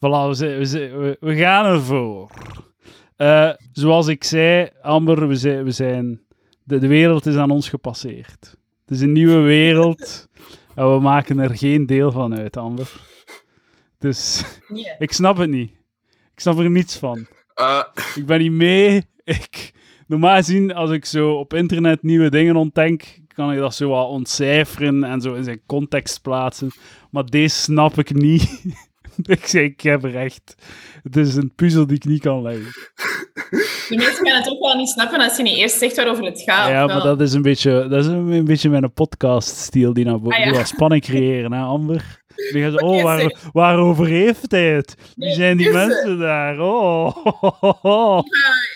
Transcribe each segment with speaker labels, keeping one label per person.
Speaker 1: Voilà, we, zijn- we, zijn- we- we gaan ervoor. Eh, zoals ik zei, Amber, we zijn, we zijn de, de wereld is aan ons gepasseerd. Het is een nieuwe wereld en we maken er geen deel van uit, Amber. Dus
Speaker 2: Ja.
Speaker 1: ik snap het niet. Ik snap er niets van.
Speaker 3: Eh,
Speaker 1: Ik ben niet mee. Ik, normaal gezien, als ik zo op internet nieuwe dingen ontdenk, kan ik dat zo wat ontcijferen en zo in zijn context plaatsen. Maar deze snap ik niet. ik zeg, ik heb recht. Het is een puzzel die ik niet kan leggen.
Speaker 2: De mensen gaan het ook wel niet snappen als je niet eerst zegt waarover het gaat.
Speaker 1: ja,
Speaker 2: of
Speaker 1: maar
Speaker 2: Ah, wel.
Speaker 1: dat is een beetje, dat is een, een beetje mijn podcast-stijl die naar boven
Speaker 2: Ah, ja.
Speaker 1: die wat spanning creëren, hè, Amber? Die gaan zo, oh,
Speaker 2: Yes,
Speaker 1: waar,
Speaker 2: zeg.
Speaker 1: waarover heeft hij het? Wie
Speaker 2: Nee,
Speaker 1: zijn die
Speaker 2: yes, zeg.
Speaker 1: mensen daar? Oh,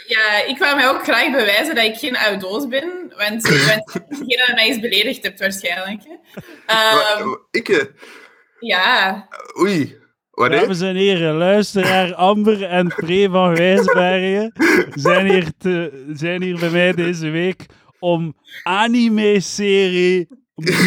Speaker 2: Ja, ik wou mij ook graag bewijzen dat ik geen oudoos ben, want ik ben degene dat mij eens beledigd hebt waarschijnlijk. hè.
Speaker 3: wa-
Speaker 2: Ehm,
Speaker 3: wa- ik, eh,
Speaker 2: ja,
Speaker 3: oei. Wat hè?
Speaker 1: Dames en heren, luisteraar Amber en Pre van Wijsbergen zijn hier, te, zijn hier bij mij deze week om anime-serie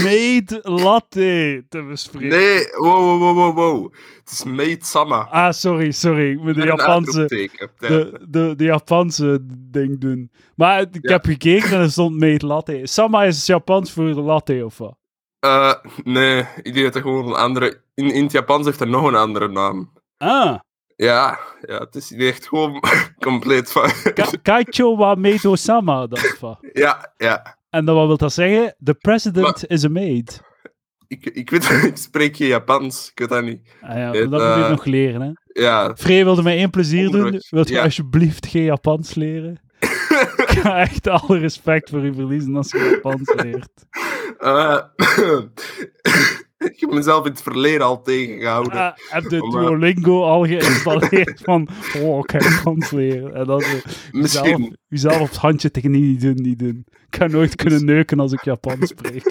Speaker 1: Made Latte te bespreken.
Speaker 3: Nee, wow, wow, wow, wow, wow. Het is Maid Sama.
Speaker 1: Ah, sorry, sorry. Ik moet de
Speaker 3: Met een
Speaker 1: Japanse,
Speaker 3: uitroepteken. Ja.
Speaker 1: de, de, de Japanse ding doen. Maar het- ik
Speaker 3: Ja.
Speaker 1: heb gekeken en er stond Made Latte. Sama is het Japans voor latte, of wat?
Speaker 3: Eh, nee, ik denk dat er gewoon een andere... In, in het Japans heeft er nog een andere naam.
Speaker 1: Ah,
Speaker 3: Ja, ja het is hier echt gewoon compleet van...
Speaker 1: ka Kaicho wa Meido Sama, dat of wat?
Speaker 3: ja, ja.
Speaker 1: En dan wat wil dat zeggen? The president is a maid.
Speaker 3: Ik, ik weet... Ik spreek geen Japans. Ik weet dat niet.
Speaker 1: Ah ja,
Speaker 3: Het,
Speaker 1: dat moet je
Speaker 3: eh,
Speaker 1: nog leren, hè.
Speaker 3: Ja.
Speaker 1: Free wilde mij één plezier doen.
Speaker 3: Onderweg,
Speaker 1: Wilt je
Speaker 3: ja.
Speaker 1: alsjeblieft geen Japans leren? Ik ga echt alle respect voor u verliezen als je Japans leert.
Speaker 3: Eh, ik heb mezelf in het verleden al tegengehouden.
Speaker 1: Ah, heb de
Speaker 3: Maar-
Speaker 1: Duolingo al geïnstalleerd van oh, ik ga Japans leren. En dan zo,
Speaker 3: Misschien.
Speaker 1: Uzelf, uzelf op het handje tegen niet doen, niet doen. Ik ga nooit kunnen neuken als ik Japans spreek.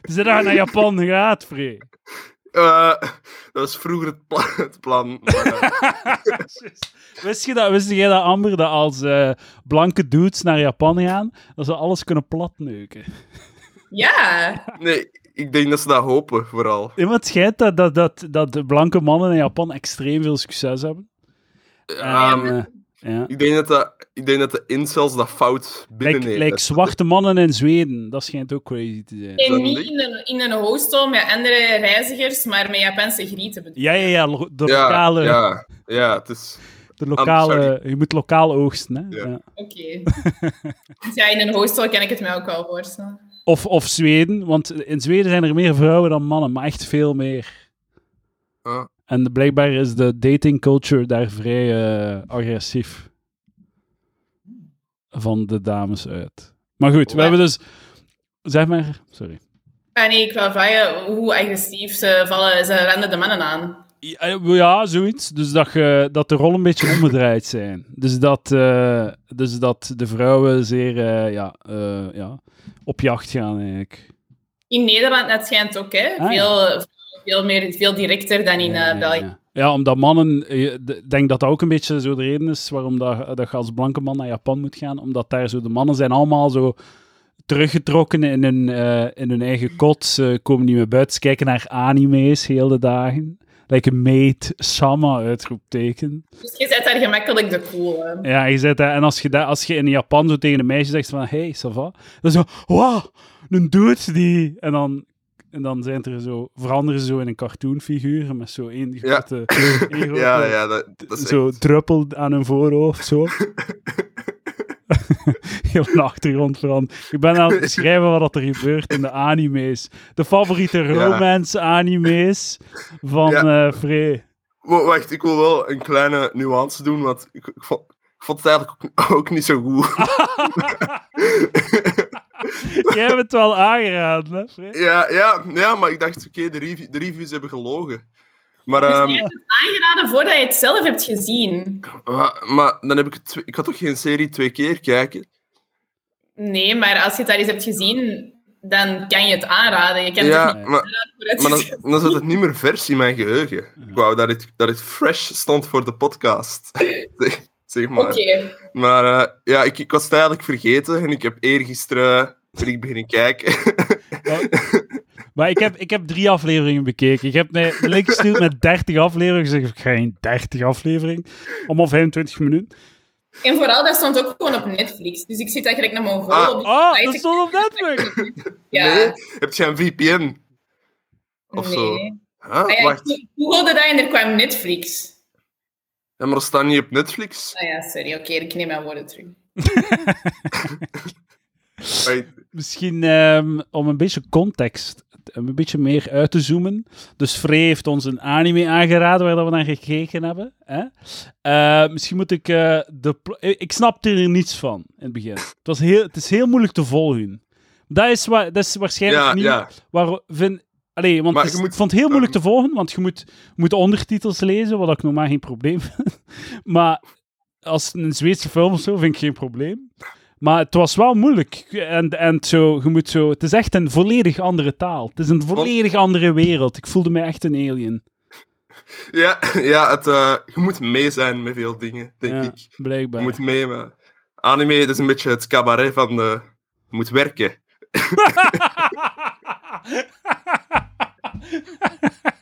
Speaker 1: Dus dat je naar Japan gaat, Free.
Speaker 3: Eh, dat was vroeger het, pla- het plan. maar, eh,
Speaker 1: Wist, je dat, wist jij dat, Amber, dat als eh, blanke dudes naar Japan gaan, dat ze alles kunnen platneuken?
Speaker 2: ja.
Speaker 3: nee, ik denk dat ze dat hopen, vooral.
Speaker 1: Ja, maar het schijnt dat, dat, dat, dat de blanke mannen in Japan extreem veel succes hebben.
Speaker 3: Ehm,
Speaker 1: En, eh, ja.
Speaker 3: ik, denk dat dat, ik denk dat de incels dat fout
Speaker 1: Like,
Speaker 3: binnennemen.
Speaker 1: like zwarte mannen in Zweden, dat schijnt ook crazy te zijn.
Speaker 2: En
Speaker 3: Dan
Speaker 2: niet
Speaker 3: niet.
Speaker 2: in een, in een hostel met andere reizigers, maar met Japanse grieten bedoel ik.
Speaker 1: Ja, ja, ja, lo- de
Speaker 3: ja,
Speaker 1: lokale,
Speaker 3: ja, ja, het is...
Speaker 1: de lokale
Speaker 3: sorry.
Speaker 1: je moet lokaal oogsten. Hè?
Speaker 3: Ja.
Speaker 1: Ja.
Speaker 2: Oké. Dus ja, in een hostel kan ik het mij ook wel voorstellen.
Speaker 1: Of, of Zweden, want in Zweden zijn er meer vrouwen dan mannen, maar echt veel meer.
Speaker 3: Ah.
Speaker 1: En blijkbaar is de dating culture daar vrij eh, agressief van de dames uit. Maar goed, we
Speaker 2: Ja.
Speaker 1: hebben dus... Zeg maar, sorry.
Speaker 2: Ah nee, ik wil vragen hoe agressief ze vallen. Ze renden de mannen aan.
Speaker 1: Ja, eh, Ja, zoiets. Dus dat, je, dat de rollen een beetje omgedraaid zijn. Dus dat, eh, dus dat de vrouwen zeer eh, ja, eh, ja, op jacht gaan, eigenlijk.
Speaker 2: In Nederland, dat schijnt ook, hè?
Speaker 1: Ah, ja.
Speaker 2: veel, veel, meer, veel directer dan in eh,
Speaker 1: Ja, ja,
Speaker 2: België.
Speaker 1: ja. Ja, omdat mannen... eh, Ik denk dat dat ook een beetje zo de reden is waarom dat, dat je als blanke man naar Japan moet gaan. Omdat daar zo de mannen zijn allemaal zo teruggetrokken in hun, eh, in hun eigen kot. Ze komen niet meer buiten. Ze kijken naar anime's heel de dagen. Like een maid, Sama, uitroepteken.
Speaker 2: Dus je zet daar gemakkelijk de cool. hè.
Speaker 1: Ja, je zet dat. En als je, dat, als je in Japan zo tegen een meisje zegt van, hey, ça va? Dan zo, wow, een dude die... En dan, en dan zijn het er zo, veranderen ze zo in een cartoonfiguur met zo één
Speaker 3: Ja.
Speaker 1: grote... één grote
Speaker 3: Ja, ja, dat, dat is
Speaker 1: zo
Speaker 3: echt-
Speaker 1: druppel aan hun voorhoofd, zo. Heel de achtergrond veranderd. Ik ben aan het beschrijven wat dat er gebeurt in de anime's. De favoriete romance-anime's van
Speaker 3: Ja.
Speaker 1: eh Frey.
Speaker 3: Wa- Wacht, ik wil wel een kleine nuance doen, want ik, ik, vond, ik vond het eigenlijk ook, ook niet zo
Speaker 1: Ah.
Speaker 3: goed.
Speaker 1: Jij hebt het wel aangeraden, hè, Frey?
Speaker 3: ja, ja, ja, maar ik dacht, oké, de, review- de reviews hebben gelogen. Maar,
Speaker 2: Dus
Speaker 3: ehm,
Speaker 2: je hebt het aangeraden voordat je het zelf hebt gezien.
Speaker 3: wa- maar dan heb ik het... twee- Ik had toch geen serie twee keer kijken?
Speaker 2: Nee, maar als je het daar eens hebt gezien, dan kan je het aanraden. Je kan het
Speaker 3: Ja,
Speaker 2: toch niet
Speaker 3: maar,
Speaker 2: vooruit
Speaker 3: maar dan, dan zat het niet meer vers in mijn geheugen. Ik wou dat het, dat het fresh stond voor de podcast. Zeg- zeg maar.
Speaker 2: Oké.
Speaker 3: Maar eh, ja, ik, ik was het eigenlijk vergeten en ik heb eergisteren ben ik beginnen kijken.
Speaker 1: Ja. Maar ik heb, ik heb drie afleveringen bekeken. Ik heb mij de link gestuurd met 30 afleveringen. Ik zeg, geen 30 afleveringen. Allemaal 25 minuten.
Speaker 2: En vooral, dat stond ook gewoon op Netflix. Dus ik zit eigenlijk naar Mongool.
Speaker 3: Ah.
Speaker 2: op de
Speaker 1: Oh,
Speaker 2: site.
Speaker 1: dat stond op Netflix.
Speaker 2: Ja,
Speaker 3: Nee? Heb je een VPN? Of
Speaker 2: nee.
Speaker 3: zo.
Speaker 2: Ah
Speaker 3: Huh?
Speaker 2: ja,
Speaker 3: Wacht.
Speaker 2: ik googelde dat en er kwam Netflix.
Speaker 3: Ja, maar dat staat niet op Netflix.
Speaker 2: Ah ja, sorry. Oké, ik neem mijn woorden terug.
Speaker 3: Wait,
Speaker 1: Misschien ehm, om een beetje context, om een beetje meer uit te zoomen. Dus Free heeft ons een anime aangeraden waar dat we naar gekeken hebben. Hè? Eh, misschien moet ik eh, de... pl- eh, Ik snapte er niets van in het begin. Het, was heel, het is heel moeilijk te volgen. Dat is, wa- dat is waarschijnlijk
Speaker 3: Ja,
Speaker 1: niet
Speaker 3: ja.
Speaker 1: waar... Vind, allee, want
Speaker 3: Maar
Speaker 1: het is-
Speaker 3: je moet-
Speaker 1: ik vond het heel
Speaker 3: Ehm.
Speaker 1: moeilijk te volgen, want je moet, moet ondertitels lezen, wat ik normaal geen probleem vind. Maar als het een Zweedse film of zo, vind ik geen probleem. Maar het was wel moeilijk. En, en zo, je moet zo, het is echt een volledig andere taal. Het is een volledig andere wereld. Ik voelde me echt een alien.
Speaker 3: Ja, ja het, eh, je moet mee zijn met veel dingen, denk
Speaker 1: Ja,
Speaker 3: ik. Je
Speaker 1: blijkbaar.
Speaker 3: moet mee, maar... Anime, dat is een beetje het cabaret van... eh, je moet werken.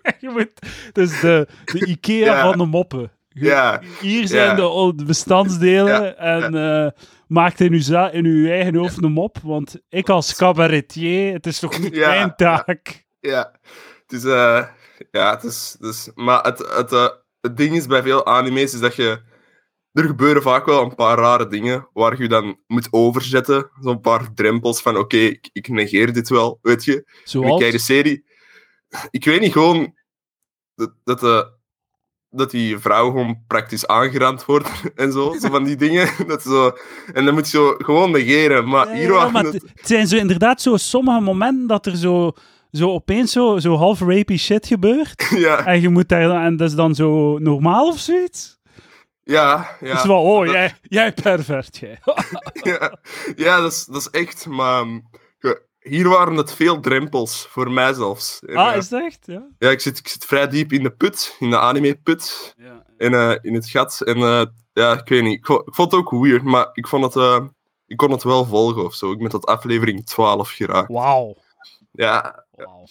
Speaker 1: je moet, het is de, de Ikea
Speaker 3: Ja.
Speaker 1: van de moppen. Je-
Speaker 3: Ja.
Speaker 1: Hier zijn
Speaker 3: Ja.
Speaker 1: de o- de bestandsdelen
Speaker 3: Ja.
Speaker 1: en eh, maak in uw, za- in uw eigen hoofd een mop, want ik als cabaretier, het is toch niet
Speaker 3: Ja.
Speaker 1: mijn taak?
Speaker 3: Ja, het is... eh, ja, het is... Het is- maar het, het, eh, het ding is bij veel anime's is dat je... Er gebeuren vaak wel een paar rare dingen waar je dan moet overzetten. Zo'n paar drempels van, oké, ik, ik negeer dit wel, weet je. En ik
Speaker 1: Zoals...
Speaker 3: kijk de serie... Ik weet niet, gewoon... Dat, dat, eh, dat die vrouw gewoon praktisch aangerand wordt en zo. Zo van die dingen. Dat zo, en dan moet je zo gewoon negeren. Maar
Speaker 1: Ja,
Speaker 3: hier
Speaker 1: ja,
Speaker 3: waren
Speaker 1: maar
Speaker 3: het-
Speaker 1: het het zijn zo inderdaad zo sommige momenten dat er zo, zo opeens zo, zo half rapey shit gebeurt.
Speaker 3: Ja,
Speaker 1: En je moet daar dan, en dat is dan zo normaal of zoiets.
Speaker 3: ja,
Speaker 1: Het
Speaker 3: ja.
Speaker 1: is wel, oh,
Speaker 3: dat-
Speaker 1: jij, jij pervert, jij.
Speaker 3: ja, ja dat, is, dat is echt. Maar ehm, ge- hier waren het veel drempels, voor mij zelfs. En,
Speaker 1: ah,
Speaker 3: eh,
Speaker 1: is dat echt? Ja.
Speaker 3: Ja, ik zit, ik zit vrij diep in de put, in de anime-put, en, eh, in het gat. En eh, ja, ik weet niet. Ik, vo- ik vond het ook weird, maar ik vond het. eh, ik kon het wel volgen of zo. Ik ben tot aflevering 12 geraakt.
Speaker 1: Wauw.
Speaker 3: Ja,
Speaker 1: Wauw.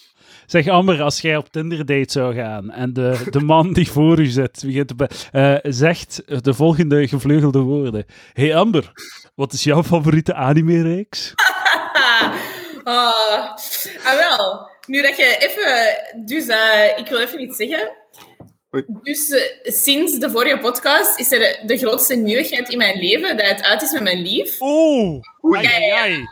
Speaker 1: Zeg Amber, als jij op Tinder date zou gaan en de, de man die voor u zit begint te be- eh, zegt de volgende gevleugelde woorden. Hey Amber, wat is jouw favoriete anime-reeks?
Speaker 2: Ah, ah. Ah, wel. Nu dat je even... Dus eh, ik wil even iets zeggen.
Speaker 3: Oei.
Speaker 2: Dus eh, sinds de vorige podcast is er de grootste nieuwigheid in mijn leven dat het uit is met mijn lief.
Speaker 1: Oh,
Speaker 3: Oei.
Speaker 1: ai, ai, ai.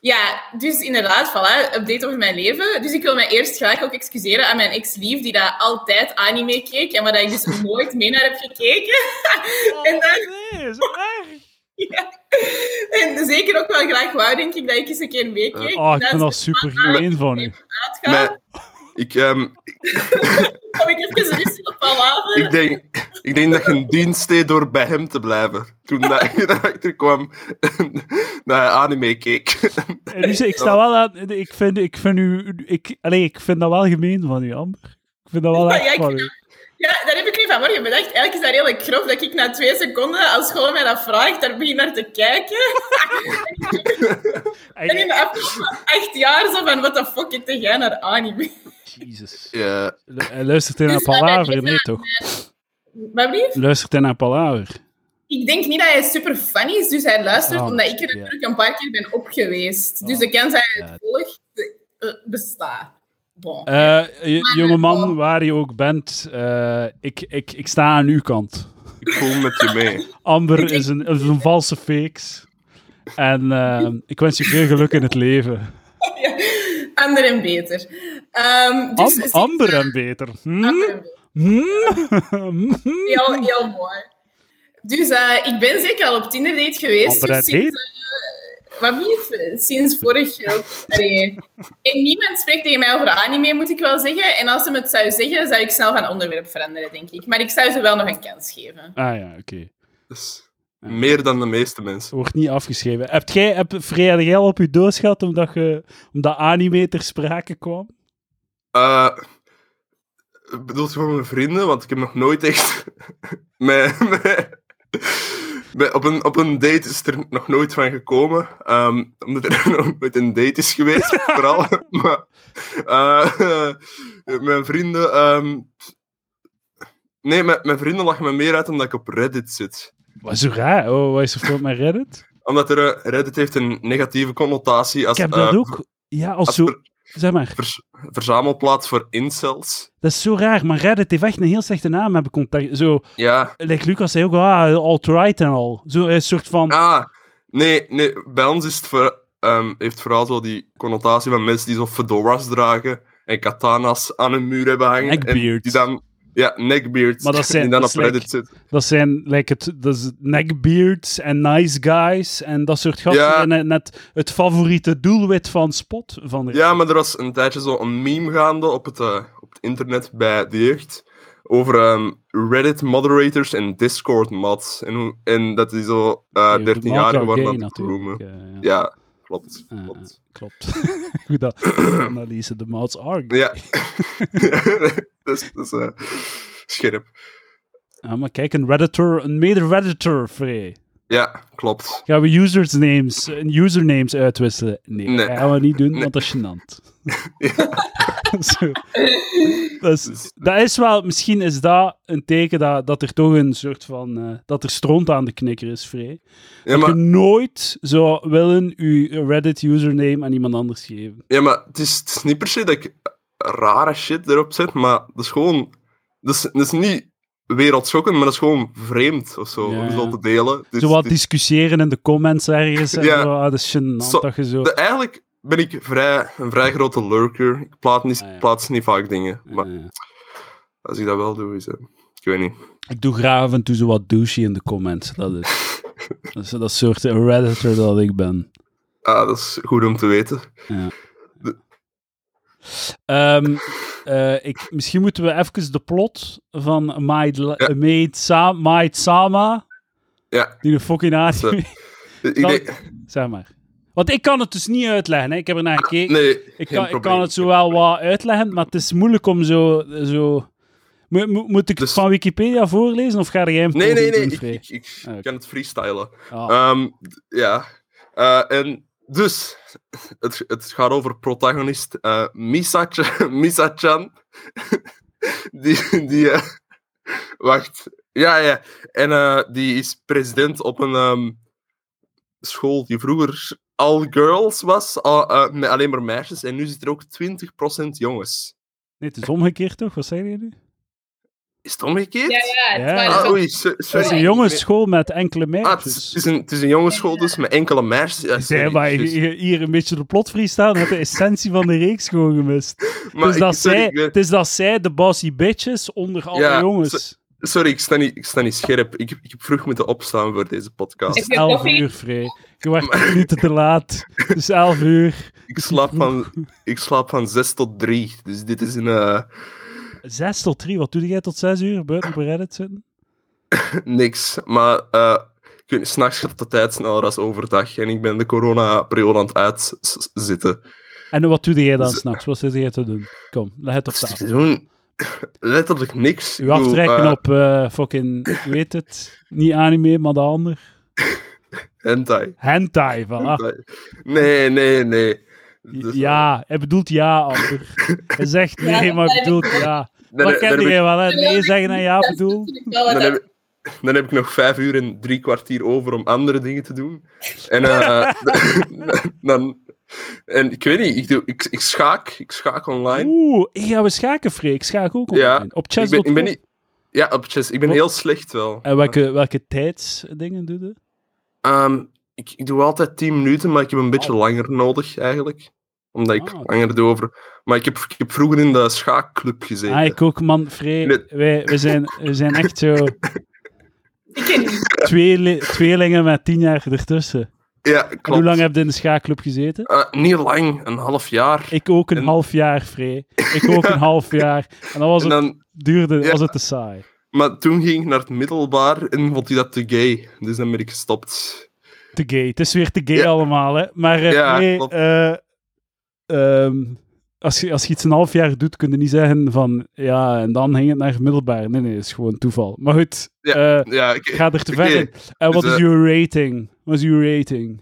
Speaker 2: Ja, dus inderdaad, voilà, update over mijn leven. Dus ik wil mij eerst graag ook excuseren aan mijn ex-lief, die daar altijd anime keek, en waar ik dus nooit mee naar heb gekeken. en dan,
Speaker 1: Oh, Nee, is erg.
Speaker 2: en zeker ook wel graag wou, denk ik, dat ik eens een keer meekeek.
Speaker 1: Oh, ik
Speaker 2: Dat
Speaker 1: ben
Speaker 2: ze
Speaker 1: al super gemeen van u.
Speaker 2: uitgaan.
Speaker 3: maar ik, ehm,
Speaker 2: Kom ik even rustig op palaver.
Speaker 3: ik, denk, ik denk dat je een dienst deed door bij hem te blijven. Toen dat ik erachter kwam naar anime keek.
Speaker 1: En dus, ik sta wel aan. Ik vind, ik vind u. Ik, allee, ik vind dat wel gemeen van u, Amber. Ik vind dat wel
Speaker 2: Ja,
Speaker 1: echt
Speaker 2: ik-
Speaker 1: van u.
Speaker 2: Ja, daar heb ik nu vanmorgen bedacht. Eigenlijk is dat redelijk grof dat ik na twee seconden, als school mij dat vraagt, daar begin naar te kijken. En in
Speaker 1: En-
Speaker 2: de afgelopen acht jaar zo van, what the fuck, ik tegen jij naar anime.
Speaker 1: Jezus.
Speaker 3: Ja,
Speaker 1: Lu- eh, Luistert hij naar
Speaker 2: Dus, eh,
Speaker 1: Palaver?
Speaker 2: dit-
Speaker 1: Nee, toch?
Speaker 2: Maar lief?
Speaker 1: Luistert hij naar Palaver?
Speaker 2: Ik denk niet dat hij super fan is, dus hij luistert
Speaker 1: Oh,
Speaker 2: omdat ik
Speaker 1: ja.
Speaker 2: er natuurlijk een paar keer ben op geweest.
Speaker 1: Oh,
Speaker 2: dus de kans dat hij
Speaker 1: ja.
Speaker 2: het volgt eh, bestaat. Bon.
Speaker 1: Eh j- jongeman, waar je ook bent, eh, ik, ik, ik sta aan uw kant.
Speaker 3: ik voel met je mee.
Speaker 1: Amber is een, is een valse fakes. En eh, ik wens je veel geluk in het leven.
Speaker 3: Dus
Speaker 2: Ander en beter. Ehm, dus
Speaker 1: Am- Amber en beter.
Speaker 2: Ander
Speaker 1: Hm?
Speaker 2: en beter.
Speaker 3: Dus
Speaker 1: Hm?
Speaker 2: Heel, heel mooi. Dus eh, ik ben zeker al op Tinder date geweest.
Speaker 1: Amber en
Speaker 2: dus sinds, eh, wat niet, sinds vorig jaar. Allee. En niemand spreekt tegen mij over anime, moet ik wel zeggen. En als ze me het zou zeggen, zou ik snel van onderwerp veranderen, denk ik. Maar ik zou ze wel nog een kans geven.
Speaker 1: Ah ja, oké.
Speaker 3: Dus meer dan de meeste mensen.
Speaker 1: Het wordt niet afgeschreven. Hebt jij, heb Freya de Geil op je doos gehad omdat, je, omdat anime ter sprake kwam?
Speaker 3: Eh bedoelt je van mijn vrienden? Want ik heb nog nooit echt met, met, Bij- op, een, op een date is het er nog nooit van gekomen. ehm, omdat er nog nooit een date is geweest, vooral. maar, eh, mijn vrienden. ehm, nee, mijn, mijn vrienden lachen me meer uit omdat ik op Reddit zit.
Speaker 1: Wat zo raar. Oh, wat is er voor met Reddit?
Speaker 3: Omdat er, eh, Reddit heeft een negatieve connotatie als,
Speaker 1: Ik heb dat
Speaker 3: eh,
Speaker 1: ook. Ja, als
Speaker 3: als
Speaker 1: zo...
Speaker 3: ver-
Speaker 1: Zeg maar,
Speaker 3: vers- verzamelplaats voor incels.
Speaker 1: dat is zo raar. Maar Reddit heeft echt een heel slechte naam, heb ik contact. Zo,
Speaker 3: Ja.
Speaker 1: like Lucas zei ook, ah, alt-right en al. Zo een soort van...
Speaker 3: Ah, nee, nee bij ons is het voor, ehm, heeft vooral zo die connotatie van mensen die zo fedoras dragen en katana's aan hun muur hebben hangen. En
Speaker 1: Neckbeards.
Speaker 3: die dan, ja, neckbeards.
Speaker 1: Maar dat zijn-
Speaker 3: die dan
Speaker 1: dat
Speaker 3: op
Speaker 1: is like-
Speaker 3: Reddit zitten.
Speaker 1: Dat zijn like het, dat is neckbeards en nice guys en dat soort gasten.
Speaker 3: Ja.
Speaker 1: En net- net het favoriete doelwit van Spot. Van de-
Speaker 3: Ja, maar er was een tijdje zo een meme gaande op het, eh, op het internet bij de jeugd. Over ehm, Reddit moderators en Discord mods. En, hoe, en dat die zo eh
Speaker 1: Die
Speaker 3: 13
Speaker 1: Mark
Speaker 3: jaar
Speaker 1: Gay
Speaker 3: geworden aan het
Speaker 1: natuurlijk,
Speaker 3: roemen.
Speaker 1: eh, ja.
Speaker 3: Ja, klopt.
Speaker 1: Eh,
Speaker 3: klopt.
Speaker 1: klopt. Goed dat. Analyse, de mouths are gay.
Speaker 3: Ja. dat is, dat is eh, scherp.
Speaker 1: Ah, maar kijk, een redditor, een mede-redditor, Free.
Speaker 3: Ja, klopt.
Speaker 1: Gaan we usersnames, eh, usernames uitwisselen? Nee,
Speaker 3: Nee.
Speaker 1: dat gaan we niet doen, want dat is gênant. Zo. dat, is, dat is wel, misschien is dat een teken dat, dat er toch een soort van, eh, dat er stront aan de knikker is, Free.
Speaker 3: Ja
Speaker 1: Dat je
Speaker 3: maar,
Speaker 1: nooit zou willen uw Reddit username aan iemand anders geven.
Speaker 3: ja, maar het is, het is niet per se dat ik rare shit erop zet, maar dat is gewoon... Dat is, dat is niet wereldschokkend, maar dat is gewoon vreemd of zo,
Speaker 1: Ja,
Speaker 3: om
Speaker 1: ja.
Speaker 3: zo te delen. Dus
Speaker 1: Zo wat
Speaker 3: het is-
Speaker 1: discussiëren in de comments ergens. En
Speaker 3: Ja.
Speaker 1: zo, ah, dat is gênant
Speaker 3: Zo-
Speaker 1: dat je zo...
Speaker 3: de- eigenlijk ben ik vrij, een vrij grote lurker. Ik plaats niet,
Speaker 1: Ah, ja.
Speaker 3: plaats niet vaak dingen, maar
Speaker 1: Eh,
Speaker 3: als ik dat wel doe, is... eh, ik weet niet.
Speaker 1: Ik doe graag af en toe zo wat douche in de comments. Dat is, dat, is dat soort redditor dat ik ben.
Speaker 3: Ah, dat is goed om te weten.
Speaker 1: Ehm, eh, ik, misschien moeten we even de plot van Maid, La-
Speaker 3: Ja.
Speaker 1: Maid, Sa- Maid Sama,
Speaker 3: Ja,
Speaker 1: die een fucking
Speaker 3: Zo.
Speaker 1: anime,
Speaker 3: ik
Speaker 1: Dan-
Speaker 3: denk...
Speaker 1: zeg maar. Want ik kan het dus niet uitleggen, hè. ik heb er naar gekeken.
Speaker 3: Nee,
Speaker 1: ik,
Speaker 3: geen
Speaker 1: kan, ik
Speaker 3: probleem.
Speaker 1: kan het zo wel wat uitleggen, maar het is moeilijk om zo... zo... Mo- mo- moet ik
Speaker 3: Dus-
Speaker 1: het van Wikipedia voorlezen of ga jij hem
Speaker 3: Nee,
Speaker 1: poging
Speaker 3: nee, nee.
Speaker 1: doen,
Speaker 3: Ik,
Speaker 1: Frey?
Speaker 3: ik, ik
Speaker 1: Ah, oké.
Speaker 3: kan het freestylen.
Speaker 1: Ah.
Speaker 3: Ehm, d- ja. Eh, en dus, het, het gaat over protagonist eh, Misa-cha- Misa-chan. die, die eh, wacht. Ja, ja. En eh, die is president op een ehm, school die vroeger all girls was, al- eh, met alleen maar meisjes. En nu zit er ook 20% jongens.
Speaker 1: Nee, het is omgekeerd toch? Wat zei je nu?
Speaker 3: Is het omgekeerd?
Speaker 2: Ja, ja.
Speaker 1: Ja. Oh,
Speaker 2: Het waren
Speaker 3: Ah,
Speaker 2: zo-
Speaker 3: oei, so-
Speaker 1: Het
Speaker 3: sorry.
Speaker 1: is een jongensschool met enkele
Speaker 3: Ah, het, is,
Speaker 1: meisjes.
Speaker 3: het is een, het is een jongensschool dus, met enkele meisjes. Ja,
Speaker 1: Zij
Speaker 3: sorry,
Speaker 1: maar
Speaker 3: juist.
Speaker 1: hier hier een beetje de plot free staan, had de essentie van de reeks gewoon gemist.
Speaker 3: Maar
Speaker 1: het, is Dus dat
Speaker 3: ik- sorry,
Speaker 1: zij,
Speaker 3: ik ben-
Speaker 1: het is dat zij de bossy bitches onder alle
Speaker 3: Ja,
Speaker 1: jongens.
Speaker 3: Sorry, ik sta niet, ik sta niet scherp. Ik, heb- ik heb vroeg moeten opstaan voor deze
Speaker 1: Het
Speaker 3: podcast.
Speaker 1: is
Speaker 2: Ik heb
Speaker 1: 11
Speaker 2: koffie.
Speaker 1: uur vrij. Je wordt 10 minuten te laat. Het is 11 uur.
Speaker 3: Ik slaap van, ik slaap van 6 tot 3. Dus dit is een. eh,
Speaker 1: 6 tot 3. Wat doe jij tot 6 uur? Buiten op Reddit zitten?
Speaker 3: niks. Maar eh, ik weet niet, s'nachts gaat de tijd sneller als overdag. En ik ben de corona-periode aan het uitzitten.
Speaker 1: En wat doe jij dan
Speaker 3: Z-
Speaker 1: s'nachts? Wat zit jij te doen? Kom, leg het op
Speaker 3: Dus
Speaker 1: tafel.
Speaker 3: ik doe letterlijk niks. Ik
Speaker 1: U
Speaker 3: doe,
Speaker 1: aftrekken
Speaker 3: eh,
Speaker 1: op eh, fucking, ik weet het, niet anime, maar de ander.
Speaker 3: eh, Hentai.
Speaker 1: Hentai, voilà.
Speaker 3: Hentai. Nee, nee, nee. Dus,
Speaker 1: Ja, hij bedoelt ja, Amber. Hij zegt
Speaker 2: Ja,
Speaker 1: nee, maar hij
Speaker 2: dat-
Speaker 1: bedoelt ja.
Speaker 3: dan-
Speaker 1: Maar
Speaker 3: dan heb
Speaker 1: ken
Speaker 3: ik-
Speaker 1: jij wel, hè?
Speaker 2: Ja,
Speaker 1: Nee zeggen en ja
Speaker 2: dat
Speaker 1: bedoel.
Speaker 2: vind ik wel wat
Speaker 3: dan
Speaker 2: uit.
Speaker 3: heb, dan heb ik nog vijf uur en drie kwartier over om andere dingen te doen. En, eh, dan, en ik weet niet, ik, doe, ik, ik schaak. Ik schaak online.
Speaker 1: Oeh, ik ga we schaken, Freek. Ik schaak ook op,
Speaker 3: Ja,
Speaker 1: op
Speaker 3: Ik ben,
Speaker 1: chess.com.
Speaker 3: ik ben niet... Ja, op chess. Ik ben
Speaker 1: Wat?
Speaker 3: heel slecht wel.
Speaker 1: En welke, welke tijdsdingen doe je?
Speaker 3: Ehm, ik, ik doe altijd 10 minuten, maar ik heb een beetje langer nodig eigenlijk. Omdat ik
Speaker 1: Ah, oké.
Speaker 3: langer doe over. Maar ik heb, ik heb vroeger in de schaakclub gezeten.
Speaker 1: Ah, ik ook, man, Freek.
Speaker 3: Nee.
Speaker 1: Wij, we, zijn, we zijn echt zo
Speaker 2: Ik ken niet.
Speaker 1: tweeli- tweelingen met tien jaar ertussen.
Speaker 3: Ja,
Speaker 1: En
Speaker 3: klopt.
Speaker 1: hoe lang heb je in de schaakclub gezeten?
Speaker 3: Eh, niet lang, een half jaar.
Speaker 1: Ik ook een
Speaker 3: En-
Speaker 1: half jaar, Free. Ik ook een half jaar. En dan was
Speaker 3: En
Speaker 1: het,
Speaker 3: dan,
Speaker 1: duurde,
Speaker 3: Ja.
Speaker 1: was het te saai.
Speaker 3: Maar toen ging ik naar het middelbaar en vond hij dat te gay. Dus dan ben ik gestopt.
Speaker 1: te gay. Het is weer te gay
Speaker 3: Ja.
Speaker 1: allemaal, hè. Maar eh,
Speaker 3: Ja,
Speaker 1: nee,
Speaker 3: klopt.
Speaker 1: eh, ehm, als je, als je iets een half jaar doet, kun je niet zeggen van ja, en dan ging het naar middelbaar. Nee, nee, het is gewoon toeval. Maar goed, eh,
Speaker 3: Ja, ik-
Speaker 1: ga er te ver
Speaker 3: Oké,
Speaker 1: in. En wat
Speaker 3: dus,
Speaker 1: is
Speaker 3: eh,
Speaker 1: uw rating? Wat is uw rating?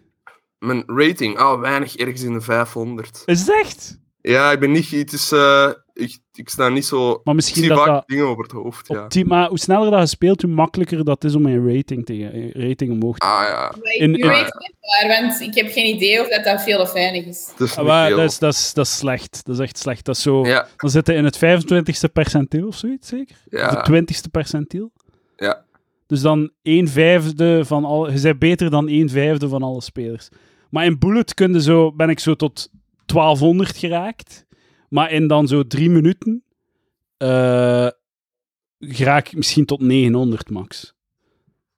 Speaker 3: mijn rating, ah, weinig, ergens in de 500.
Speaker 1: Is het echt?
Speaker 3: Ja, ik ben niet, het is, eh, ik, ik sta niet zo...
Speaker 1: Maar
Speaker 3: Ik
Speaker 1: misschien
Speaker 3: zie
Speaker 1: dat
Speaker 3: vaak
Speaker 1: dat...
Speaker 3: dingen over het hoofd, ja.
Speaker 1: Op die, maar hoe sneller dat je speelt, hoe makkelijker dat is om een rating, tegen, rating omhoog te
Speaker 3: Ah ja,
Speaker 1: In-
Speaker 2: Ik
Speaker 1: in-
Speaker 2: weet het niet waar, want ik heb geen idee of dat, dat veel of weinig is.
Speaker 3: het is niet
Speaker 1: Ah, Maar
Speaker 3: veel.
Speaker 1: dat is, dat, is, dat is slecht. Dat is echt slecht. Dat is zo...
Speaker 3: Ja,
Speaker 1: Dan zitten in het 25ste percentiel of zoiets, zeker?
Speaker 3: ja.
Speaker 1: De 20ste percentiel.
Speaker 3: Ja.
Speaker 1: Dus dan 1 vijfde van al... Je bent beter dan 1 vijfde van alle spelers. Maar in Bullet kun je zo, ben ik zo tot 1200 geraakt. Maar in dan zo drie minuten eh raak ik misschien tot 900 max.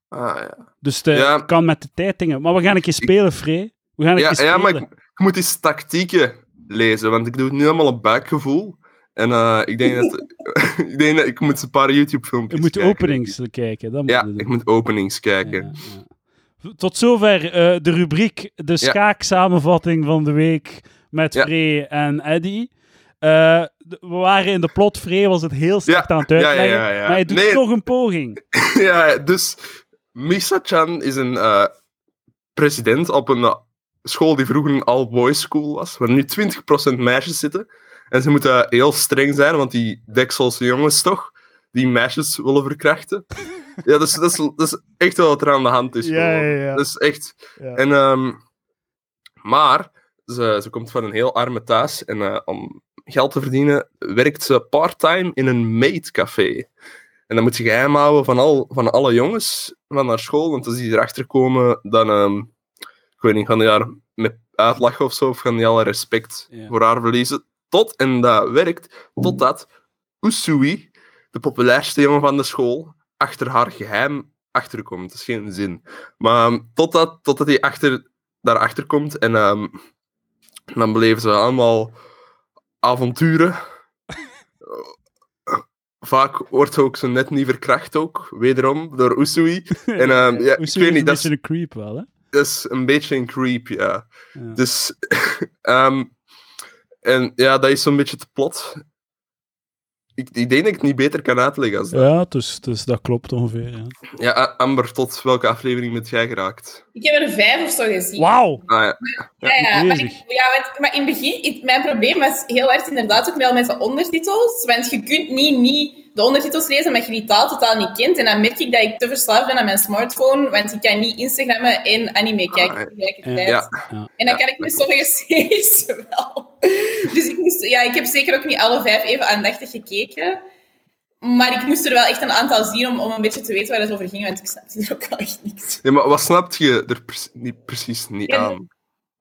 Speaker 3: Ah, ja.
Speaker 1: Dus de,
Speaker 3: Ja.
Speaker 1: kan met de tijd dingen. Maar we gaan een keer spelen, Frey. We gaan een
Speaker 3: Ja,
Speaker 1: keer
Speaker 3: ja,
Speaker 1: spelen.
Speaker 3: maar ik, ik moet eens tactieken lezen, want ik doe het nu allemaal op buikgevoel. En eh, ik, denk dat, ik denk dat ik moet een paar YouTube-filmpjes
Speaker 1: Je moet
Speaker 3: kijken.
Speaker 1: openings kijken. Dat moet
Speaker 3: Ja,
Speaker 1: je doen.
Speaker 3: ik moet openings kijken.
Speaker 1: Ja, ja. Tot zover eh, de rubriek, de schaak-samenvatting van de week met
Speaker 3: Ja.
Speaker 1: Free en Eddy. Eh, d- we waren in de plot, Free was het heel slecht aan het
Speaker 3: ja, ja,
Speaker 1: uitleggen,
Speaker 3: ja.
Speaker 1: maar hij doet
Speaker 3: Nee.
Speaker 1: toch een poging.
Speaker 3: Ja, dus Misa-chan is een eh, president op een eh, school die vroeger een all-boys school was, waar nu 20% meisjes zitten. En ze moeten heel streng zijn, want die dekselse jongens toch, die meisjes willen verkrachten. Ja, dat is, dat is, dat is echt wel wat er aan de hand is.
Speaker 1: Ja,
Speaker 3: gewoon.
Speaker 1: ja, ja.
Speaker 3: Dat is echt...
Speaker 1: Ja.
Speaker 3: En, ehm, maar, ze, ze komt van een heel arme thuis en eh, om geld te verdienen werkt ze part-time in een maidcafé. En dan moet ze geheim houden van, al, van alle jongens van haar school. Want als die erachter komen, dan ehm, ik weet niet, gaan die haar met uitlachen of zo. Of gaan die al haar respect
Speaker 1: Ja.
Speaker 3: voor haar verliezen. Tot, en dat werkt, totdat Usui, de populairste jongen van de school, achter haar geheim achterkomt. Dat is geen zin. Maar ehm, totdat, totdat hij achter, daarachter komt. En ehm, dan beleven ze allemaal avonturen. Eh, Vaak wordt ze ook zo net niet verkracht ook, wederom, door Usui. En, ehm, ja,
Speaker 1: Oesoe
Speaker 3: ik
Speaker 1: Dus is
Speaker 3: weet niet,
Speaker 1: een
Speaker 3: dat is-
Speaker 1: beetje een creep wel, hè?
Speaker 3: Dat is een beetje een creep, ja.
Speaker 1: Ja.
Speaker 3: Dus, ehm, en ja, dat is zo'n beetje te plot. Ik, ik denk dat ik het niet beter kan uitleggen als dat.
Speaker 1: Ja, dus, dus dat klopt ongeveer, ja.
Speaker 3: Ja, A- Amber, tot welke aflevering bent jij geraakt?
Speaker 2: Ik heb er vijf of zo gezien.
Speaker 1: Wauw!
Speaker 3: Ah, ja.
Speaker 2: Ja, ja, maar,
Speaker 1: Bezig.
Speaker 2: ik- ja want, maar in het begin, ik- mijn probleem was heel erg inderdaad ook wel met de ondertitels. Want je kunt niet, niet de ondertitels lezen omdat je die taal totaal niet kent. En dan merk ik dat ik te verslaafd ben aan mijn smartphone, want ik kan niet Instagrammen en anime kijken
Speaker 3: Ah,
Speaker 2: tegelijkertijd.
Speaker 3: ja.
Speaker 2: En dan
Speaker 3: Ja,
Speaker 2: kan ik met sommige series wel. Dus ik, moest, ja, ik heb zeker ook niet alle vijf even aandachtig gekeken. Maar ik moest er wel echt een aantal zien om, om een beetje te weten waar het over ging, want ik snapte er ook al echt niks.
Speaker 3: Ja, maar wat snapt je er pre- niet, precies niet
Speaker 2: Ja,
Speaker 3: aan?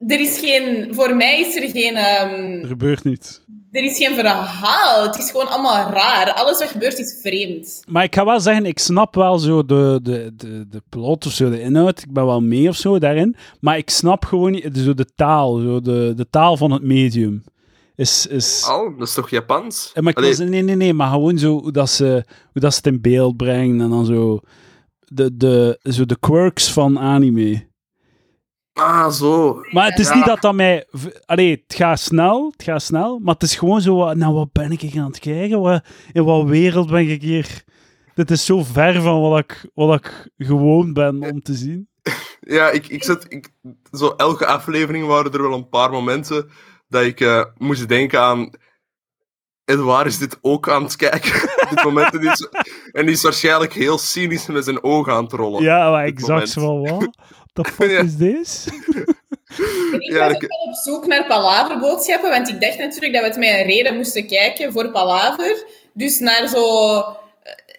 Speaker 2: Er is geen, voor mij is er geen, ehm,
Speaker 1: Er gebeurt niets.
Speaker 2: er is geen verhaal. Het is gewoon allemaal raar. Alles wat gebeurt is vreemd.
Speaker 1: Maar ik ga wel zeggen, ik snap wel zo de, de, de, de plot of zo, de inhoud. Ik ben wel mee of zo daarin. Maar ik snap gewoon niet, zo de taal, zo de, de taal van het medium. Is, is,
Speaker 3: Al, dat is toch Japans?
Speaker 1: Eh, Maar ik wil
Speaker 3: Oh. Allee,
Speaker 1: zeggen, nee, nee, nee, maar gewoon zo hoe dat ze, hoe dat ze het in beeld brengen en dan zo de, de, zo de quirks van anime.
Speaker 3: Ah, zo.
Speaker 1: Maar het is
Speaker 3: Ja.
Speaker 1: niet dat dat mij... v- Allee, het gaat snel, het gaat snel, maar het is gewoon zo, wat- nou, wat ben ik hier aan het kijken? Wat, in wat wereld ben ik hier... Dit is zo ver van wat ik, wat ik gewoon ben om te zien.
Speaker 3: Ja, ik, ik zat... Ik, zo elke aflevering waren er wel een paar momenten dat ik eh, moest denken aan... En waar is dit ook aan het kijken? dit moment. En die, is, en die is waarschijnlijk heel cynisch met zijn ogen aan het rollen.
Speaker 1: Ja, maar
Speaker 3: dit
Speaker 1: ik zag ze wel, wat? The fuck
Speaker 3: Ja.
Speaker 1: is this?
Speaker 2: En ik
Speaker 3: Ja,
Speaker 2: was
Speaker 3: dat-
Speaker 2: ook wel op zoek naar palaverboodschappen, want ik dacht natuurlijk dat we het met een reden moesten kijken voor palaver. Dus naar zo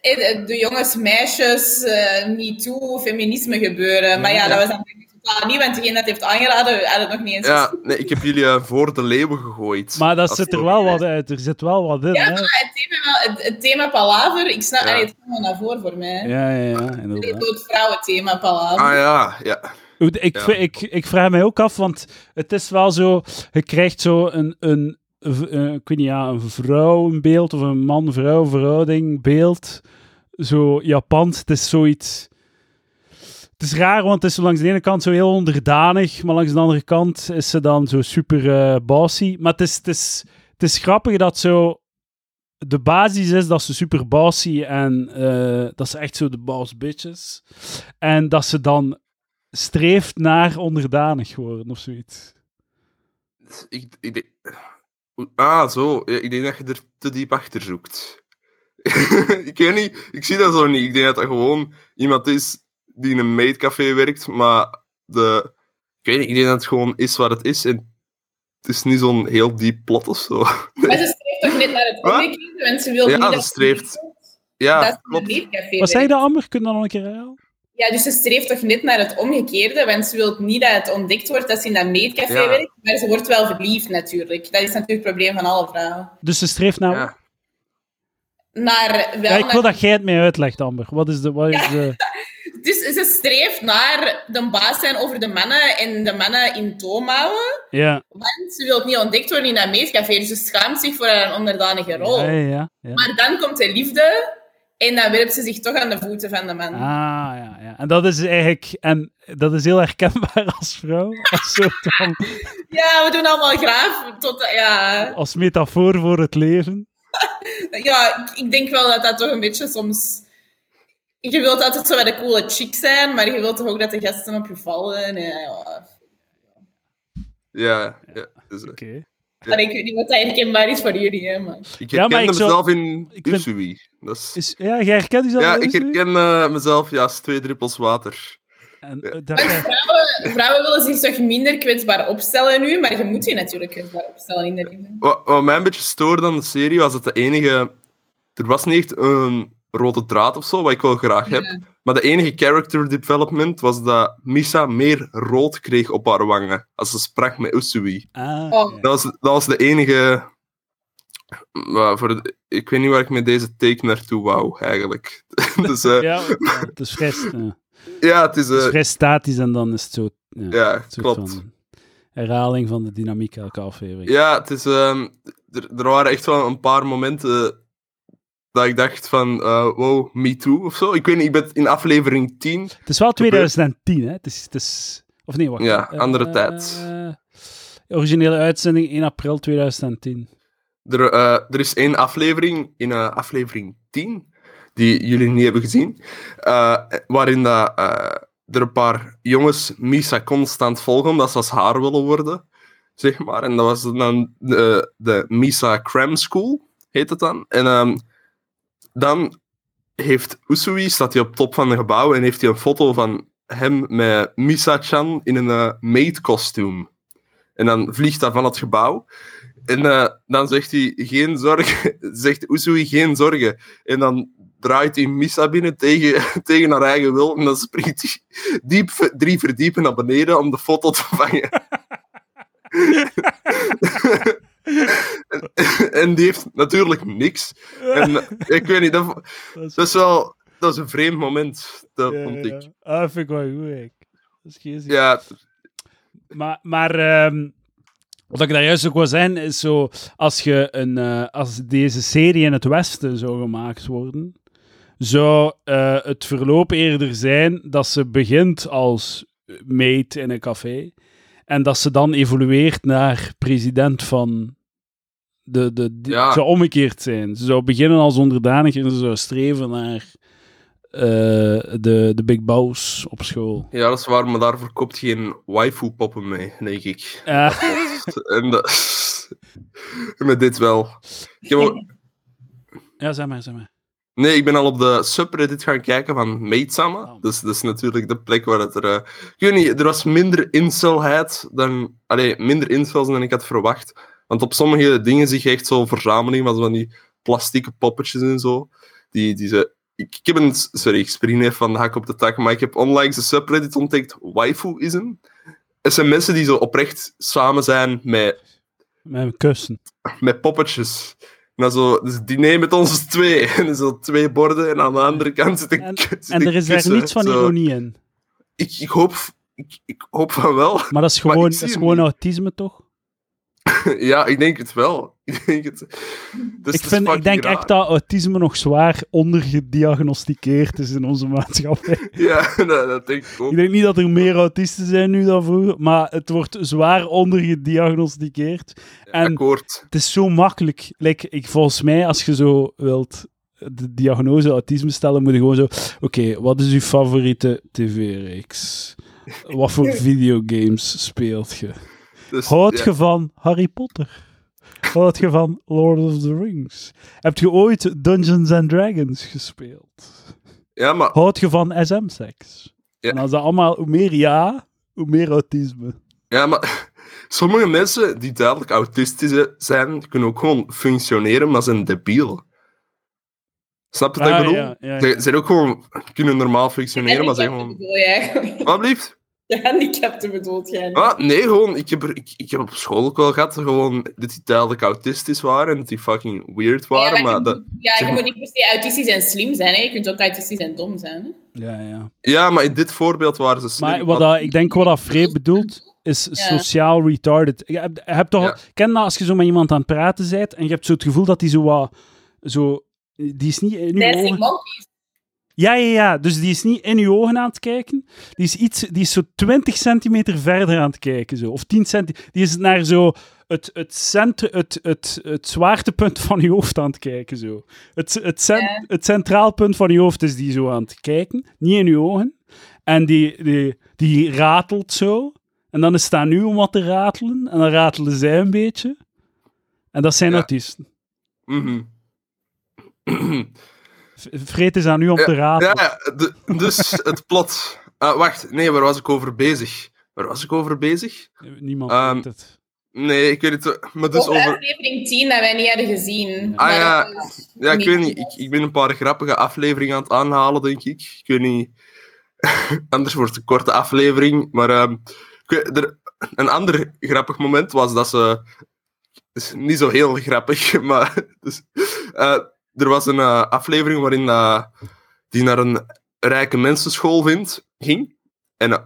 Speaker 2: eh, de jongens, meisjes, eh, niet toe, feminisme gebeuren. maar ja,
Speaker 1: ja.
Speaker 2: dat was dan totaal niet, want degene dat heeft aangeraden, had het nog niet eens
Speaker 3: Ja,
Speaker 2: gezien.
Speaker 3: nee, ik heb jullie eh, voor de leeuwen gegooid.
Speaker 1: Maar dat
Speaker 3: Als
Speaker 1: zit er
Speaker 3: het
Speaker 1: wel
Speaker 3: ook-
Speaker 1: wat uit, er zit wel wat in,
Speaker 2: Ja,
Speaker 1: hè?
Speaker 2: maar het thema, wel- het, het thema palaver, ik snap,
Speaker 3: Ja.
Speaker 2: allee, het kwam wel naar voren voor mij.
Speaker 1: Ja, ja, ja, inderdaad.
Speaker 2: Zo Het vrouwenthema palaver.
Speaker 3: Ah ja, ja.
Speaker 1: Hoe de- Ik,
Speaker 3: Ja.
Speaker 1: v- ik, ik vraag mij ook af, want het is wel zo, je krijgt zo een, een, v- eh, ik weet niet, ja, een vrouwenbeeld of een man-vrouw verhouding beeld. Zo Japans, het is zoiets... Het is raar, want het is zo langs de ene kant zo heel onderdanig, maar langs de andere kant is ze dan zo super eh bossy. Maar het is, het is, het het is grappig dat zo de basis is dat ze super bossy en eh, dat ze echt zo de boss bitches. En dat ze dan streeft naar onderdanig worden of zoiets.
Speaker 3: Ik, ik denk... Ah, zo. Ja, Ik denk dat je er te diep achter zoekt. ik weet niet. Ik zie dat zo niet. Ik denk dat dat gewoon iemand is die in een maidcafé werkt, maar de... Ik weet niet. Ik denk dat het gewoon is wat het is. En het is niet zo'n heel diep plot of zo.
Speaker 2: Maar ze streeft toch net naar het
Speaker 3: Wat?
Speaker 2: omgekeerde, want ze wil
Speaker 3: Ja,
Speaker 2: niet
Speaker 3: ze
Speaker 2: dat
Speaker 3: streeft-
Speaker 2: dat
Speaker 3: Ja,
Speaker 2: ze in een
Speaker 3: klopt.
Speaker 2: leefcafé
Speaker 1: Wat zei
Speaker 2: werkt.
Speaker 1: je daar, Amber? Kun je dat nog een keer herhalen?
Speaker 2: Ja, dus ze streeft toch net naar het omgekeerde, want ze wil niet dat het ontdekt wordt dat ze in dat meetcafé
Speaker 3: Ja.
Speaker 2: werkt, maar ze wordt wel verliefd natuurlijk. Dat is natuurlijk het probleem van alle vrouwen.
Speaker 1: Dus ze streeft naar... Ja,
Speaker 3: Ja.
Speaker 2: Maar wel
Speaker 1: ik wil dat jij het mij uitlegt, Amber. Wat is de... Wat is de...
Speaker 2: naar- Dus ze streeft naar de baas zijn over de mannen en de mannen in toom houden.
Speaker 1: Ja.
Speaker 2: Want ze wil niet ontdekt worden in dat meetcafé, dus ze schaamt zich voor haar onderdanige rol.
Speaker 1: Ja, ja, ja.
Speaker 2: Maar dan komt de liefde en dan werpt ze zich toch aan de voeten van de man.
Speaker 1: Ah, ja, ja. En dat is eigenlijk... En dat is heel herkenbaar als vrouw. Als, soort van,
Speaker 2: Ja, we doen allemaal graaf. Tot, ja,
Speaker 1: als metafoor voor het leven.
Speaker 2: ja ik, ik denk wel dat dat toch een beetje soms... Je wilt altijd zo bij de coole chick zijn, maar je wilt toch ook dat de gasten op je vallen. En, ja.
Speaker 3: Ja, ja. Dus, eh,
Speaker 1: Oké.
Speaker 2: Maar ik weet niet wat dat herkenbaar is voor jullie. Hè, maar...
Speaker 3: eh, ik
Speaker 1: Ja, maar
Speaker 3: herkende
Speaker 1: ik zou-
Speaker 3: mezelf in
Speaker 1: ik vind-
Speaker 3: Usui. Dat is...
Speaker 1: Is- Ja, jij herkent jezelf
Speaker 3: Ja,
Speaker 1: wel
Speaker 3: ik
Speaker 1: eens nu?
Speaker 3: herken eh, mezelf ja, als twee druppels water.
Speaker 1: En,
Speaker 3: Ja.
Speaker 1: eh, dat-
Speaker 2: Vrouwen willen zich toch minder kwetsbaar opstellen nu, maar je moet je natuurlijk kwetsbaar opstellen in de liefde.
Speaker 3: Wat, wat mij een beetje stoorde aan de serie was dat de enige. Er was niet echt een rode draad of zo, wat ik wel graag heb. Maar de enige character development was dat Misa meer rood kreeg op haar wangen. Als ze sprak met Usui.
Speaker 1: Ah,
Speaker 2: Oh.
Speaker 1: ja.
Speaker 3: Dat was, dat was de enige. Maar voor de- ik weet niet waar ik met deze take naartoe wou, eigenlijk. dus eh, ja.
Speaker 1: Ja, ja, het is vrij, st- ja.
Speaker 3: het is. eh,
Speaker 1: Het is vrij statisch en dan is het zo... Ja,
Speaker 3: ja,
Speaker 1: een soort
Speaker 3: klopt.
Speaker 1: van herhaling van de dynamiek elke aflevering.
Speaker 3: Ja, het is, ehm, er, er waren echt wel een paar momenten dat ik dacht van, eh, wow, me too of zo. Ik weet niet, ik ben in aflevering 10.
Speaker 1: Het is wel 2010, hè? Het is, het is, of nee, wacht.
Speaker 3: Ja,
Speaker 1: Eh,
Speaker 3: andere
Speaker 1: eh,
Speaker 3: tijd.
Speaker 1: eh, originele uitzending 1 april 2010.
Speaker 3: Er, eh, er is één aflevering, in eh, aflevering 10, die jullie niet hebben gezien, eh, waarin dat, eh, er een paar jongens Misa constant volgen omdat ze als haar willen worden, zeg maar. En dat was dan de, de Misa Cram School, heet het dan. En ehm, dan heeft Usui, staat hij op top van een gebouw en heeft hij een foto van hem met Misa-chan in een eh, maid-kostuum. En dan vliegt dat van het gebouw. En eh, dan zegt hij geen zorgen, zegt Usui geen zorgen. En dan draait hij Misa binnen tegen, tegen haar eigen wil. En dan springt hij diep, ver- drie verdiepen naar beneden om de foto te vangen. en, en die heeft natuurlijk niks. En eh, ik weet niet, dat,
Speaker 1: Dat is,
Speaker 3: dat is wel dat is een vreemd moment, dat
Speaker 1: ja,
Speaker 3: vond
Speaker 1: ja.
Speaker 3: ik.
Speaker 1: Ah, dat vind ik wel goed, ik. Dat is geestig.
Speaker 3: Ja,
Speaker 1: Maar, maar ehm, wat ik daar juist ook wil zeggen, is zo, als, je een, eh, als deze serie in het Westen zou gemaakt worden, zou eh, het verloop eerder zijn dat ze begint als maid in een café en dat ze dan evolueert naar president van. De, de, die-
Speaker 3: Ja.
Speaker 1: Het zou omgekeerd zijn. Ze zou beginnen als onderdanig en ze zou streven naar eh, de, de big boss op school.
Speaker 3: ja, dat is waar, maar daar verkoopt geen waifu-poppen mee, denk ik.
Speaker 1: Eh,
Speaker 3: En dat... Met dit wel. Ik heb ook-
Speaker 1: ja, zeg maar, zeg maar.
Speaker 3: Nee, ik ben al op de subreddit gaan kijken van Meetsama.
Speaker 1: Oh.
Speaker 3: Dus dat is natuurlijk de plek waar het er... eh, Ik weet niet, er was minder incelheid dan... Allee, minder incels dan ik had verwacht. Want op sommige dingen zie je echt zo'n verzameling van, van die plastieke poppetjes en zo. Die, die ze... Ik, ik heb een... Sorry, ik spring even van de hak op de tak, maar ik heb onlangs de subreddit ontdekt waifuism. Het zijn mensen die zo oprecht samen zijn met
Speaker 1: Met een kussen.
Speaker 3: met poppetjes. En dan zo, dus het diner met ons twee. En zo twee borden en aan de andere kant zit een
Speaker 1: En-
Speaker 3: ku- zit
Speaker 1: En
Speaker 3: een
Speaker 1: er is daar
Speaker 3: kussen.
Speaker 1: niets van
Speaker 3: Zo,
Speaker 1: ironie in.
Speaker 3: Ik, ik, hoop, ik, ik hoop van wel.
Speaker 1: Maar dat is
Speaker 3: Maar
Speaker 1: gewoon,
Speaker 3: ik zie
Speaker 1: dat is
Speaker 3: hem Dus
Speaker 1: gewoon
Speaker 3: niet.
Speaker 1: autisme, toch?
Speaker 3: ja, ik denk het wel. Ik denk het. Dus
Speaker 1: Ik,
Speaker 3: het is
Speaker 1: vind, ik
Speaker 3: fucking
Speaker 1: denk
Speaker 3: raar.
Speaker 1: echt dat autisme nog zwaar ondergediagnosticeerd is in onze maatschappij.
Speaker 3: Ja, dat, dat denk ik ook.
Speaker 1: Ik denk niet dat er meer autisten zijn nu dan vroeger, maar het wordt zwaar ondergediagnosticeerd. En
Speaker 3: Akkoord.
Speaker 1: het is zo makkelijk. Like, ik, volgens mij, als je zo wilt de diagnose autisme stellen, moet je gewoon zo... Oké, wat is uw favoriete tv-reeks? Wat voor videogames speelt je?
Speaker 3: Dus,
Speaker 1: Houdt
Speaker 3: ja.
Speaker 1: je van Harry Potter? Houdt je van Lord of the Rings? Heb je ooit Dungeons and Dragons gespeeld?
Speaker 3: ja, maar
Speaker 1: Houdt je van SM-seks?
Speaker 3: Ja.
Speaker 1: En als dat allemaal, hoe meer ja, hoe meer autisme.
Speaker 3: Ja, maar sommige mensen die duidelijk autistisch zijn, kunnen ook gewoon functioneren, maar zijn debiel. Snap je wat
Speaker 1: Ah,
Speaker 3: ik bedoel?
Speaker 1: ja, ja, ja.
Speaker 3: Ze zijn ook gewoon kunnen normaal functioneren, maar zijn
Speaker 2: Handicapten
Speaker 3: gewoon.
Speaker 2: bedoel je eigenlijk.
Speaker 3: Wat blieft?
Speaker 2: De handicapten bedoelt jij. nu.
Speaker 3: Ah, nee, gewoon. Ik heb, er- ik, ik heb op school ook wel gehad gewoon, dat die duidelijk autistisch waren en dat die fucking weird waren.
Speaker 2: ja,
Speaker 3: maar
Speaker 2: je,
Speaker 3: dat,
Speaker 2: moet- ja,
Speaker 3: zeg
Speaker 2: je
Speaker 3: maar-
Speaker 2: moet niet per se autistisch en slim zijn. Hè. Je kunt ook autistisch en dom zijn. Hè.
Speaker 1: Ja, ja.
Speaker 3: ja, maar in dit voorbeeld waren ze slim.
Speaker 1: Maar wat
Speaker 3: want-
Speaker 1: dat, ik denk wat dat Free bedoelt, is sociaal retarded. Je hebt, je hebt toch,
Speaker 3: Ja.
Speaker 1: ken dat als je zo met iemand aan het praten bent en je hebt zo het gevoel dat die zo wat, zo, die is niet in je
Speaker 2: Dancing
Speaker 1: ogen.
Speaker 2: Monkeys.
Speaker 1: Ja, ja, ja. Dus die is niet in je ogen aan het kijken. Die is, iets, die is zo 20 centimeter verder aan het kijken. Zo. Of 10 centimeter. Die is naar zo het, het, centru, het, het, het zwaartepunt van je hoofd aan het kijken. Zo. Het, het, cen-
Speaker 2: Ja.
Speaker 1: het centraal punt van je hoofd is die zo aan het kijken. Niet in je ogen. En die, die, die ratelt zo. En dan is het aan u om wat te ratelen. En dan ratelen zij een beetje. En dat zijn
Speaker 3: Ja.
Speaker 1: autisten.
Speaker 3: Mhm.
Speaker 1: V- Vreet is aan u om te ratelen.
Speaker 3: Ja, de- dus het plot. Ah, wacht, nee, waar was ik over bezig? Waar was ik over bezig?
Speaker 1: Niemand
Speaker 3: Ehm,
Speaker 1: weet het.
Speaker 3: Nee, ik weet het. Maar dus
Speaker 2: Over
Speaker 3: over.
Speaker 2: aflevering 10 dat wij niet hadden gezien.
Speaker 3: Ah,
Speaker 2: Maar
Speaker 3: ja.
Speaker 2: dat was
Speaker 3: Ja, ik
Speaker 2: niet-
Speaker 3: weet niet. Ik, ik ben een paar grappige afleveringen aan het aanhalen, denk ik. Ik weet niet. Anders wordt het een korte aflevering. Maar ehm, ik weet- er, een ander grappig moment was dat ze. Het is niet zo heel grappig, maar. Dus, eh, er was een eh, aflevering waarin eh, die naar een rijke mensenschool vindt, ging. En eh,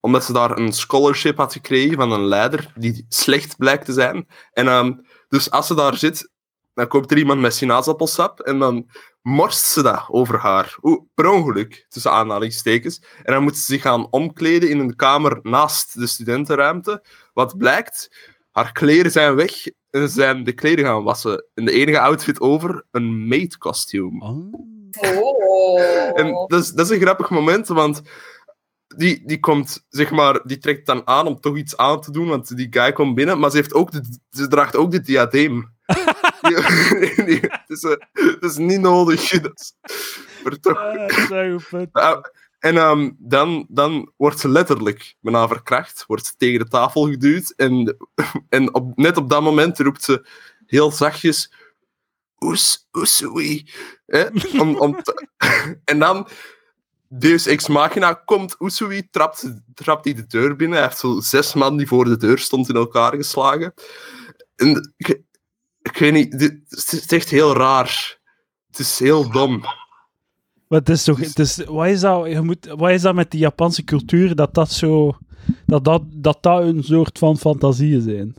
Speaker 3: omdat ze daar een scholarship had gekregen van een leider die slecht blijkt te zijn. En ehm, dus als ze daar zit, dan komt er iemand met sinaasappelsap en dan morst ze dat over haar. Oeh, per ongeluk, tussen aanhalingstekens. En dan moet ze zich gaan omkleden in een kamer naast de studentenruimte. Wat blijkt, haar kleren zijn weg en ze zijn de kleren gaan wassen. En de enige outfit over, een maid costume.
Speaker 1: Ah.
Speaker 2: Oh.
Speaker 3: En dat is, dat is een grappig moment, want die, die komt, zeg maar, die trekt dan aan om toch iets aan te doen, want die guy komt binnen, maar ze, heeft ook de, ze draagt ook dit diadeem. Die- die- het, is, eh, het is niet nodig. Dat is- maar toch.
Speaker 1: Ah, zo goed.
Speaker 3: Ah, En ehm, dan, dan wordt ze letterlijk bijna verkracht, wordt ze tegen de tafel geduwd en, en op, net op dat moment roept ze heel zachtjes oes, oesoei. hè, Om, om te- en dan Deus Ex Machina komt oesoei, trapt, trapt hij de deur binnen. Hij heeft zo zes man die voor de deur stond in elkaar geslagen. En, ik, ik weet niet, dit, het is echt heel raar. Het is heel dom.
Speaker 1: Maar het is toch, het is, wat, is dat, je moet, wat is dat met die Japanse cultuur dat dat zo. Dat dat, dat, dat een soort van fantasieën zijn?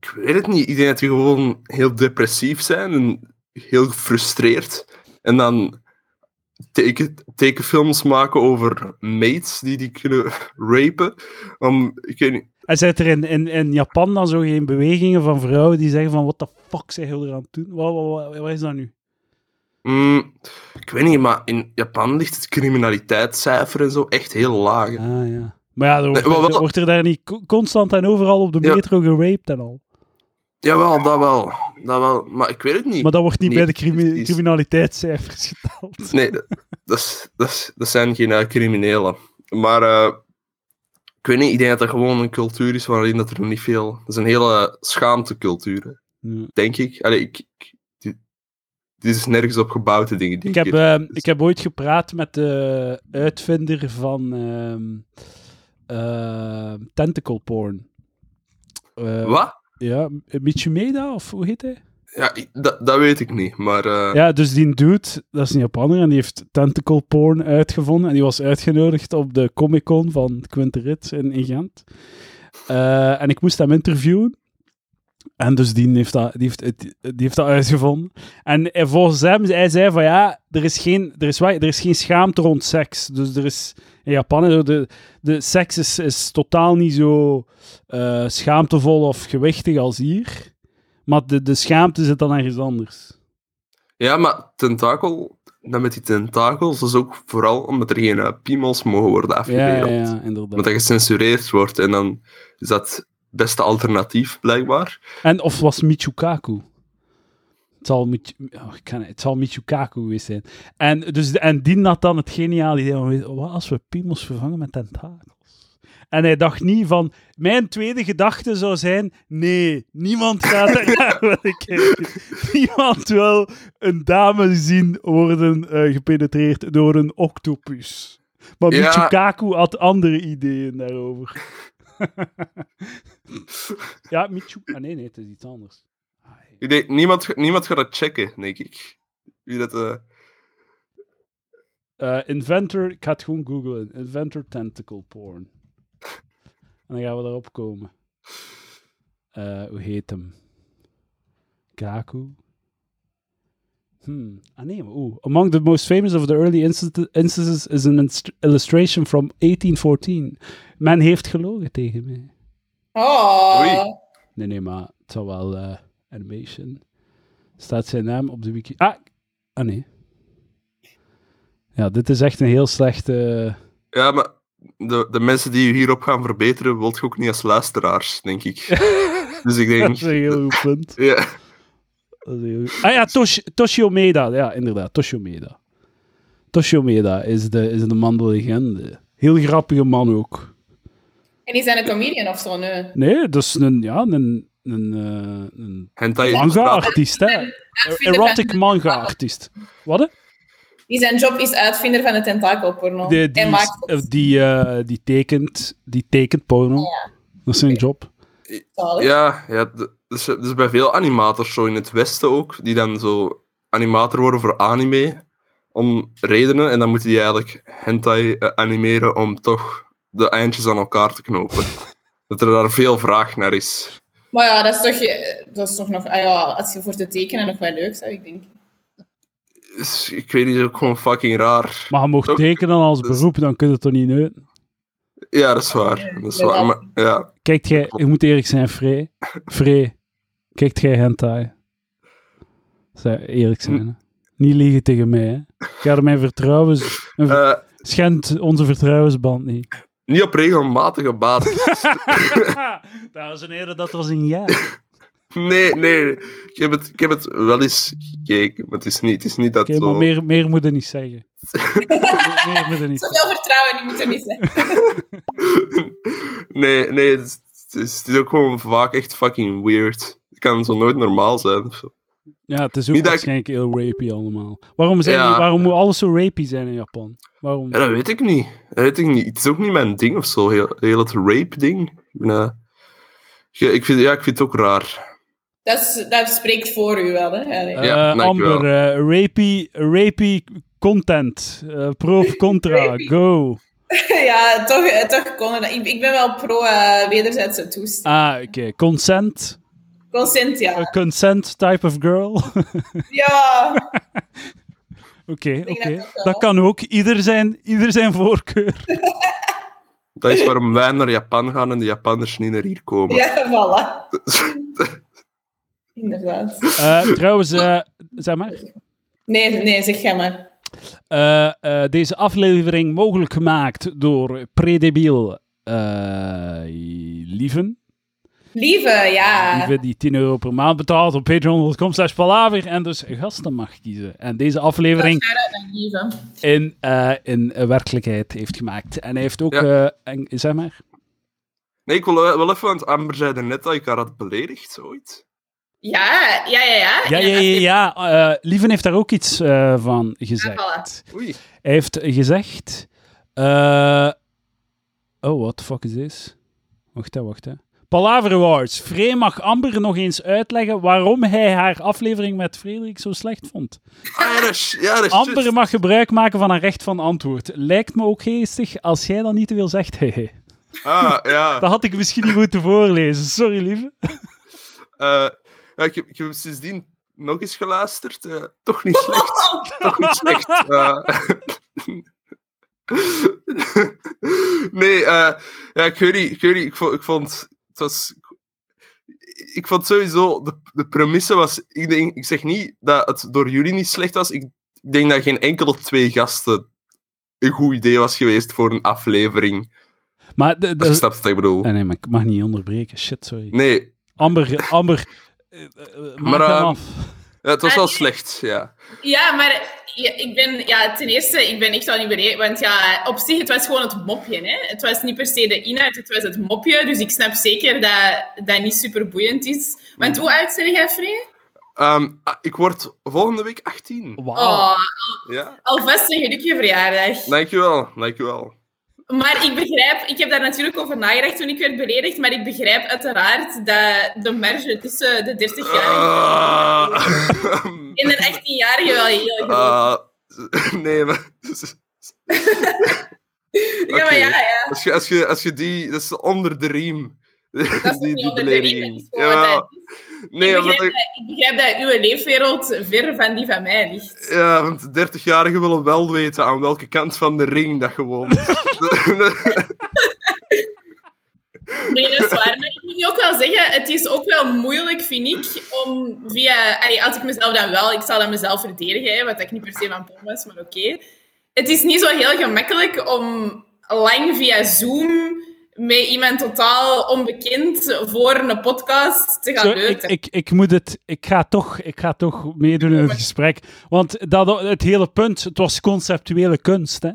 Speaker 3: Ik weet het niet. Ik denk dat die gewoon heel depressief zijn en heel gefrustreerd. En dan teken, tekenfilms maken over mates die die kunnen rapen. Om, ik weet niet.
Speaker 1: En zijn er in, in, in Japan dan zo geen bewegingen van vrouwen die zeggen: van wat de fuck zijn jullie er aan het doen? Wat, wat, wat, wat is dat nu?
Speaker 3: Mm, ik weet niet, maar in Japan ligt het criminaliteitscijfer en zo echt heel laag. hè.
Speaker 1: Ah ja. Maar ja, er wordt,
Speaker 3: Nee, maar wat-
Speaker 1: er wordt er daar niet co- constant en overal op de
Speaker 3: Ja.
Speaker 1: metro geraped en al.
Speaker 3: Jawel, dat wel. Dat wel. Maar ik weet het niet.
Speaker 1: Maar dat wordt niet
Speaker 3: Nee,
Speaker 1: bij de crimi-
Speaker 3: precies.
Speaker 1: criminaliteitscijfers geteld.
Speaker 3: Nee, dat, dat, is- dat, is- dat zijn geen eh, criminelen. Maar eh, ik weet niet, ik denk dat dat gewoon een cultuur is waarin dat er niet veel... Dat is een hele schaamtecultuur, hè,
Speaker 1: Ja.
Speaker 3: denk ik. Allee, ik, ik- dit, dit is nergens op gebouwde dingen, denk
Speaker 1: Ik heb,
Speaker 3: ik.
Speaker 1: ehm, ik heb ooit gepraat met de uitvinder van ehm ehm, tentacle porn. Eh,
Speaker 3: Wat?
Speaker 1: Ja, Michimeda, of hoe heet hij?
Speaker 3: Ja, ik- dat, dat weet ik niet, maar... eh,
Speaker 1: Ja, dus die dude, dat is een Japanner, en die heeft tentacle porn uitgevonden. En die was uitgenodigd op de Comic-Con van Quinterits in, in Gent. Eh, en ik moest hem interviewen. En dus die heeft dat, die heeft, het- die heeft dat uitgevonden. En eh, volgens hem, hij zei van ja, er is geen, er is, wa- er is geen schaamte rond seks. Dus er is, in Japan, en zo, de, de seks is, is totaal niet zo eh, schaamtevol of gewichtig als hier. Maar de, de schaamte zit dan ergens anders.
Speaker 3: Ja, maar tentakel, dat met die tentakels, dat is ook vooral omdat er geen eh, piemels mogen worden
Speaker 1: Ja,
Speaker 3: afgebeeld.
Speaker 1: ja, ja,
Speaker 3: Omdat
Speaker 1: inderdaad.
Speaker 3: dat gecensureerd wordt en dan is dat het beste alternatief, blijkbaar.
Speaker 1: En of was Michukaku? Het zal, Mich- oh, ik kan, het zal Michukaku geweest zijn. En, dus, en die had dan het geniale idee van, weet- wat als we piemels vervangen met tentakels? En hij dacht niet van, mijn tweede gedachte zou zijn, nee, niemand gaat ernaar willen kijken. Niemand wil een dame zien worden eh, gepenetreerd door een octopus. Maar
Speaker 3: Ja.
Speaker 1: Michukaku had andere ideeën daarover. ja, Michu... Ah nee, nee, het is iets anders. Ah, ja.
Speaker 3: Ik denk, niemand, niemand gaat dat checken, denk ik. Wie dat, eh,
Speaker 1: Eh, inventor, ik ga het gewoon googlen. Inventor tentacle porn. En dan gaan we daarop komen. Eh, hoe heet hem? Kaku? Hmm. Ah nee, maar oeh. Among the most famous of the early insta- instances is an inst- illustration from 1814. Men heeft gelogen tegen mij.
Speaker 2: Oh.
Speaker 3: Oei.
Speaker 1: Nee, nee, maar het zal wel eh, animation. Staat zijn naam op de wiki. Ah, ah nee. Ja, dit is echt een heel slechte.
Speaker 3: ja, maar de, de mensen die je hierop gaan verbeteren, wilt je ook niet als luisteraars, denk ik. dus ik
Speaker 1: Dat
Speaker 3: denk...
Speaker 1: is een heel goed punt.
Speaker 3: Ja,
Speaker 1: Dat is een heel goed- Ah ja, Tosh, Toshiomeda. Ja, inderdaad, Toshiomeda. Toshiomeda is de, is de man de legende. Heel grappige man ook.
Speaker 2: En die zijn een comedian of zo, nee.
Speaker 1: Nee, dat is een, ja, een, een, eh, een
Speaker 3: hentai...
Speaker 1: manga-artiest, hè. Erotic manga-artiest. Wat, hè?
Speaker 2: Die zijn job is uitvinder van de tentakelporno.
Speaker 1: Die, die,
Speaker 2: en Oh. maakt
Speaker 1: eh,
Speaker 2: het
Speaker 1: die, eh, die, tekent, die tekent porno. Dat is zijn job.
Speaker 2: zalig.
Speaker 3: Ja, ja d- dus, dus bij veel animators, zo in het Westen ook, die dan zo animator worden voor anime om redenen. En dan moeten die eigenlijk hentai eh, animeren om toch de eindjes aan elkaar te knopen. dat er daar veel vraag naar is.
Speaker 2: Maar ja, dat is toch, eh, dat is toch nog... Ah ja, als je voor te tekenen nog wel leuk zou, ik denk.
Speaker 3: Dus ik weet niet, dat is ook gewoon fucking raar.
Speaker 1: Maar je mocht
Speaker 3: Ook-
Speaker 1: tekenen als
Speaker 3: dus-
Speaker 1: beroep, dan kun je het toch niet neuten.
Speaker 3: Ja, dat is waar. Dat is waar. Maar, ja.
Speaker 1: Kijkt jij, ik moet eerlijk zijn, Frey. Frey, kijkt jij hentai? Zou eerlijk
Speaker 3: Hm.
Speaker 1: zijn, hè? Niet liegen tegen mij, hè? Ga er mijn vertrouwens... mijn ver-
Speaker 3: Eh,
Speaker 1: Schend onze vertrouwensband niet.
Speaker 3: niet op regelmatige basis.
Speaker 1: Dames en heren, dat was een jaar.
Speaker 3: nee, nee. Ik heb, het, ik heb het wel eens gekeken, maar het is niet, het is niet dat
Speaker 1: Oké, maar
Speaker 3: zo...
Speaker 1: meer, meer moet je niet zeggen. meer, meer moet je niet zeggen.
Speaker 2: Zoveel vertrouwen, die moeten niet zijn.
Speaker 3: nee, nee, het is, het is- het is ook gewoon vaak echt fucking weird. Het kan zo nooit normaal zijn. of zo.
Speaker 1: Ja, het is ook
Speaker 3: Niet dat ik-
Speaker 1: waarschijnlijk heel rapy allemaal. Waarom, zijn
Speaker 3: Ja.
Speaker 1: die- waarom moet alles zo rapy zijn in Japan? Waarom?
Speaker 3: Ja, dat weet ik niet. Dat weet ik niet. Het is ook niet mijn ding of zo, heel, heel het rape-ding. Ik ben, eh, ja, ik, vind, ja, ik vind het ook raar.
Speaker 2: Dat, is, dat spreekt voor u wel, hè. Allee.
Speaker 1: Eh,
Speaker 3: Ja, dankjewel.
Speaker 1: Amber, eh, rapy, rapy content. Eh, pro of contra,
Speaker 2: Rapy.
Speaker 1: go.
Speaker 2: Ja, toch, eh, toch kon er- ik, ik ben wel pro eh, wederzijdse toestemming.
Speaker 1: Ah, oké. Consent.
Speaker 2: Consent, ja.
Speaker 1: A consent type of girl. Oké,
Speaker 2: Ja,
Speaker 1: oké.
Speaker 2: denk dat ook wel.
Speaker 1: Dat kan ook. Ieder zijn, ieder zijn voorkeur.
Speaker 3: Dat is waarom wij naar Japan gaan en de Japanners niet naar hier komen.
Speaker 2: ja, voilà. Inderdaad.
Speaker 1: Eh, trouwens, eh, zeg maar.
Speaker 2: Nee, nee, zeg jij maar.
Speaker 1: Eh, eh, deze aflevering mogelijk gemaakt door Predebiel eh, Lieven.
Speaker 2: Lieve, ja.
Speaker 1: Lieve die 10 euro per maand betaalt op patreon.com slash palaver en dus gasten mag kiezen. En deze aflevering
Speaker 2: Shout-out naar Lieve.
Speaker 1: in, eh, in eh, werkelijkheid heeft gemaakt. En hij heeft ook, eh en, zeg maar,
Speaker 3: Nee, ik wil wel wel even, want Amber zei net dat ik haar had beledigd ooit.
Speaker 2: Ja, ja, ja, ja.
Speaker 1: ja, ja, ja, ja eh, Lieven heeft daar ook iets eh, van
Speaker 2: Ah,
Speaker 1: gezegd.
Speaker 3: Oei.
Speaker 1: Hij heeft gezegd, eh, oh, what the fuck is this? Wacht, hè, wacht, hè. Palaver Awards. Frey mag Amber nog eens uitleggen waarom hij haar aflevering met Frederik zo slecht vond.
Speaker 3: Ah, ja, dat is, ja, dat is juist.
Speaker 1: Amber mag gebruik maken van haar recht van antwoord. Lijkt me ook geestig als jij dat niet wil zegt. Hehe.
Speaker 3: Ah, ja.
Speaker 1: Dat had ik misschien niet moeten voorlezen. Sorry, lieve.
Speaker 3: eh, ja, ik, heb, ik heb hem sindsdien nog eens geluisterd. eh, toch niet slecht. toch niet slecht. eh. nee, eh, ja, ik weet niet. Ik, weet niet, ik, vond, ik vond... Het was... Ik vond sowieso... De, de premisse was... Ik, denk, ik zeg niet dat het door jullie niet slecht was. Ik denk dat geen enkele twee gasten een goed idee was geweest voor een aflevering.
Speaker 1: Maar de- de-
Speaker 3: Als je snapt wat ik bedoel.
Speaker 1: Ah, nee, maar ik mag niet onderbreken. Shit, sorry.
Speaker 3: Nee,
Speaker 1: Amber, Amber. eh, eh, maak
Speaker 3: Maar,
Speaker 1: hem
Speaker 3: eh,
Speaker 1: af.
Speaker 3: Ja, het was
Speaker 2: Ah,
Speaker 3: wel
Speaker 2: nee.
Speaker 3: slecht, ja.
Speaker 2: Ja, maar ja, ik ben, ja, ten eerste, ik ben echt wel niet bereid. Want ja, op zich, het was gewoon het mopje. Hè? Het was niet per se de inhoud, het was het mopje. Dus ik snap zeker dat dat niet super boeiend is. Want hoe oud zijn jij, Free?
Speaker 3: Ehm, ah, ik word volgende week 18.
Speaker 1: Wauw.
Speaker 2: Oh,
Speaker 3: Ja,
Speaker 2: alvast een gelukkige verjaardag.
Speaker 3: dankjewel, dankjewel.
Speaker 2: Maar ik begrijp, ik heb daar natuurlijk over nagedacht toen ik werd beledigd. Maar ik begrijp uiteraard dat de marge tussen de 30 jaar
Speaker 3: Ah.
Speaker 2: en de 18-jarige wel heel groot is.
Speaker 3: Ah, nee, maar...
Speaker 2: Ja, maar
Speaker 3: oké.
Speaker 2: ja, ja.
Speaker 3: Als je, als, je, als je die... Dat is onder de riem.
Speaker 2: Dat is
Speaker 3: die,
Speaker 2: niet
Speaker 3: die
Speaker 2: onder de riem, dat
Speaker 3: belediging.
Speaker 2: is gewoon eh,
Speaker 3: Jawel.
Speaker 2: dat-
Speaker 3: nee,
Speaker 2: ik
Speaker 3: omdat
Speaker 2: begrijp,
Speaker 3: ik-
Speaker 2: dat, ik begrijp dat uw leefwereld ver van die van mij ligt.
Speaker 3: ja, want 30-jarigen willen wel weten aan welke kant van de ring dat gewoon...
Speaker 2: Nee, dat is waar. Maar ik moet je ook wel zeggen, het is ook wel moeilijk, vind ik, om via... allee, als ik mezelf dan wel... Ik zal dat mezelf verdedigen, hè, wat ik niet per se van plan was, maar oké. Het is niet zo heel gemakkelijk om lang via Zoom met iemand totaal onbekend voor een podcast te gaan
Speaker 1: Zo, ik,
Speaker 2: leuten.
Speaker 1: ik, ik moet het, ik ga toch, ik ga toch meedoen in het gesprek. Want dat, het hele punt, het was conceptuele kunst. Hè?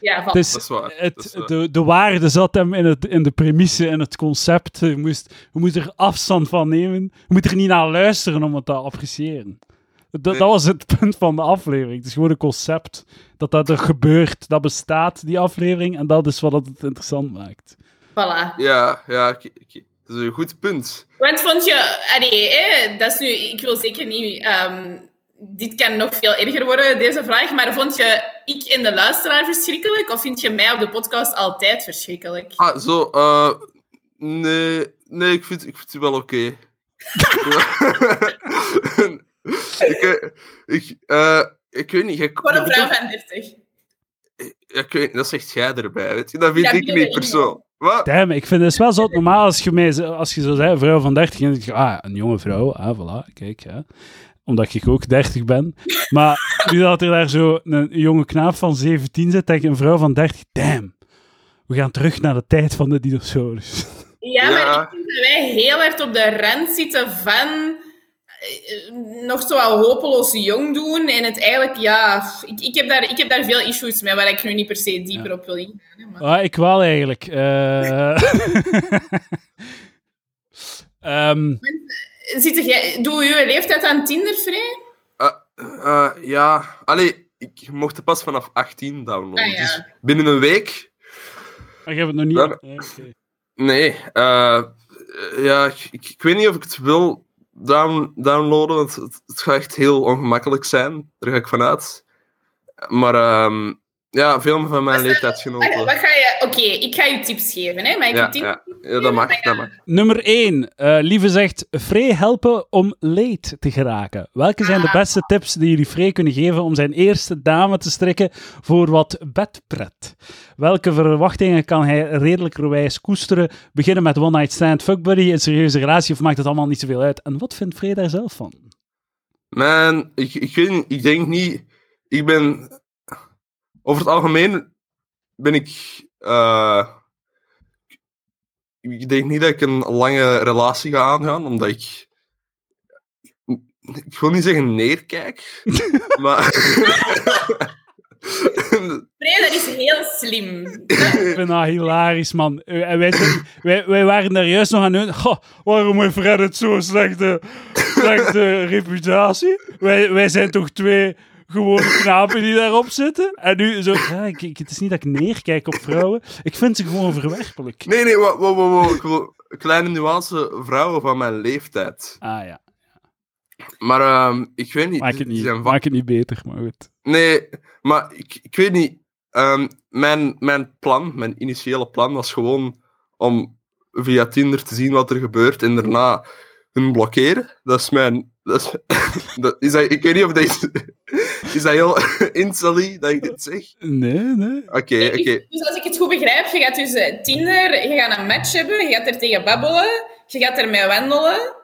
Speaker 2: ja, van,
Speaker 1: Dus
Speaker 3: Ah, Dat is waar, dat is
Speaker 1: het,
Speaker 3: waar.
Speaker 1: de, de waarde zat hem in, het, in de premisse en het concept. Je, moest, je moet er afstand van nemen. Je moet er niet naar luisteren om het te appreciëren. Dat,
Speaker 3: Nee.
Speaker 1: dat was het punt van de aflevering. Het is gewoon een concept. Dat dat er gebeurt. Dat bestaat, die aflevering. En dat is wat het interessant maakt.
Speaker 2: voilà.
Speaker 3: ja, ja, ik- ik- dat is een goed punt.
Speaker 2: Want vond je, allee, hè, dat is nu, ik wil zeker niet, ehm, dit kan nog veel erger worden, deze vraag, maar vond je ik en de luisteraar verschrikkelijk of vind je mij op de podcast altijd verschrikkelijk?
Speaker 3: Ah, zo. eh, nee, nee, ik vind, ik vind het wel oké. ik, eh, ik, eh, ik weet niet. jij-
Speaker 2: Voor een
Speaker 3: dat
Speaker 2: vrouw
Speaker 3: bedoelt-
Speaker 2: van 30.
Speaker 3: ik weet, dat zegt jij erbij. Weet je? Dat vind
Speaker 2: Dat
Speaker 3: ik
Speaker 2: bedoel
Speaker 3: niet
Speaker 2: ik
Speaker 3: persoon. Wat?
Speaker 1: Damn, ik vind het is wel zo normaal als je, mij, als je zo zei, een vrouw van 30, en ik zeg, ah, een jonge vrouw, ah, voilà, kijk, ja. Omdat ik ook 30 ben. Maar nu dat er daar zo een jonge knaap van 17 zit, denk ik, een vrouw van 30, damn. We gaan terug naar de tijd van de dinosaurus.
Speaker 2: Ja,
Speaker 3: Ja.
Speaker 2: maar ik vind dat wij heel hard op de rand zitten van eh, eh, nog zo wat hopeloos jong doen en het eigenlijk, ja, ik, ik, heb daar, ik heb daar veel issues mee waar ik nu niet per se dieper
Speaker 1: Ja.
Speaker 2: op wil ingaan. hè, maar-
Speaker 1: Ah, ik wel eigenlijk. Eh, ehm,
Speaker 2: Zit jij, doe je leeftijd aan Tinder vrij?
Speaker 3: Eh, eh, ja, allee, ik mocht het pas vanaf 18 downloaden.
Speaker 2: Ah, ja.
Speaker 3: Dus binnen een week.
Speaker 1: maar je hebt het nog niet.
Speaker 3: Dan-
Speaker 1: eh, oké.
Speaker 3: Nee, eh, ja, ik, ik, ik weet niet of ik het wil down, downloaden, want het, het gaat echt heel ongemakkelijk zijn. Daar ga ik vanuit. Maar ehm, ja, veel van mijn
Speaker 2: Wacht,
Speaker 3: leeftijdsgenoten.
Speaker 2: wat ga je... Oké, ik ga je tips geven, hè. Mag ik je
Speaker 3: Ja,
Speaker 2: tips?
Speaker 3: ja, ja, dat mag, dat mag.
Speaker 1: Nummer 1. Lieve zegt, Free helpen om leed te geraken. Welke zijn de beste tips die jullie Free kunnen geven om zijn eerste dame te strikken voor wat bedpret? Welke verwachtingen kan hij redelijkerwijs koesteren? Beginnen met one night stand, fuckbuddy, een serieuze relatie of maakt het allemaal niet zoveel uit? En wat vindt Free daar zelf van?
Speaker 3: Man, ik, ik, weet, niet, ik denk niet. Ik ben. Over het algemeen ben ik. eh, ik denk niet dat ik een lange relatie ga aangaan, omdat ik. Ik wil niet zeggen neerkijk, maar.
Speaker 2: Nee, dat is heel slim.
Speaker 1: Ik vind dat hilarisch, man. Eh, En wij, zijn- wij, wij waren daar juist nog aan hun. Goh, waarom heeft Reddit zo'n slechte, slechte reputatie? Wij, wij zijn toch twee gewone knapen die daarop zitten? En nu zo... Ja, ik, ik- het is niet dat ik neerkijk op vrouwen. Ik vind ze gewoon verwerpelijk.
Speaker 3: nee, nee, wow, wow, wow, wow. Ik wil een kleine nuance vrouwen van mijn leeftijd.
Speaker 1: Ah ja,
Speaker 3: Maar ehm, ik weet niet.
Speaker 1: maak het
Speaker 3: die
Speaker 1: niet,
Speaker 3: zijn
Speaker 1: maak het niet beter, maar goed.
Speaker 3: Nee, maar ik, ik weet niet. Ehm, mijn, mijn plan, mijn initiële plan was gewoon om via Tinder te zien wat er gebeurt en daarna hun blokkeren. Dat is mijn... Dat is, dat, is dat, ik weet niet of dat... Is, is dat heel insully dat ik dit zeg?
Speaker 1: Nee, nee.
Speaker 3: Oké, oké.
Speaker 2: Dus als ik het goed begrijp, je gaat dus eh, Tinder, je gaat een match hebben, je gaat er tegen babbelen, je gaat ermee wandelen,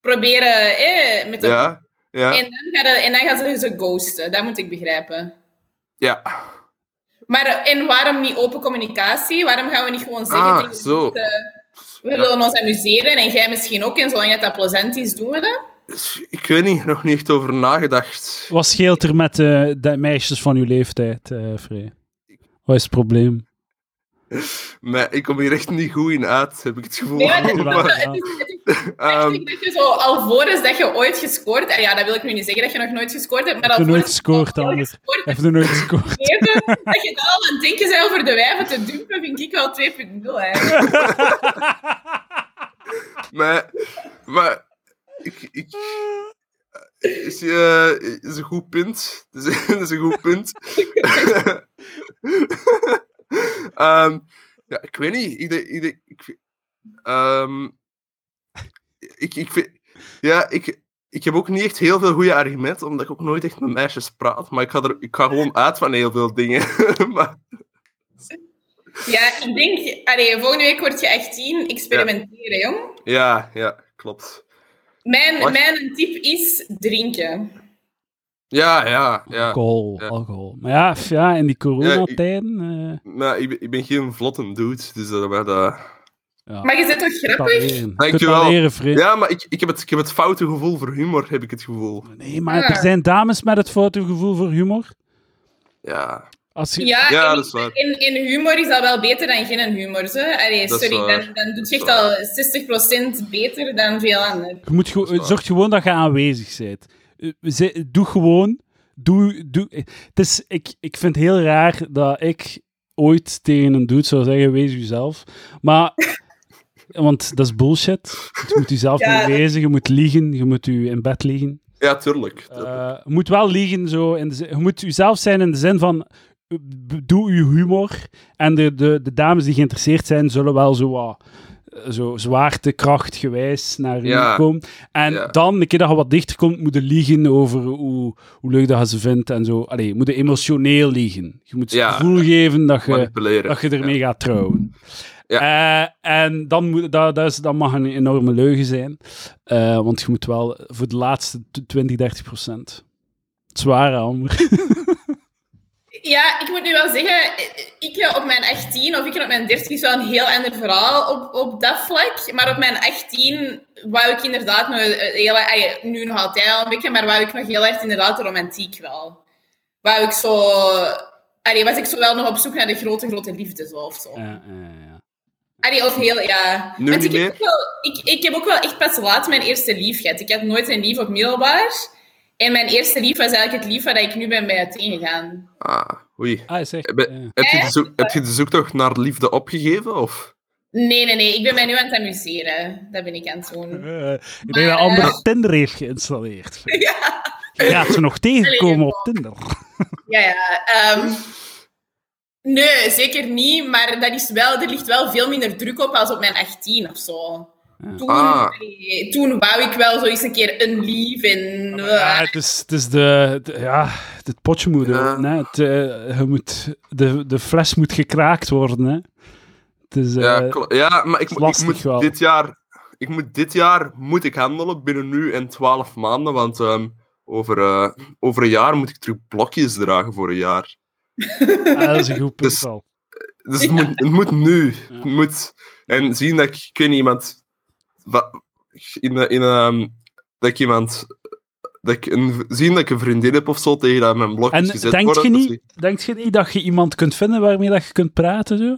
Speaker 2: proberen eh, met de...
Speaker 3: Ja, ja,
Speaker 2: En, dan gaan, en dan gaan ze ze ghosten, dat moet ik begrijpen.
Speaker 3: ja.
Speaker 2: Maar eh, en waarom niet open communicatie? Waarom gaan we niet gewoon zeggen
Speaker 3: Ah,
Speaker 2: tegen de
Speaker 3: zo.
Speaker 2: mensen, we willen ons amuseren en jij misschien ook, en zolang dat, dat plezant is, doen we dat?
Speaker 3: Dus Ik weet niet, nog niet echt over nagedacht.
Speaker 1: Wat scheelt er met eh, de meisjes van uw leeftijd, eh Free? Wat is het probleem?
Speaker 3: Maar ik kom hier echt niet goed in uit, heb ik het gevoel.
Speaker 2: Nee, maar dat-
Speaker 1: Waar,
Speaker 2: dat-
Speaker 1: ja.
Speaker 2: het is- het is
Speaker 3: Ehm,
Speaker 2: Eigenlijk dat je zo alvorens dat je ooit gescoord hebt, ja, dat wil ik nu niet zeggen dat je nog nooit gescoord hebt,
Speaker 1: Heb je
Speaker 2: maar alvorens
Speaker 1: nooit gescoord,
Speaker 2: dat je al
Speaker 1: Ander?
Speaker 2: gescoord hebt
Speaker 1: Heeft er nooit gescoord?
Speaker 2: gegeven, dat je dan al aan het denken bent over de wijven te dumpen, vind ik wel 2.0 eigenlijk.
Speaker 3: maar, maar ik, ik, eh, is, je, is een goed punt. Het is, het is een goed punt. Ehm, ja, ik weet niet. Ik, denk- ik, denk- ik, ehm, ik, ik vind, ja, ik, ik heb ook niet echt heel veel goede argumenten, omdat ik ook nooit echt met meisjes praat. Maar ik ga, er, ik ga gewoon uit van heel veel dingen. maar,
Speaker 2: Ja, ik denk, allee, volgende week word je 18, experimenteren, jong.
Speaker 3: ja, ja, klopt.
Speaker 2: Mijn,
Speaker 3: Wacht.
Speaker 2: mijn tip is drinken.
Speaker 3: Ja, ja, ja.
Speaker 1: Alcohol,
Speaker 3: Ja.
Speaker 1: alcohol. Maar ja, f- ja, in die coronatijden... eh,
Speaker 3: Maar Nou, ik, ben- ik ben geen vlotte dude, dus dat... maar dat...
Speaker 1: ja.
Speaker 2: Maar je zit toch
Speaker 1: Kan
Speaker 2: grappig?
Speaker 1: leren.
Speaker 3: Dank
Speaker 1: Kunt
Speaker 3: je
Speaker 1: wel
Speaker 3: wel.
Speaker 1: leren, vriend.
Speaker 3: Ja, maar ik, ik, heb het, ik heb het foute gevoel voor humor, heb ik het gevoel.
Speaker 1: Nee, maar er
Speaker 2: Ja.
Speaker 1: zijn dames met het fotogevoel voor humor.
Speaker 3: Ja,
Speaker 1: Als je...
Speaker 2: Ja,
Speaker 3: ja
Speaker 2: Ah, en
Speaker 3: dat is waar.
Speaker 2: In, in humor is dat wel beter dan geen humor. Hè? Allee,
Speaker 3: Dat is
Speaker 2: sorry,
Speaker 3: waar.
Speaker 2: dan, dan doet je
Speaker 3: Dat
Speaker 2: echt
Speaker 3: is waar.
Speaker 2: al 60% beter dan veel anderen.
Speaker 1: Je moet
Speaker 3: Dat is
Speaker 1: ge-
Speaker 3: waar.
Speaker 1: zorg gewoon dat je aanwezig bent. Eh, ze- Doe gewoon. Doe, doe. eh, Het is, ik, ik vind het heel raar dat ik ooit tegen een dude zou zeggen: wees jezelf. Maar, want dat is bullshit. Je moet jezelf
Speaker 2: Ja.
Speaker 1: niet wezen, je moet liegen, je moet je in bed liegen.
Speaker 3: Ja, tuurlijk. tuurlijk.
Speaker 1: Eh, je moet wel liegen, zo. In de zin- je moet jezelf zijn in de zin van. eh, b- Doe uw humor. En de, de, de dames die geïnteresseerd zijn, zullen wel zo wat. eh, Zo zwaartekrachtgewijs naar u
Speaker 3: Ja.
Speaker 1: komen. En
Speaker 3: Ja.
Speaker 1: dan, de keer dat je wat dichter komt, moet je liegen over hoe, hoe leuk dat je ze vindt en zo. Allee, je moet je emotioneel liegen. Je moet ze
Speaker 3: Ja.
Speaker 1: het gevoel geven dat je,
Speaker 3: Manipuleren.
Speaker 1: dat je ermee gaat trouwen. Eh, en dan moet, dat, dat, is, dat mag een enorme leugen zijn. Eh, want je moet wel voor de laatste t- 20, 30 procent. Het zware amber.
Speaker 2: Ja, ik moet nu wel zeggen, ik eh, op mijn 18 of ik op mijn 30 is wel een heel ander verhaal op, op dat vlak. Maar op mijn 18 wou ik inderdaad nog eh, heel, eh, nu nog altijd al een beetje, maar wou ik nog heel erg inderdaad de romantiek wel. Wou ik zo, allee, was ik zo wel nog op zoek naar de grote, grote liefde zo, of zo.
Speaker 1: Ja, ja, ja.
Speaker 2: Allee, of heel, ja.
Speaker 3: Nu
Speaker 2: Want
Speaker 3: niet
Speaker 2: ik,
Speaker 3: meer?
Speaker 2: Heb ook wel, ik, ik heb ook wel echt pas laat mijn eerste lief gehad. Ik had nooit een lief op middelbaar. En mijn eerste lief was eigenlijk het lief waar ik nu ben bij uiteengegaan.
Speaker 3: Ah, oei.
Speaker 1: Ah, is echt.
Speaker 3: Heb, je-
Speaker 1: ja.
Speaker 3: heb, je de zoek, heb je de zoektocht naar liefde opgegeven? Of?
Speaker 2: Nee, nee, nee. Ik ben mij nu aan het amuseren. Dat ben ik aan het doen.
Speaker 1: Eh, ik denk dat Amber Tinder heeft geïnstalleerd.
Speaker 2: Ja,
Speaker 1: Je gaat ze nog tegenkomen op Tinder.
Speaker 2: ja. ja. ehm, nee, zeker niet. Maar dat is wel, er ligt wel veel minder druk op als op mijn 18 of zo. Toen,
Speaker 3: Ah.
Speaker 2: eh, toen wou ik wel zo eens een keer een lief en... eh,
Speaker 1: Ja, het is, het is de, het- ja, het potje moet
Speaker 3: Ja.
Speaker 1: open, hè. Het, eh, je moet, de, de fles moet gekraakt worden. Hè. Het is, eh,
Speaker 3: ja, klo- ja, maar ik,
Speaker 1: is
Speaker 3: mo- ik
Speaker 1: lastig
Speaker 3: moet
Speaker 1: wel.
Speaker 3: dit jaar... Ik moet dit jaar moet ik handelen binnen nu en 12 maanden, want ehm, over, eh, over een jaar moet ik terug blokjes dragen voor een jaar.
Speaker 1: ah, dat is een goed punt
Speaker 3: Dus-
Speaker 1: al.
Speaker 3: Dus het, moet, het moet nu. Het
Speaker 1: Ja.
Speaker 3: moet. En zien dat ik, ik weet niet, iemand. wa- In, een- in, een- dat ik iemand. Dat ik een, zien dat ik een vriendin heb of zo tegen dat mijn blokjes
Speaker 1: En
Speaker 3: gezet
Speaker 1: denkt
Speaker 3: worden.
Speaker 1: je,
Speaker 3: dat
Speaker 1: niet, denkt je niet dat je iemand kunt vinden waarmee dat je kunt praten? Zo?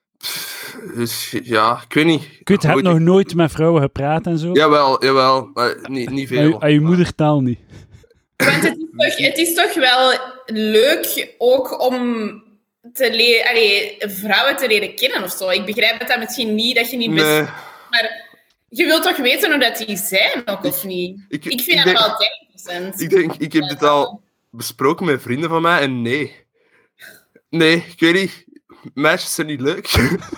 Speaker 3: die- dus, ja, ik weet niet.
Speaker 1: Ik weet, je hebt
Speaker 3: Goed,
Speaker 1: nog nooit met vrouwen gepraat en zo.
Speaker 3: Jawel, jawel. Maar niet, niet
Speaker 1: Aan je-
Speaker 3: veel.
Speaker 1: aan je moedertaal niet.
Speaker 2: Want het is, toch, het is toch wel leuk ook om te le- allee, vrouwen te leren kennen of zo. Ik begrijp dat dat misschien niet, dat je niet best...
Speaker 3: Nee,
Speaker 2: Maar je wilt toch weten hoe dat die zijn, ook, of niet?
Speaker 3: ik,
Speaker 2: Ik
Speaker 3: ik
Speaker 2: vind dat
Speaker 3: denk-
Speaker 2: wel altijd interessant.
Speaker 3: Ik denk, ik heb dit al besproken met vrienden van mij en nee. Nee, ik weet niet. Meisjes zijn niet leuk.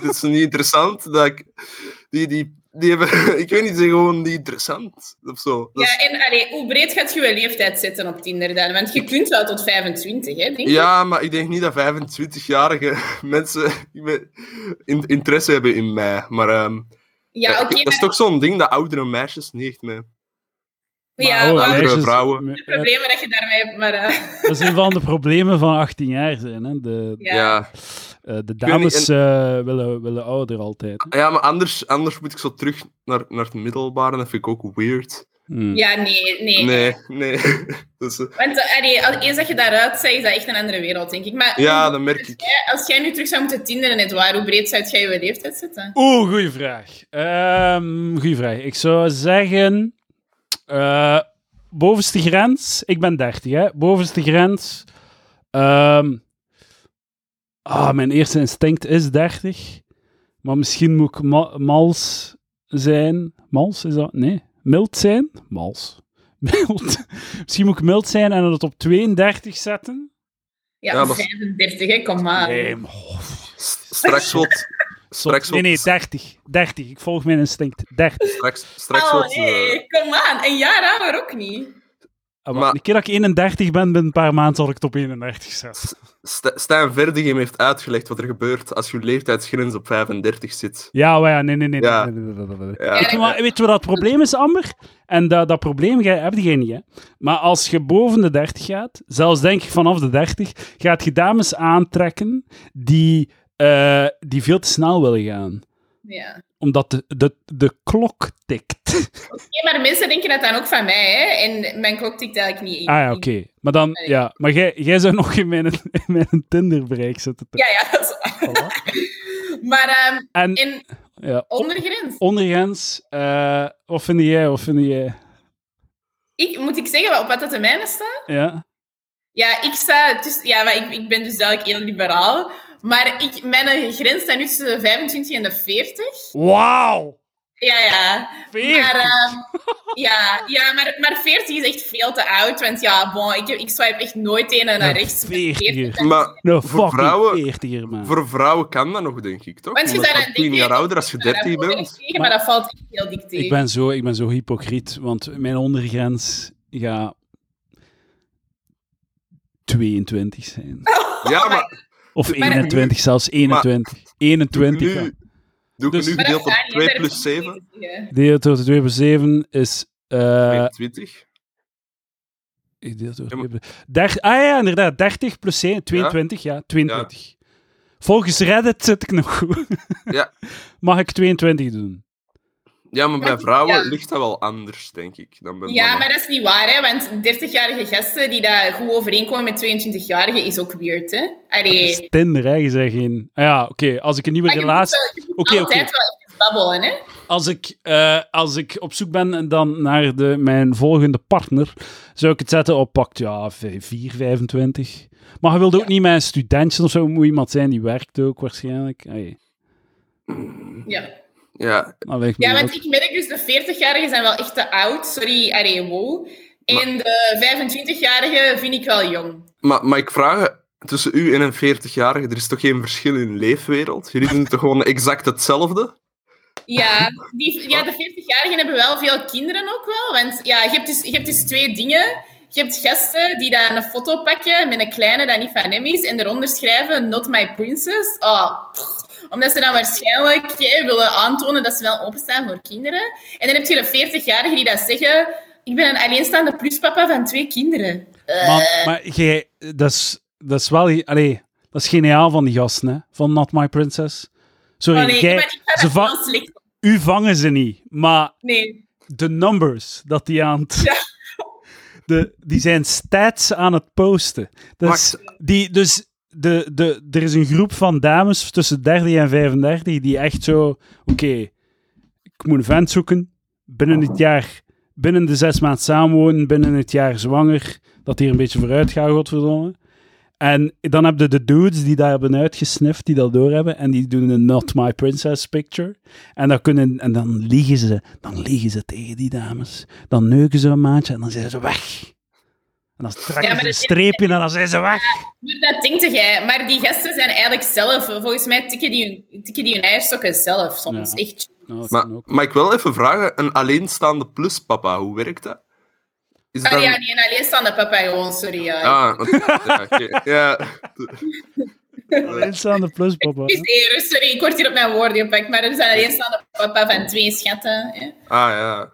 Speaker 3: Het is niet interessant dat ik... Die, die, die hebben, ik weet niet, ze zijn gewoon niet interessant of zo. Dat is-
Speaker 2: Ja, en allee, hoe breed gaat je leeftijd zitten op Tinder dan? Want je kunt wel tot 25, hè, denk ik.
Speaker 3: Ja, maar ik denk niet dat 25-jarige mensen in- interesse hebben in mij. Maar ehm,
Speaker 2: Ja,
Speaker 3: ja,
Speaker 2: oké.
Speaker 3: dat is toch zo'n ding dat oudere meisjes niet echt mee.
Speaker 2: maar- ja,
Speaker 1: oh,
Speaker 2: maar
Speaker 3: oudere
Speaker 2: de
Speaker 1: meisjes-
Speaker 3: vrouwen.
Speaker 1: me- eh,
Speaker 2: problemen dat je daarmee hebt, maar... eh,
Speaker 1: dat is een van de problemen van 18 jaar zijn. Hè? De,
Speaker 2: ja.
Speaker 1: eh, de dames eh, willen, willen ouder altijd. hè.
Speaker 3: Ja, maar anders, anders moet ik zo terug naar, naar het middelbare. Dat vind ik ook weird.
Speaker 1: Hmm.
Speaker 2: Ja, nee, nee.
Speaker 3: Nee, nee. Dus, eh,
Speaker 2: Want eh, allee, al- eens dat je daaruit bent, is dat echt een andere wereld, denk ik. Maar
Speaker 3: ja, dat merk ik.
Speaker 2: eh, als jij nu terug zou moeten tinderen, Edouard, hoe breed zou jij je leeftijd zetten?
Speaker 1: Oeh, goede vraag. Ehm goeie vraag. Ik zou zeggen. eh, bovenste grens. Ik ben 30, hè? Bovenste grens. ehm, ah, mijn eerste instinct is 30. Maar misschien moet ik ma- mals zijn. Mals is dat? Nee. Mild zijn? Mals. Mild. misschien moet ik mild zijn en dat op 32 zetten.
Speaker 2: Ja,
Speaker 3: Ja, maar-
Speaker 2: 35, hè, kom maar.
Speaker 1: Nee, maar, oh,
Speaker 3: S- Straks wordt, straks
Speaker 1: Nee,
Speaker 3: wordt,
Speaker 1: nee, 30. 30. Ik volg mijn instinct. 30.
Speaker 3: straks, straks
Speaker 2: oh
Speaker 3: wordt, eh,
Speaker 2: nee, kom aan. Een jaar ouder ook niet.
Speaker 1: Ah,
Speaker 3: Maar-
Speaker 1: maar... Een keer dat ik 31 ben, binnen een paar maanden zal ik het op 31 zetten.
Speaker 3: St- Stijn Verdegem heeft uitgelegd wat er gebeurt als je leeftijdsgrens op 35 zit.
Speaker 1: Ja, maar ja, nee, nee, nee.
Speaker 3: Ja.
Speaker 1: nee, nee, nee, nee, nee.
Speaker 3: Ja.
Speaker 1: Weet, je wat, weet je wat dat probleem is, Amber? En dat, dat probleem jij, heb je niet, hè. Maar als je boven de 30 gaat, zelfs denk ik vanaf de 30, gaat je dames aantrekken die, eh, die veel te snel willen gaan.
Speaker 2: Ja.
Speaker 1: Omdat de, de, de klok tikt.
Speaker 2: Nee, maar mensen denken dat dan ook van mij, hè? En mijn klok tikt eigenlijk niet in.
Speaker 1: Ah ja, oké. Maar dan, ja. Maar jij, jij zou nog in mijn, in mijn Tinder-bereik zitten.
Speaker 2: Ja, ja, dat is waar.
Speaker 1: Voilà.
Speaker 2: Maar ehm,
Speaker 1: En,
Speaker 2: en
Speaker 1: ja.
Speaker 2: ondergrens.
Speaker 1: Ondergrens, eh of vind jij, of vind jij?
Speaker 2: Ik, moet ik zeggen op wat dat de mijne staat?
Speaker 1: Ja.
Speaker 2: Ja, ik sta tussen, ja, maar ik, ik ben dus duidelijk heel liberaal. Maar ik, mijn grens staat nu tussen de 25 en de 40.
Speaker 1: Wauw!
Speaker 2: Ja, ja. Maar, ehm, ja, ja maar, maar 40 is echt veel te oud. Want ja, bon, ik, heb- ik swipe echt nooit een en naar
Speaker 1: Een
Speaker 2: rechts. met
Speaker 1: 40er.
Speaker 2: dan-
Speaker 3: Maar
Speaker 1: No,
Speaker 3: Voor vrouwen-
Speaker 1: 40 hier, man.
Speaker 3: voor vrouwen kan dat nog, denk ik, toch?
Speaker 2: Want je
Speaker 3: Omdat
Speaker 2: bent
Speaker 3: je
Speaker 2: dan
Speaker 3: 10 jaar ouder als je 30
Speaker 2: Ja, dat valt
Speaker 3: bent.
Speaker 2: echt tegen, maar dat valt echt heel dik tegen.
Speaker 1: Ik ben, zo, ik ben zo hypocriet, want mijn ondergrens gaat 22 zijn.
Speaker 3: Ja,
Speaker 2: oh,
Speaker 3: maar
Speaker 1: Of
Speaker 3: Maar-
Speaker 1: 21, zelfs 21. 21.
Speaker 3: nu, doe ik
Speaker 1: Dus-
Speaker 3: nu
Speaker 2: Maar dat
Speaker 3: gedeeld
Speaker 2: gaat
Speaker 3: op
Speaker 2: niet,
Speaker 3: 2
Speaker 2: daar
Speaker 3: plus
Speaker 2: hoef je niet
Speaker 3: 7,
Speaker 2: te zeggen.
Speaker 1: Deel door 2 per 7 is... eh
Speaker 3: 22.
Speaker 1: Gedeeld door
Speaker 3: Ja,
Speaker 1: twee
Speaker 3: maar-
Speaker 1: per- Dert- ah ja, inderdaad. 30 plus 7, 22, ja. 22. Volgens Reddit zit ik nog goed.
Speaker 3: Ja.
Speaker 1: Mag ik 22 doen?
Speaker 3: Ja, maar bij
Speaker 2: Maar-
Speaker 3: vrouwen
Speaker 2: ja.
Speaker 3: ligt dat wel anders, denk ik, dan bij
Speaker 2: Ja,
Speaker 3: mannen.
Speaker 2: maar dat is niet waar, hè? Want 30-jarige gasten die daar goed overeenkomen met 22-jarigen is ook weird, hè? Allee.
Speaker 1: Dat is Tinder, hè. Je zegt geen... Ah ja, oké. Als ik een nieuwe
Speaker 2: Maar je moet
Speaker 1: relatie...
Speaker 2: wel- je moet
Speaker 1: Oké, oké.
Speaker 2: altijd wel even babbelen, hè?
Speaker 1: Als ik, eh, als ik op zoek ben en dan naar de, mijn volgende partner, zou ik het zetten op pakt ja, v- 4, 25. Maar je wilde ook niet met een studentje of zo. Moet iemand zijn die werkt ook waarschijnlijk. Allee,
Speaker 2: Ja.
Speaker 3: Ja,
Speaker 1: dat lijkt me
Speaker 2: ja, want
Speaker 1: ook.
Speaker 2: ik merk dus de 40-jarigen zijn wel echt te oud. Sorry, allee, wow. En de 25-jarigen vind ik wel jong.
Speaker 3: maar, maar ik vraag tussen u en een 40-jarige, er is toch geen verschil in leefwereld? Jullie doen toch gewoon exact hetzelfde?
Speaker 2: Ja, die, ja de 40-jarigen hebben wel veel kinderen ook wel. Want ja, je hebt dus, je hebt dus twee dingen. Je hebt gasten die daar een foto pakken met een kleine dat niet van hem is en eronder schrijven Not my princess. Oh, pff. omdat ze dan waarschijnlijk hè, willen aantonen dat ze wel openstaan voor kinderen. En dan heb je de 40-jarigen die dat zeggen... Ik ben een alleenstaande pluspapa van twee kinderen. Eh,
Speaker 1: Maar, maar jij, dat is, dat is wel... Allee, dat is geniaal van die gasten, hè. Van Not My Princess. Sorry,
Speaker 2: oh nee,
Speaker 1: jij,
Speaker 2: maar ik ga
Speaker 1: ze
Speaker 2: dat
Speaker 1: va-
Speaker 2: heel slecht op.
Speaker 1: u vangen ze niet, maar
Speaker 2: Nee.
Speaker 1: de numbers dat die aan het...
Speaker 2: Ja.
Speaker 1: De, die zijn stats aan het posten. Dus, die, dus de, de, er is een groep van dames tussen 30 en 35 die echt zo... Oké, ik moet een vent zoeken. Binnen het jaar... Binnen de zes maanden samenwonen. Binnen het jaar zwanger. Dat hier een beetje vooruit gaat, godverdomme. En dan heb je de dudes die daar hebben uitgesnift, die dat doorhebben. En die doen een Not My Princess picture. En dan, kunnen, en dan liegen ze. Dan liegen ze tegen die dames. Dan neuken ze een maatje en dan zijn ze weg. En dan trekken
Speaker 2: Ja, maar
Speaker 1: ze een
Speaker 2: dat-
Speaker 1: streepje en dan zijn ze weg.
Speaker 2: Maar dat denkt jij, maar die gasten zijn eigenlijk zelf, volgens mij tikken die hun, tikken die hun eierstokken zelf soms.
Speaker 1: Ja.
Speaker 2: Echt.
Speaker 1: Nou, dat
Speaker 3: Maar,
Speaker 1: kan ook.
Speaker 3: maar ik wil even vragen, een alleenstaande pluspapa, hoe werkt dat? Is
Speaker 2: Ah,
Speaker 3: dat...
Speaker 2: ja, nee, een alleenstaande papa gewoon, sorry. Ja.
Speaker 3: Ah, want- ja, oké. ja.
Speaker 1: Instaande plus, papa.
Speaker 2: Excuseer, sorry, ik word hier op mijn woorden gepakt, maar er zijn alleenstaande papa van twee schatten. hè.
Speaker 3: Ah, ja.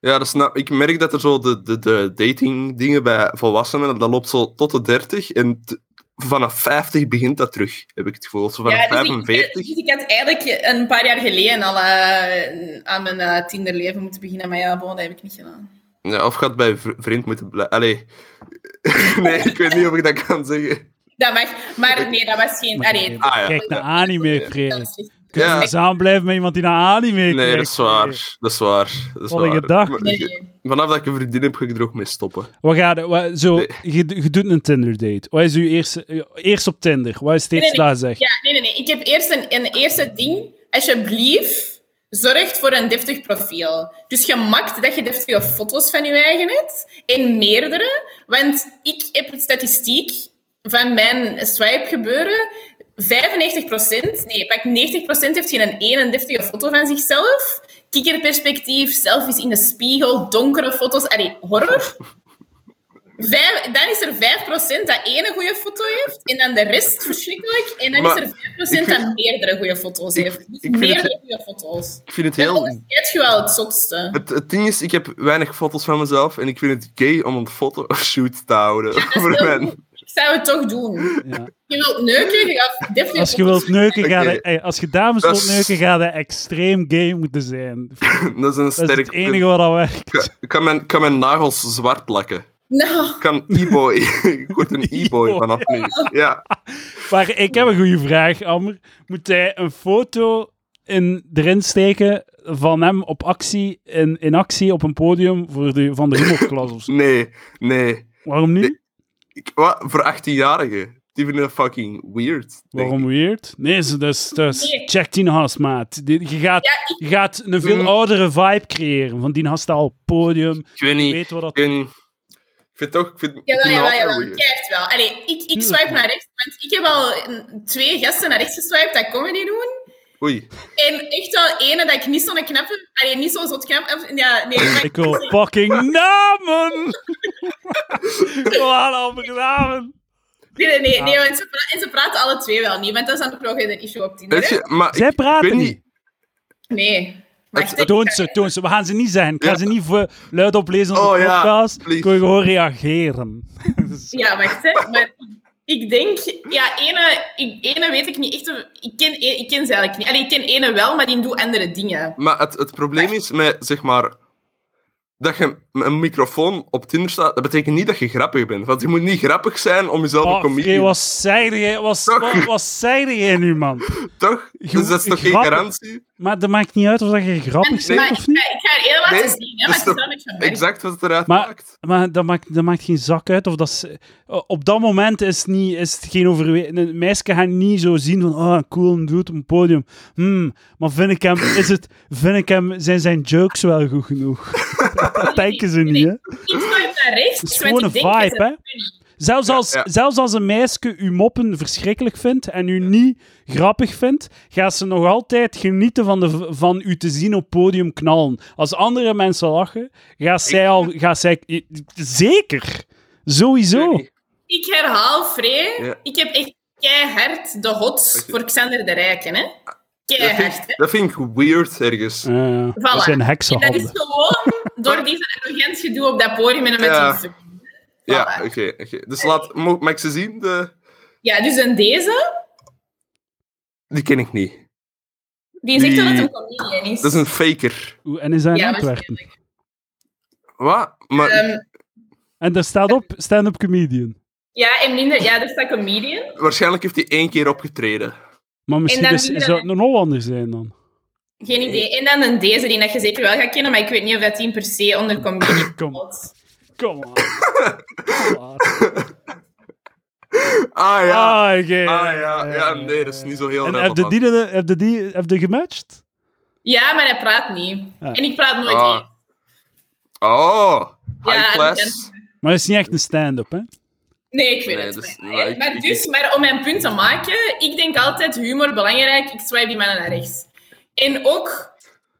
Speaker 3: Ja, dat snap ik. merk dat er zo de, de, de dating dingen bij volwassenen, dat loopt zo tot de 30 en t- vanaf 50 begint dat terug, heb ik het gevoel. Zo vanaf
Speaker 2: Ja, dus ik-
Speaker 3: 45.
Speaker 2: Dus ik had eigenlijk een paar jaar geleden al eh, aan mijn eh, Tinderleven moeten beginnen, maar ja, bon, dat heb ik niet gedaan.
Speaker 3: Ja, of gaat bij vri- vriend moeten blijven. Allee. nee, ik weet niet of ik dat kan zeggen.
Speaker 2: Dat mag, maar nee, dat was geen... Allee,
Speaker 1: Kijk
Speaker 3: Ah, ja.
Speaker 1: naar anime,
Speaker 2: dat
Speaker 1: Frederik.
Speaker 2: was echt-
Speaker 1: Kun je
Speaker 3: Ja.
Speaker 1: samen blijven met iemand die naar anime kijkt?
Speaker 3: Nee, dat is
Speaker 1: Frederik?
Speaker 3: waar. Dat is waar. Dat is
Speaker 1: Wat een
Speaker 3: waar.
Speaker 1: gedachte.
Speaker 3: Maar-
Speaker 2: Nee, nee.
Speaker 3: Vanaf dat ik een vriendin heb, ga ik er ook mee stoppen.
Speaker 1: Wat ga je, wat, zo, je, je doet een Tinder date. Wat is uw eerste, eh, eerst op Tinder? Wat is het eerste
Speaker 2: nee.
Speaker 1: dat je zegt?
Speaker 2: Ja, nee, nee, nee. Ik heb eerst een, een eerste ding. Alsjeblieft, zorg voor een deftig profiel. Dus je makt dat je deftige foto's van je eigen hebt. En meerdere. Want ik heb een statistiek van mijn swipe gebeuren. 95%, nee, pak 90% heeft geen een één en deftige foto van zichzelf. Kikkerperspectief, selfies in de spiegel, donkere foto's. Allee, horror. Vijf- dan is er 5% dat ene goede foto heeft, en dan de rest verschrikkelijk. En dan is
Speaker 3: Maar
Speaker 2: er 5%
Speaker 3: ik vind-
Speaker 2: dat meerdere goede foto's heeft. Dus
Speaker 3: ik vind het-
Speaker 2: meerdere goede foto's.
Speaker 3: Ik vind het
Speaker 2: Heel...
Speaker 3: heel...
Speaker 2: Dat is je wel het zotste.
Speaker 3: Het, het ding is, ik heb weinig foto's van mezelf en ik vind het gay om een foto of shoot te houden voor
Speaker 2: heel
Speaker 3: mijn...
Speaker 2: goed. Ik zou het toch doen.
Speaker 1: Ja.
Speaker 2: Je wilt neuken, je gaat deftig
Speaker 1: Als je
Speaker 2: foto's-
Speaker 1: wilt neuken, ga je,
Speaker 3: Oké.
Speaker 1: eh, als je dames
Speaker 3: Dat
Speaker 1: wilt
Speaker 3: is-
Speaker 1: neuken, ga je extreem gay moeten zijn.
Speaker 3: Dat is een
Speaker 1: Dat
Speaker 3: sterk...
Speaker 1: is het enige wat dat werkt.
Speaker 3: Ik kan- Ik kan mijn, ik kan mijn nagels zwart lakken.
Speaker 2: Nou,
Speaker 3: Ik kan e-boy. ik word een e-boy
Speaker 1: E-boy,
Speaker 3: vanaf nu. Ja.
Speaker 1: Maar ik heb een goede vraag, Amber. Moet hij een foto in, erin steken van hem op actie, in, in actie op een podium voor de, van de humorklas of zo?
Speaker 3: Nee, nee.
Speaker 1: Waarom niet?
Speaker 3: Ik, wat? Voor 18-jarigen. Die vinden dat fucking weird. denk ik.
Speaker 1: Waarom weird? Nee, ze- dus, dus
Speaker 2: Nee.
Speaker 1: check die gast, maat. Die- Je gaat,
Speaker 2: ja, ik,
Speaker 1: je gaat een veel
Speaker 3: Mm.
Speaker 1: oudere vibe creëren. Van die gast staat al op het podium.
Speaker 3: Ik weet niet.
Speaker 1: Weet wat dat...
Speaker 3: Ik, weet niet. ik vind toch... Ik vind, ik
Speaker 2: jawel,
Speaker 3: vind
Speaker 2: jawel,
Speaker 3: het altijd
Speaker 2: jawel.
Speaker 3: weird.
Speaker 2: Ik echt wel. Allee, ik, ik
Speaker 1: Tuurlijk.
Speaker 2: swipe naar rechts, want ik heb al een- twee gasten naar rechts geswiped dat comedy doen.
Speaker 3: Oei.
Speaker 2: En echt wel ene dat ik niet zo'n knappe... Allee, niet zo zot knap... Ja, nee, maar-
Speaker 1: Ik wil fucking namen! Ik wil aan Amber namen.
Speaker 2: Nee, nee, nee, nee
Speaker 3: Ah.
Speaker 2: want ze, pra- en ze praten alle twee wel niet, want dat is dan ook nog een issue op Tinder.
Speaker 3: Weet
Speaker 2: hè?
Speaker 3: je, maar
Speaker 1: Zij
Speaker 3: ik, ik
Speaker 1: praten
Speaker 3: weet
Speaker 1: niet.
Speaker 3: niet.
Speaker 2: Nee. Wacht,
Speaker 3: Het-
Speaker 2: hè.
Speaker 1: Toon ze, toon ze. We gaan ze niet zeggen. Ik ga
Speaker 3: Ja.
Speaker 1: ze niet voor luid oplezen op
Speaker 3: Oh
Speaker 1: de
Speaker 3: ja,
Speaker 1: podcast.
Speaker 3: please.
Speaker 1: Ik wil gewoon reageren. Dus-
Speaker 2: Ja, wacht, hè. Maar ik denk... Ja, ene, ik, ene weet ik niet echt... of- Ik ken, e- ik ken ze eigenlijk niet. Allee, ik ken ene wel, maar die doet andere dingen.
Speaker 3: Maar het, het probleem is met, zeg maar, dat je met een microfoon op Tinder staat, dat betekent niet dat je grappig bent. Want je moet niet grappig zijn om jezelf een
Speaker 1: Oh,
Speaker 3: comedian
Speaker 1: Free, wat zeide jij wat, wat, wat zeide jij nu, man?
Speaker 3: toch? Dus dat is toch geen
Speaker 1: grappig.
Speaker 3: garantie?
Speaker 1: Maar dat maakt niet uit of dat je grappig
Speaker 2: Maar
Speaker 1: bent
Speaker 2: ik,
Speaker 1: of niet.
Speaker 2: ga- ik ga er heel
Speaker 3: Nee, dus
Speaker 2: laten zien, hè,
Speaker 3: dat
Speaker 2: want het
Speaker 3: is
Speaker 2: is
Speaker 3: toch
Speaker 2: wel een beetje merk.
Speaker 3: Exact wat het eruit
Speaker 1: Maar-
Speaker 3: maakt.
Speaker 1: Maar dat maakt, dat maakt geen zak uit. Of dat ze- op dat moment is het, niet, is het geen overweging. Een meisje gaat niet zo zien van, oh, cool, een dude op een podium. Hmm, maar vind ik hem, is het, vind ik hem, zijn zijn jokes wel goed genoeg? dat denken ze niet, hè?
Speaker 2: Ik swipe naar rechts,
Speaker 1: Het is
Speaker 2: want
Speaker 1: gewoon een
Speaker 2: ik denk dat
Speaker 1: vibe,
Speaker 2: ze-
Speaker 1: hè? Zelfs als,
Speaker 3: ja.
Speaker 1: zelfs als een meisje uw moppen verschrikkelijk vindt en u niet grappig vindt, gaat ze nog altijd genieten van, de, van u te zien op het podium knallen. Als andere mensen lachen, gaat zij al... Gaat zij, zeker!
Speaker 3: Ik
Speaker 1: Sowieso!
Speaker 3: weet niet.
Speaker 2: Ik herhaal, Free.
Speaker 3: Ja.
Speaker 2: Ik heb echt keihard de hots
Speaker 3: Oké.
Speaker 2: voor Xander de Rijken, hè.
Speaker 3: Dat
Speaker 2: Keihard, hè.
Speaker 3: vind, ik- dat vind ik weird ergens.
Speaker 1: Eh, Dat zijn
Speaker 2: En dat is
Speaker 1: heksenhanden.
Speaker 2: gewoon door die zijn arrogant gedoe op dat podium en met
Speaker 3: Ja.
Speaker 2: die fucking-
Speaker 3: Ja,
Speaker 2: Voilà.
Speaker 3: oké. oké. Dus laat, mo- mag ik ze zien? De,
Speaker 2: Ja, dus en deze,
Speaker 3: die ken ik niet.
Speaker 2: die zegt
Speaker 3: Die-
Speaker 2: dat het een comedian is.
Speaker 3: Dat is een faker.
Speaker 1: Oeh, En is dat in
Speaker 2: Ja,
Speaker 1: Antwerpen?
Speaker 3: Wat? Maar,
Speaker 2: Ehm,
Speaker 1: En daar staat op stand-up comedian.
Speaker 2: ja, en minder, ja, er staat comedian.
Speaker 3: waarschijnlijk heeft hij één keer opgetreden.
Speaker 1: Maar misschien
Speaker 2: dan
Speaker 1: is,
Speaker 2: wie
Speaker 1: is
Speaker 2: dan?
Speaker 1: dat een Hollander zijn dan.
Speaker 2: Geen idee. En dan een deze, die dat je zeker wel gaat kennen, maar ik weet niet of dat die per se onder comedian
Speaker 1: Kom.
Speaker 2: valt.
Speaker 1: Kom on. Kom on.
Speaker 3: Ah ja.
Speaker 1: Ah, oké.
Speaker 3: Ah ja. Ja, nee, dat is niet zo heel
Speaker 1: En heb je
Speaker 3: relevant.
Speaker 1: die, heb je die heb je gematcht?
Speaker 2: Ja, maar hij praat niet.
Speaker 1: Ah.
Speaker 2: En ik praat nooit
Speaker 3: Ah.
Speaker 2: eens.
Speaker 3: Oh, high
Speaker 2: Ja,
Speaker 3: class.
Speaker 1: Maar het is niet echt een stand-up, hè?
Speaker 2: Nee, ik weet
Speaker 3: Nee,
Speaker 2: het.
Speaker 3: dus-
Speaker 2: maar,
Speaker 3: maar ik-
Speaker 2: maar
Speaker 3: ik-
Speaker 2: dus, maar om mijn punt te maken, ik denk altijd humor belangrijk, ik swipe die mannen naar rechts. En ook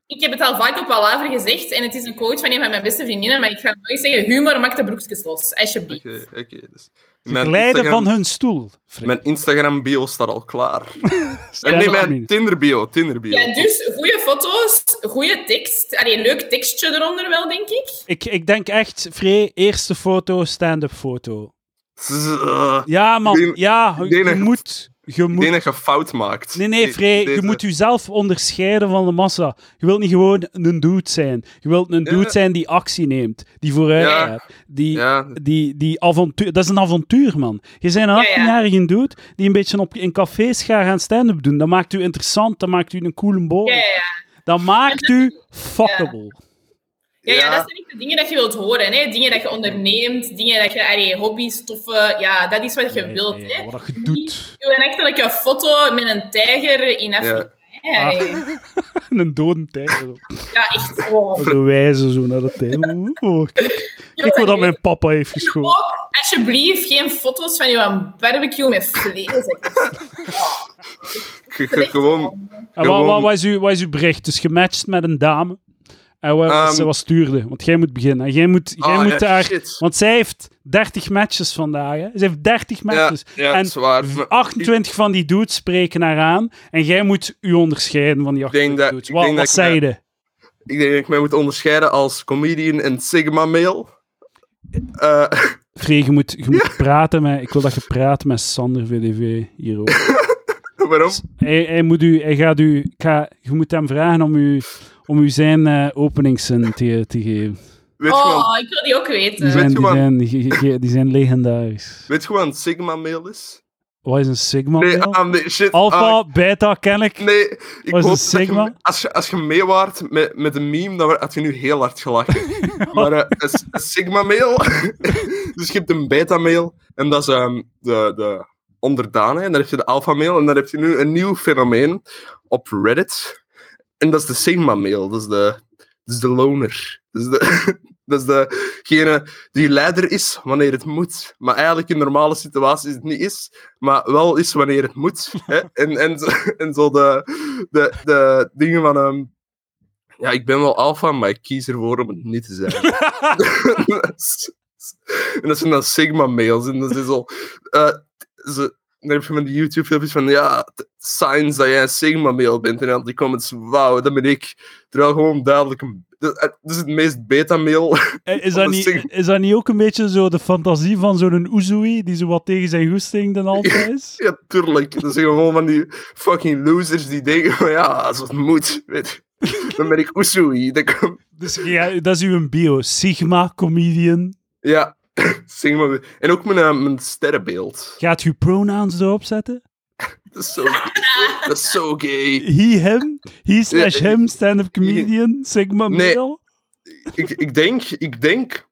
Speaker 2: Ik heb het al vaak op Palaver gezegd en het is een quote van een van mijn beste vriendinnen, maar ik ga nooit zeggen: humor maakt de broekjes los, alsjeblieft.
Speaker 3: Oké, oké, dus
Speaker 1: Ze
Speaker 3: mijn
Speaker 1: glijden
Speaker 3: Instagram-
Speaker 1: van hun stoel. Freek.
Speaker 3: Mijn Instagram-bio staat al klaar. Eh,
Speaker 1: Sterk
Speaker 3: nee,
Speaker 1: niet.
Speaker 3: mijn Tinder-bio. Tinder-bio.
Speaker 2: Ja, dus goede foto's, goede tekst. Allee, leuk tekstje eronder wel, denk ik.
Speaker 1: Ik, ik denk echt, Free, eerste foto, stand-up foto.
Speaker 3: Zzz, eh,
Speaker 1: Ja, man.
Speaker 3: Ik denk-
Speaker 1: ja,
Speaker 3: ik
Speaker 1: je
Speaker 3: denk dat-
Speaker 1: moet... Je
Speaker 3: Ik denk
Speaker 1: moet
Speaker 3: dat je fout maakt.
Speaker 1: nee, nee, Free, je
Speaker 3: Deze-
Speaker 1: moet jezelf onderscheiden van de massa. Je wilt niet gewoon een dude zijn. Je wilt een
Speaker 3: Ja.
Speaker 1: dude zijn die actie neemt, die vooruit
Speaker 3: Ja.
Speaker 1: gaat, die,
Speaker 3: Ja,
Speaker 1: die, die avontuur... Dat is een avontuur, man. Je bent
Speaker 2: Ja,
Speaker 1: een
Speaker 2: ja.
Speaker 1: 18-jarige dude die een beetje op, in cafés gaat gaan stand-up doen. Dat maakt u interessant, dat maakt u een coole boy.
Speaker 2: Ja, ja, ja.
Speaker 1: Dat maakt u fuckable.
Speaker 2: Ja, ja,
Speaker 3: Ja.
Speaker 2: dat zijn echt de dingen dat je wilt horen. Hè? Dingen dat je onderneemt, dingen dat je, allee, hobby's, toffe... Ja, dat is wat je
Speaker 1: Ja,
Speaker 2: wilt.
Speaker 1: ja,
Speaker 2: Hè?
Speaker 1: Wat je doet.
Speaker 2: Doe een echtelijke foto met een tijger in Afrika. hè.
Speaker 1: Ah.
Speaker 2: Allee.
Speaker 1: een dode tijger. zo.
Speaker 2: Ja, echt. Oh.
Speaker 1: Zo wijzen zo naar de tijger. Oh, kijk, kijk wat dat mijn papa heeft geschoten.
Speaker 2: Ook, alsjeblieft, geen foto's van jouw barbecue met vlees.
Speaker 3: je- je- gewoon...
Speaker 1: En wat, wat,
Speaker 3: Gewoon-
Speaker 1: wat, is uw, wat is uw bericht? Dus gematcht met een dame. En wat, wat
Speaker 3: Ehm.
Speaker 1: ze wat stuurde. Want jij moet beginnen. En jij moet, jij
Speaker 3: Ah,
Speaker 1: moet
Speaker 3: ja,
Speaker 1: daar...
Speaker 3: shit.
Speaker 1: Want zij heeft 30 matches vandaag. Hè? Ze heeft 30
Speaker 3: Ja,
Speaker 1: matches.
Speaker 3: ja
Speaker 1: en
Speaker 3: zwaar. Maar
Speaker 1: 28 van die dudes spreken haar aan. En jij moet u onderscheiden van die
Speaker 3: denk
Speaker 1: 28
Speaker 3: dat-
Speaker 1: dudes.
Speaker 3: ik
Speaker 1: Wat,
Speaker 3: denk
Speaker 1: wat
Speaker 3: dat ik
Speaker 1: zei je?
Speaker 3: Ik denk dat ik mij moet onderscheiden als comedian en Sigma-mail. Eh,
Speaker 1: Free, je moet, je moet praten met... Ik wil dat je praat met Sander VDV hierover.
Speaker 3: waarom?
Speaker 1: Hij, hij moet u, hij gaat u, ik ga, je moet hem vragen om u, om u zijn eh openingszin te, te geven.
Speaker 3: Weet je wat-
Speaker 2: Oh, ik wil die ook
Speaker 1: Die
Speaker 2: weten.
Speaker 1: zijn, die
Speaker 3: gewoon-
Speaker 1: zijn, ge- ge- die zijn legendarisch.
Speaker 3: weet je wat een Sigma-mail is?
Speaker 1: Wat is een sigma?
Speaker 3: Nee,
Speaker 1: mail?
Speaker 3: ah, nee, shit.
Speaker 1: Alpha,
Speaker 3: ah,
Speaker 1: beta, ken ik.
Speaker 3: nee, ik
Speaker 1: Wat is
Speaker 3: hoop
Speaker 1: een
Speaker 3: dat je-
Speaker 1: Sigma?
Speaker 3: als, je, als je mee waart met, met een meme, dan had je nu heel hard gelachen. maar eh, een, s- een Sigma-mail... dus je hebt een beta-mail, en dat is ehm, de, de onderdanen. En dan heb je de alpha-mail, en dan heb je nu een nieuw fenomeen op Reddit. En dat is de Sigma-mail. Dat is de, dat is de loner. Dat is, de, dat is degene die leider is wanneer het moet. Maar eigenlijk in normale situaties het niet is, maar wel is wanneer het moet. Hè? En, en, zo- en zo de, de, de dingen van... ehm, ja, ik ben wel alfa, maar ik kies ervoor om het niet te zijn. en dat zijn dan Sigma-mails. En dat is zo... eh, ze, dan heb je van die YouTube-filmpjes van... Ja, t- signs dat jij een Sigma-mail bent. En dan die comments... Wauw, dat ben ik. Terwijl gewoon duidelijk... Een, dat, eh, dat is het meest beta-mail.
Speaker 1: Eh, Is dat,
Speaker 3: Wat een
Speaker 1: niet,
Speaker 3: sigma.
Speaker 1: is dat niet ook een beetje zo de fantasie van zo'n Oezoe die zo wat tegen zijn goesting dan altijd is?
Speaker 3: ja, tuurlijk. Dat zijn gewoon van die fucking losers die denken... Van, ja, als het moet, weet je, Dan ben ik Usui. Dan kom-
Speaker 1: Dus ja, dat is uw bio. Sigma, comedian.
Speaker 3: Ja, zing maar weer. En ook mijn, eh, mijn sterrenbeeld.
Speaker 1: Gaat uw pronouns erop zetten?
Speaker 3: Dat is zo, dat is zo gay.
Speaker 1: He, hem. He slash hem, stand-up comedian. Sigma,
Speaker 3: eh, Nee.
Speaker 1: male.
Speaker 3: Ik, ik, denk, ik denk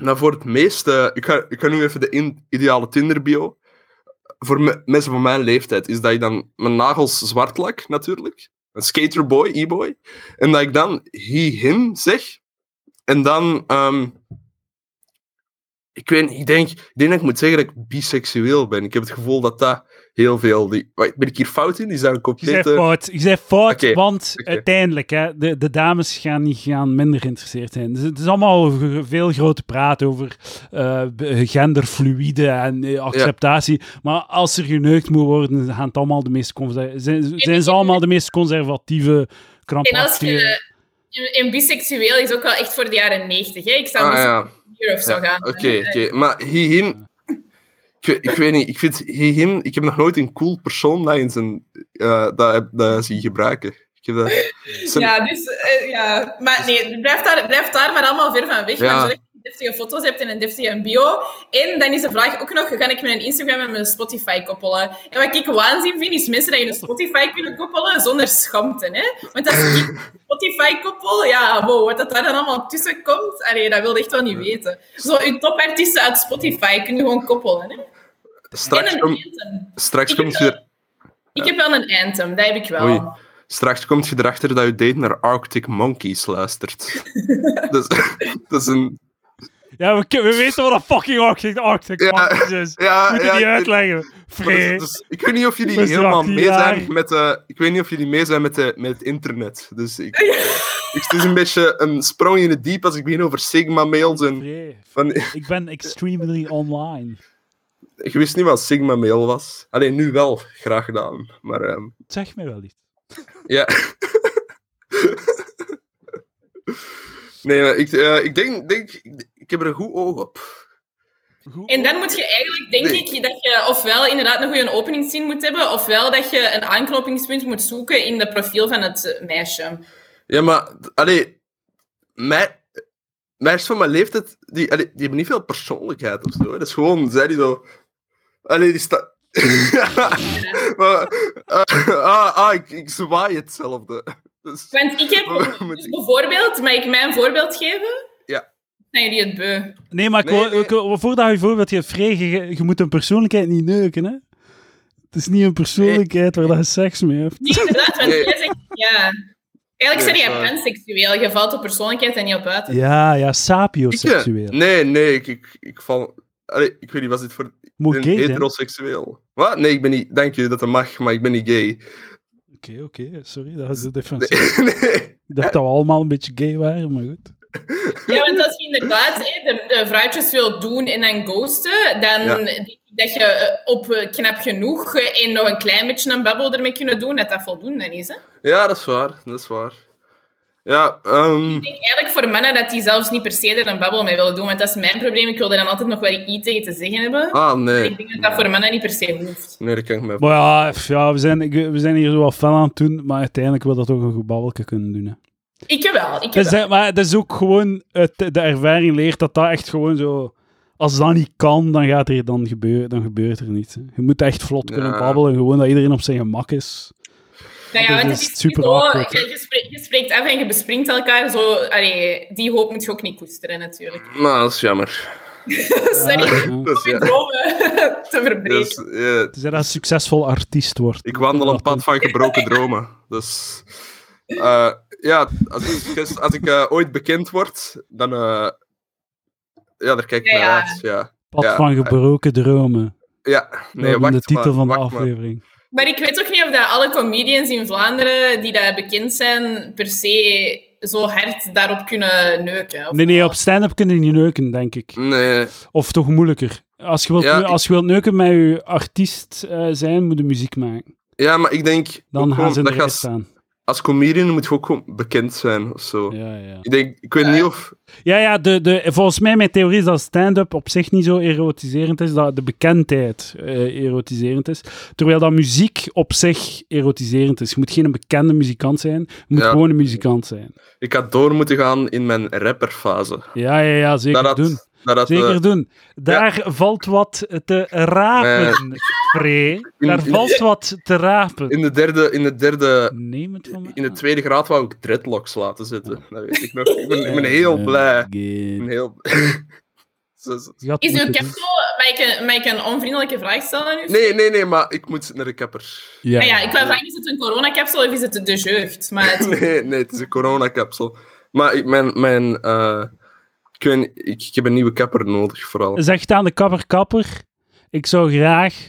Speaker 3: dat voor het meeste... Ik ga, ik ga nu even de in- ideale Tinder-bio. Voor me- mensen van mijn leeftijd is dat ik dan mijn nagels zwart lak, natuurlijk. Een skaterboy, e-boy. En dat ik dan he, him zeg. En dan... ehm, ik, weet, niet, ik, denk, ik denk dat ik moet zeggen dat ik biseksueel ben. Ik heb het gevoel dat dat heel veel... Die, Wait, ben ik hier fout in? Is dat een
Speaker 1: Je zei
Speaker 3: complete...
Speaker 1: fout, je zei fout
Speaker 3: Oké,
Speaker 1: want
Speaker 3: oké.
Speaker 1: uiteindelijk, hè, de, de dames gaan, niet, gaan minder geïnteresseerd zijn. Dus het is allemaal over veel grote praat over eh, b- genderfluïde en eh, acceptatie. Maar als er geneukt moet worden, gaan het allemaal de meest conser- zijn, zijn ze allemaal de meest conservatieve,
Speaker 2: En als
Speaker 1: krampachtige...
Speaker 2: je... En, en biseksueel is ook wel echt voor de jaren 90. Hè? Ik zou
Speaker 3: Ah,
Speaker 2: misschien
Speaker 3: ja.
Speaker 2: hier of zo
Speaker 3: Ja,
Speaker 2: gaan.
Speaker 3: Oké, oké. Maar Hihim... Ik, weet- ik weet niet, ik vind Hihim... Ik heb nog nooit een cool persoon dat in zijn... eh, dat, heb- dat zien gebruiken. Ik heb dat... zijn-
Speaker 2: Ja, dus, eh, ja. Maar nee, blijf daar, blijf daar maar allemaal ver van weg.
Speaker 3: Dus- Ja.
Speaker 2: Maar zodat je deftige foto's hebt en een deftige bio. En dan is de vraag ook nog, kan ik mijn Instagram en mijn Spotify koppelen? En wat ik waanzin vind, is mensen dat je een Spotify kunnen koppelen zonder schaamte. Hè? Want als ik een Spotify koppel, ja, wow, wat dat daar dan allemaal tussen komt, allee, dat wil je echt wel niet weten. Zo, je topartiesten uit Spotify kun je gewoon koppelen. Hè?
Speaker 3: Straks,
Speaker 2: en
Speaker 3: kom,
Speaker 2: een anthem.
Speaker 3: straks,
Speaker 2: Ik
Speaker 3: komt
Speaker 2: heb-
Speaker 3: je,
Speaker 2: Ik heb wel een anthem, dat heb ik wel.
Speaker 3: Oei. straks komt je erachter dat je date naar Arctic Monkeys luistert. dat, is, dat is een...
Speaker 1: Ja, we, ken- we weten wat een fucking Arctic, Arctic
Speaker 3: Ja,
Speaker 1: Monkeys is.
Speaker 3: Ja,
Speaker 1: Moet je
Speaker 3: ja,
Speaker 1: die
Speaker 3: ik-
Speaker 1: uitleggen?
Speaker 3: Maar dus-
Speaker 1: Vrij.
Speaker 3: dus ik weet niet of jullie
Speaker 1: We zijn
Speaker 3: helemaal mee zijn
Speaker 1: raar.
Speaker 3: met, de, ik weet niet of jullie mee zijn met, de, met het internet. Dus ik, ik, het is een beetje een sprong in het diep als ik begin over Sigma-mails. En
Speaker 1: Vrij.
Speaker 3: van,
Speaker 1: Ik ben extremely online.
Speaker 3: ik wist niet wat Sigma-mail was. Alleen nu wel, graag gedaan. Maar ehm,
Speaker 1: Zeg mij wel iets.
Speaker 3: ja. nee, maar ik, eh, ik denk, denk, ik heb er een goed oog op.
Speaker 1: Goed.
Speaker 2: En dan moet je eigenlijk, denk
Speaker 3: Nee.
Speaker 2: ik, dat je ofwel inderdaad een goede openingszin moet hebben, ofwel dat je een aanknopingspunt moet zoeken in het profiel van het eh, meisje.
Speaker 3: Ja, maar, allee, mij, meisjes van mijn leeftijd, die, allee, die hebben niet veel persoonlijkheid of zo. hè. Dat is gewoon, zij die zo. Allee, die staat. maar, eh, ah, ah, ik, ik zwaai hetzelfde. Dus,
Speaker 2: Want ik heb
Speaker 3: Moet
Speaker 2: dus
Speaker 3: ik-
Speaker 2: bijvoorbeeld, mag ik mij een voorbeeld geven?
Speaker 3: Ja.
Speaker 2: Zijn jullie het beu?
Speaker 1: Nee, maar ik
Speaker 3: Nee,
Speaker 1: wou-
Speaker 3: nee.
Speaker 1: ik wou- voordat je voorbeeld je vrij, je, je moet een persoonlijkheid niet neuken, hè? Het is niet een persoonlijkheid waar dat je seks mee hebt.
Speaker 2: Nee, inderdaad, want
Speaker 3: Nee.
Speaker 2: jij zegt ja. Eigenlijk
Speaker 3: Nee,
Speaker 2: zeg jij
Speaker 3: sorry.
Speaker 2: panseksueel, je valt op persoonlijkheid en niet op buiten.
Speaker 1: Ja, ja,
Speaker 3: Ik, eh,
Speaker 1: sapioseksueel.
Speaker 3: Nee, nee, ik, ik, ik val. Allee, ik weet niet, was dit voor
Speaker 1: Moet
Speaker 3: eh,
Speaker 1: gay
Speaker 3: een
Speaker 1: zijn? Oké,
Speaker 3: heteroseksueel? Wat? Nee, ik ben niet. Dank je dat dat mag, maar ik ben niet gay.
Speaker 1: oké, sorry, dat was de defensie.
Speaker 3: Nee, nee.
Speaker 1: Ik dacht dat we allemaal een beetje gay waren, maar goed.
Speaker 2: Ja, want als je inderdaad hè, de, de vrouwtjes wil doen en dan ghosten, dan
Speaker 3: Ja.
Speaker 2: denk ik dat je eh, op eh, knap genoeg eh, en nog een klein beetje een babbel ermee kunnen doen, dat dat voldoende is. Hè?
Speaker 3: Ja, dat is waar. Dat is waar. Ja, ehm.
Speaker 2: Ik denk eigenlijk voor mannen dat die zelfs niet per se er een babbel mee willen doen, want dat is mijn probleem. Ik wil er dan altijd nog wel iets tegen te zeggen hebben.
Speaker 3: Ah, nee.
Speaker 2: Ik denk dat dat voor mannen niet per se hoeft.
Speaker 3: Nee, dat kan ik me
Speaker 1: Maar ja, f- ja we, zijn, ik- we zijn hier zo wat fel aan het doen, maar uiteindelijk wil dat ook een goed babbelke kunnen doen. Hè.
Speaker 2: Ik wel, ik
Speaker 1: Dat
Speaker 2: wel.
Speaker 1: is, Dus, maar het is ook gewoon, het, de ervaring leert dat dat echt gewoon zo... Als dat niet kan, dan, gaat er, dan, gebeur, dan gebeurt er niets. hè. Je moet echt vlot kunnen
Speaker 3: Ja.
Speaker 1: babbelen, gewoon dat iedereen op zijn gemak is.
Speaker 2: Nou ja,
Speaker 1: Dat
Speaker 2: want
Speaker 1: is
Speaker 2: het is
Speaker 1: super
Speaker 2: niet zo-
Speaker 1: awkward, hè.
Speaker 2: je, je spreekt, je spreekt af en je bespringt elkaar. Zo, allee, die hoop moet je ook niet koesteren, natuurlijk.
Speaker 3: Nou, dat is jammer.
Speaker 2: Sorry, ik
Speaker 1: Ja.
Speaker 3: Dat is, ja,
Speaker 2: dromen te verbreken.
Speaker 3: dat is, eh,
Speaker 1: Tenzij dat een succesvol artiest wordt.
Speaker 3: ik wandel een pad van gebroken dromen. Dus eh, ja, als ik, gis- als ik eh, ooit bekend word, dan. eh, ja, daar kijk ik
Speaker 2: Ja,
Speaker 3: naar
Speaker 2: ja.
Speaker 3: uit. Ja,
Speaker 1: Pad
Speaker 3: Ja.
Speaker 1: van gebroken dromen.
Speaker 3: ja.
Speaker 1: Dat
Speaker 3: nee,
Speaker 1: is
Speaker 3: wacht
Speaker 1: de titel
Speaker 3: maar,
Speaker 1: van de
Speaker 3: wacht maar.
Speaker 1: aflevering.
Speaker 2: Maar ik weet ook niet of dat alle comedians in Vlaanderen die daar bekend zijn, per se zo hard daarop kunnen neuken. Of
Speaker 1: Nee, nee,
Speaker 2: wel?
Speaker 1: op stand-up kun je niet neuken, denk ik.
Speaker 3: Nee,
Speaker 1: Of toch moeilijker. Als je wilt,
Speaker 3: Hm. Ja,
Speaker 1: neu-
Speaker 3: ik-
Speaker 1: als je wilt neuken met je artiest eh, zijn, moet je muziek maken.
Speaker 3: ja, maar ik denk.
Speaker 1: Dan
Speaker 3: ook
Speaker 1: gaan
Speaker 3: gewoon,
Speaker 1: ze in de
Speaker 3: dat je
Speaker 1: rij
Speaker 3: als,
Speaker 1: staan.
Speaker 3: als comedian moet je ook gewoon bekend zijn of zo.
Speaker 1: Ja, ja.
Speaker 3: Ik denk, ik weet niet of.
Speaker 1: Ja, ja de, de, volgens mij mijn theorie is dat stand-up op zich niet zo erotiserend is, dat de bekendheid eh, erotiserend is. Terwijl dat muziek op zich erotiserend is. Je moet geen bekende muzikant zijn, je moet
Speaker 3: Ja.
Speaker 1: gewoon een muzikant zijn.
Speaker 3: Ik had door moeten gaan in mijn rapperfase.
Speaker 1: Ja, ja, ja zeker
Speaker 3: Dat had,
Speaker 1: doen.
Speaker 3: dat had, eh,
Speaker 1: Zeker doen. Daar valt wat te rapen, Free. Daar
Speaker 3: in-
Speaker 1: valt wat te rapen.
Speaker 3: in, de derde, in de derde
Speaker 1: Neem het van mij.
Speaker 3: In de
Speaker 1: aan.
Speaker 3: tweede graad wou ik dreadlocks laten zitten. Dat weet ik nog. Ik ben, ik ben heel
Speaker 1: Eh,
Speaker 3: blij. Ik ben
Speaker 1: Je
Speaker 3: heel... Zo- zo-
Speaker 1: had
Speaker 2: Is uw
Speaker 1: moeten
Speaker 2: kapsel... Mag ik, een, mag ik een onvriendelijke vraag stellen aan u?
Speaker 3: Nee, nee, nee, maar ik moet naar de kapper.
Speaker 1: doen.
Speaker 2: Ah ja, ik wil vragen, is het een coronacapsel of is het de jeugd? Maar het-
Speaker 3: Nee, nee, het is een coronacapsel. Maar ik, mijn... mijn eh, ik, weet niet, ik, ik heb een nieuwe kapper nodig, vooral.
Speaker 1: Zegt aan de kapper kapper, ik zou graag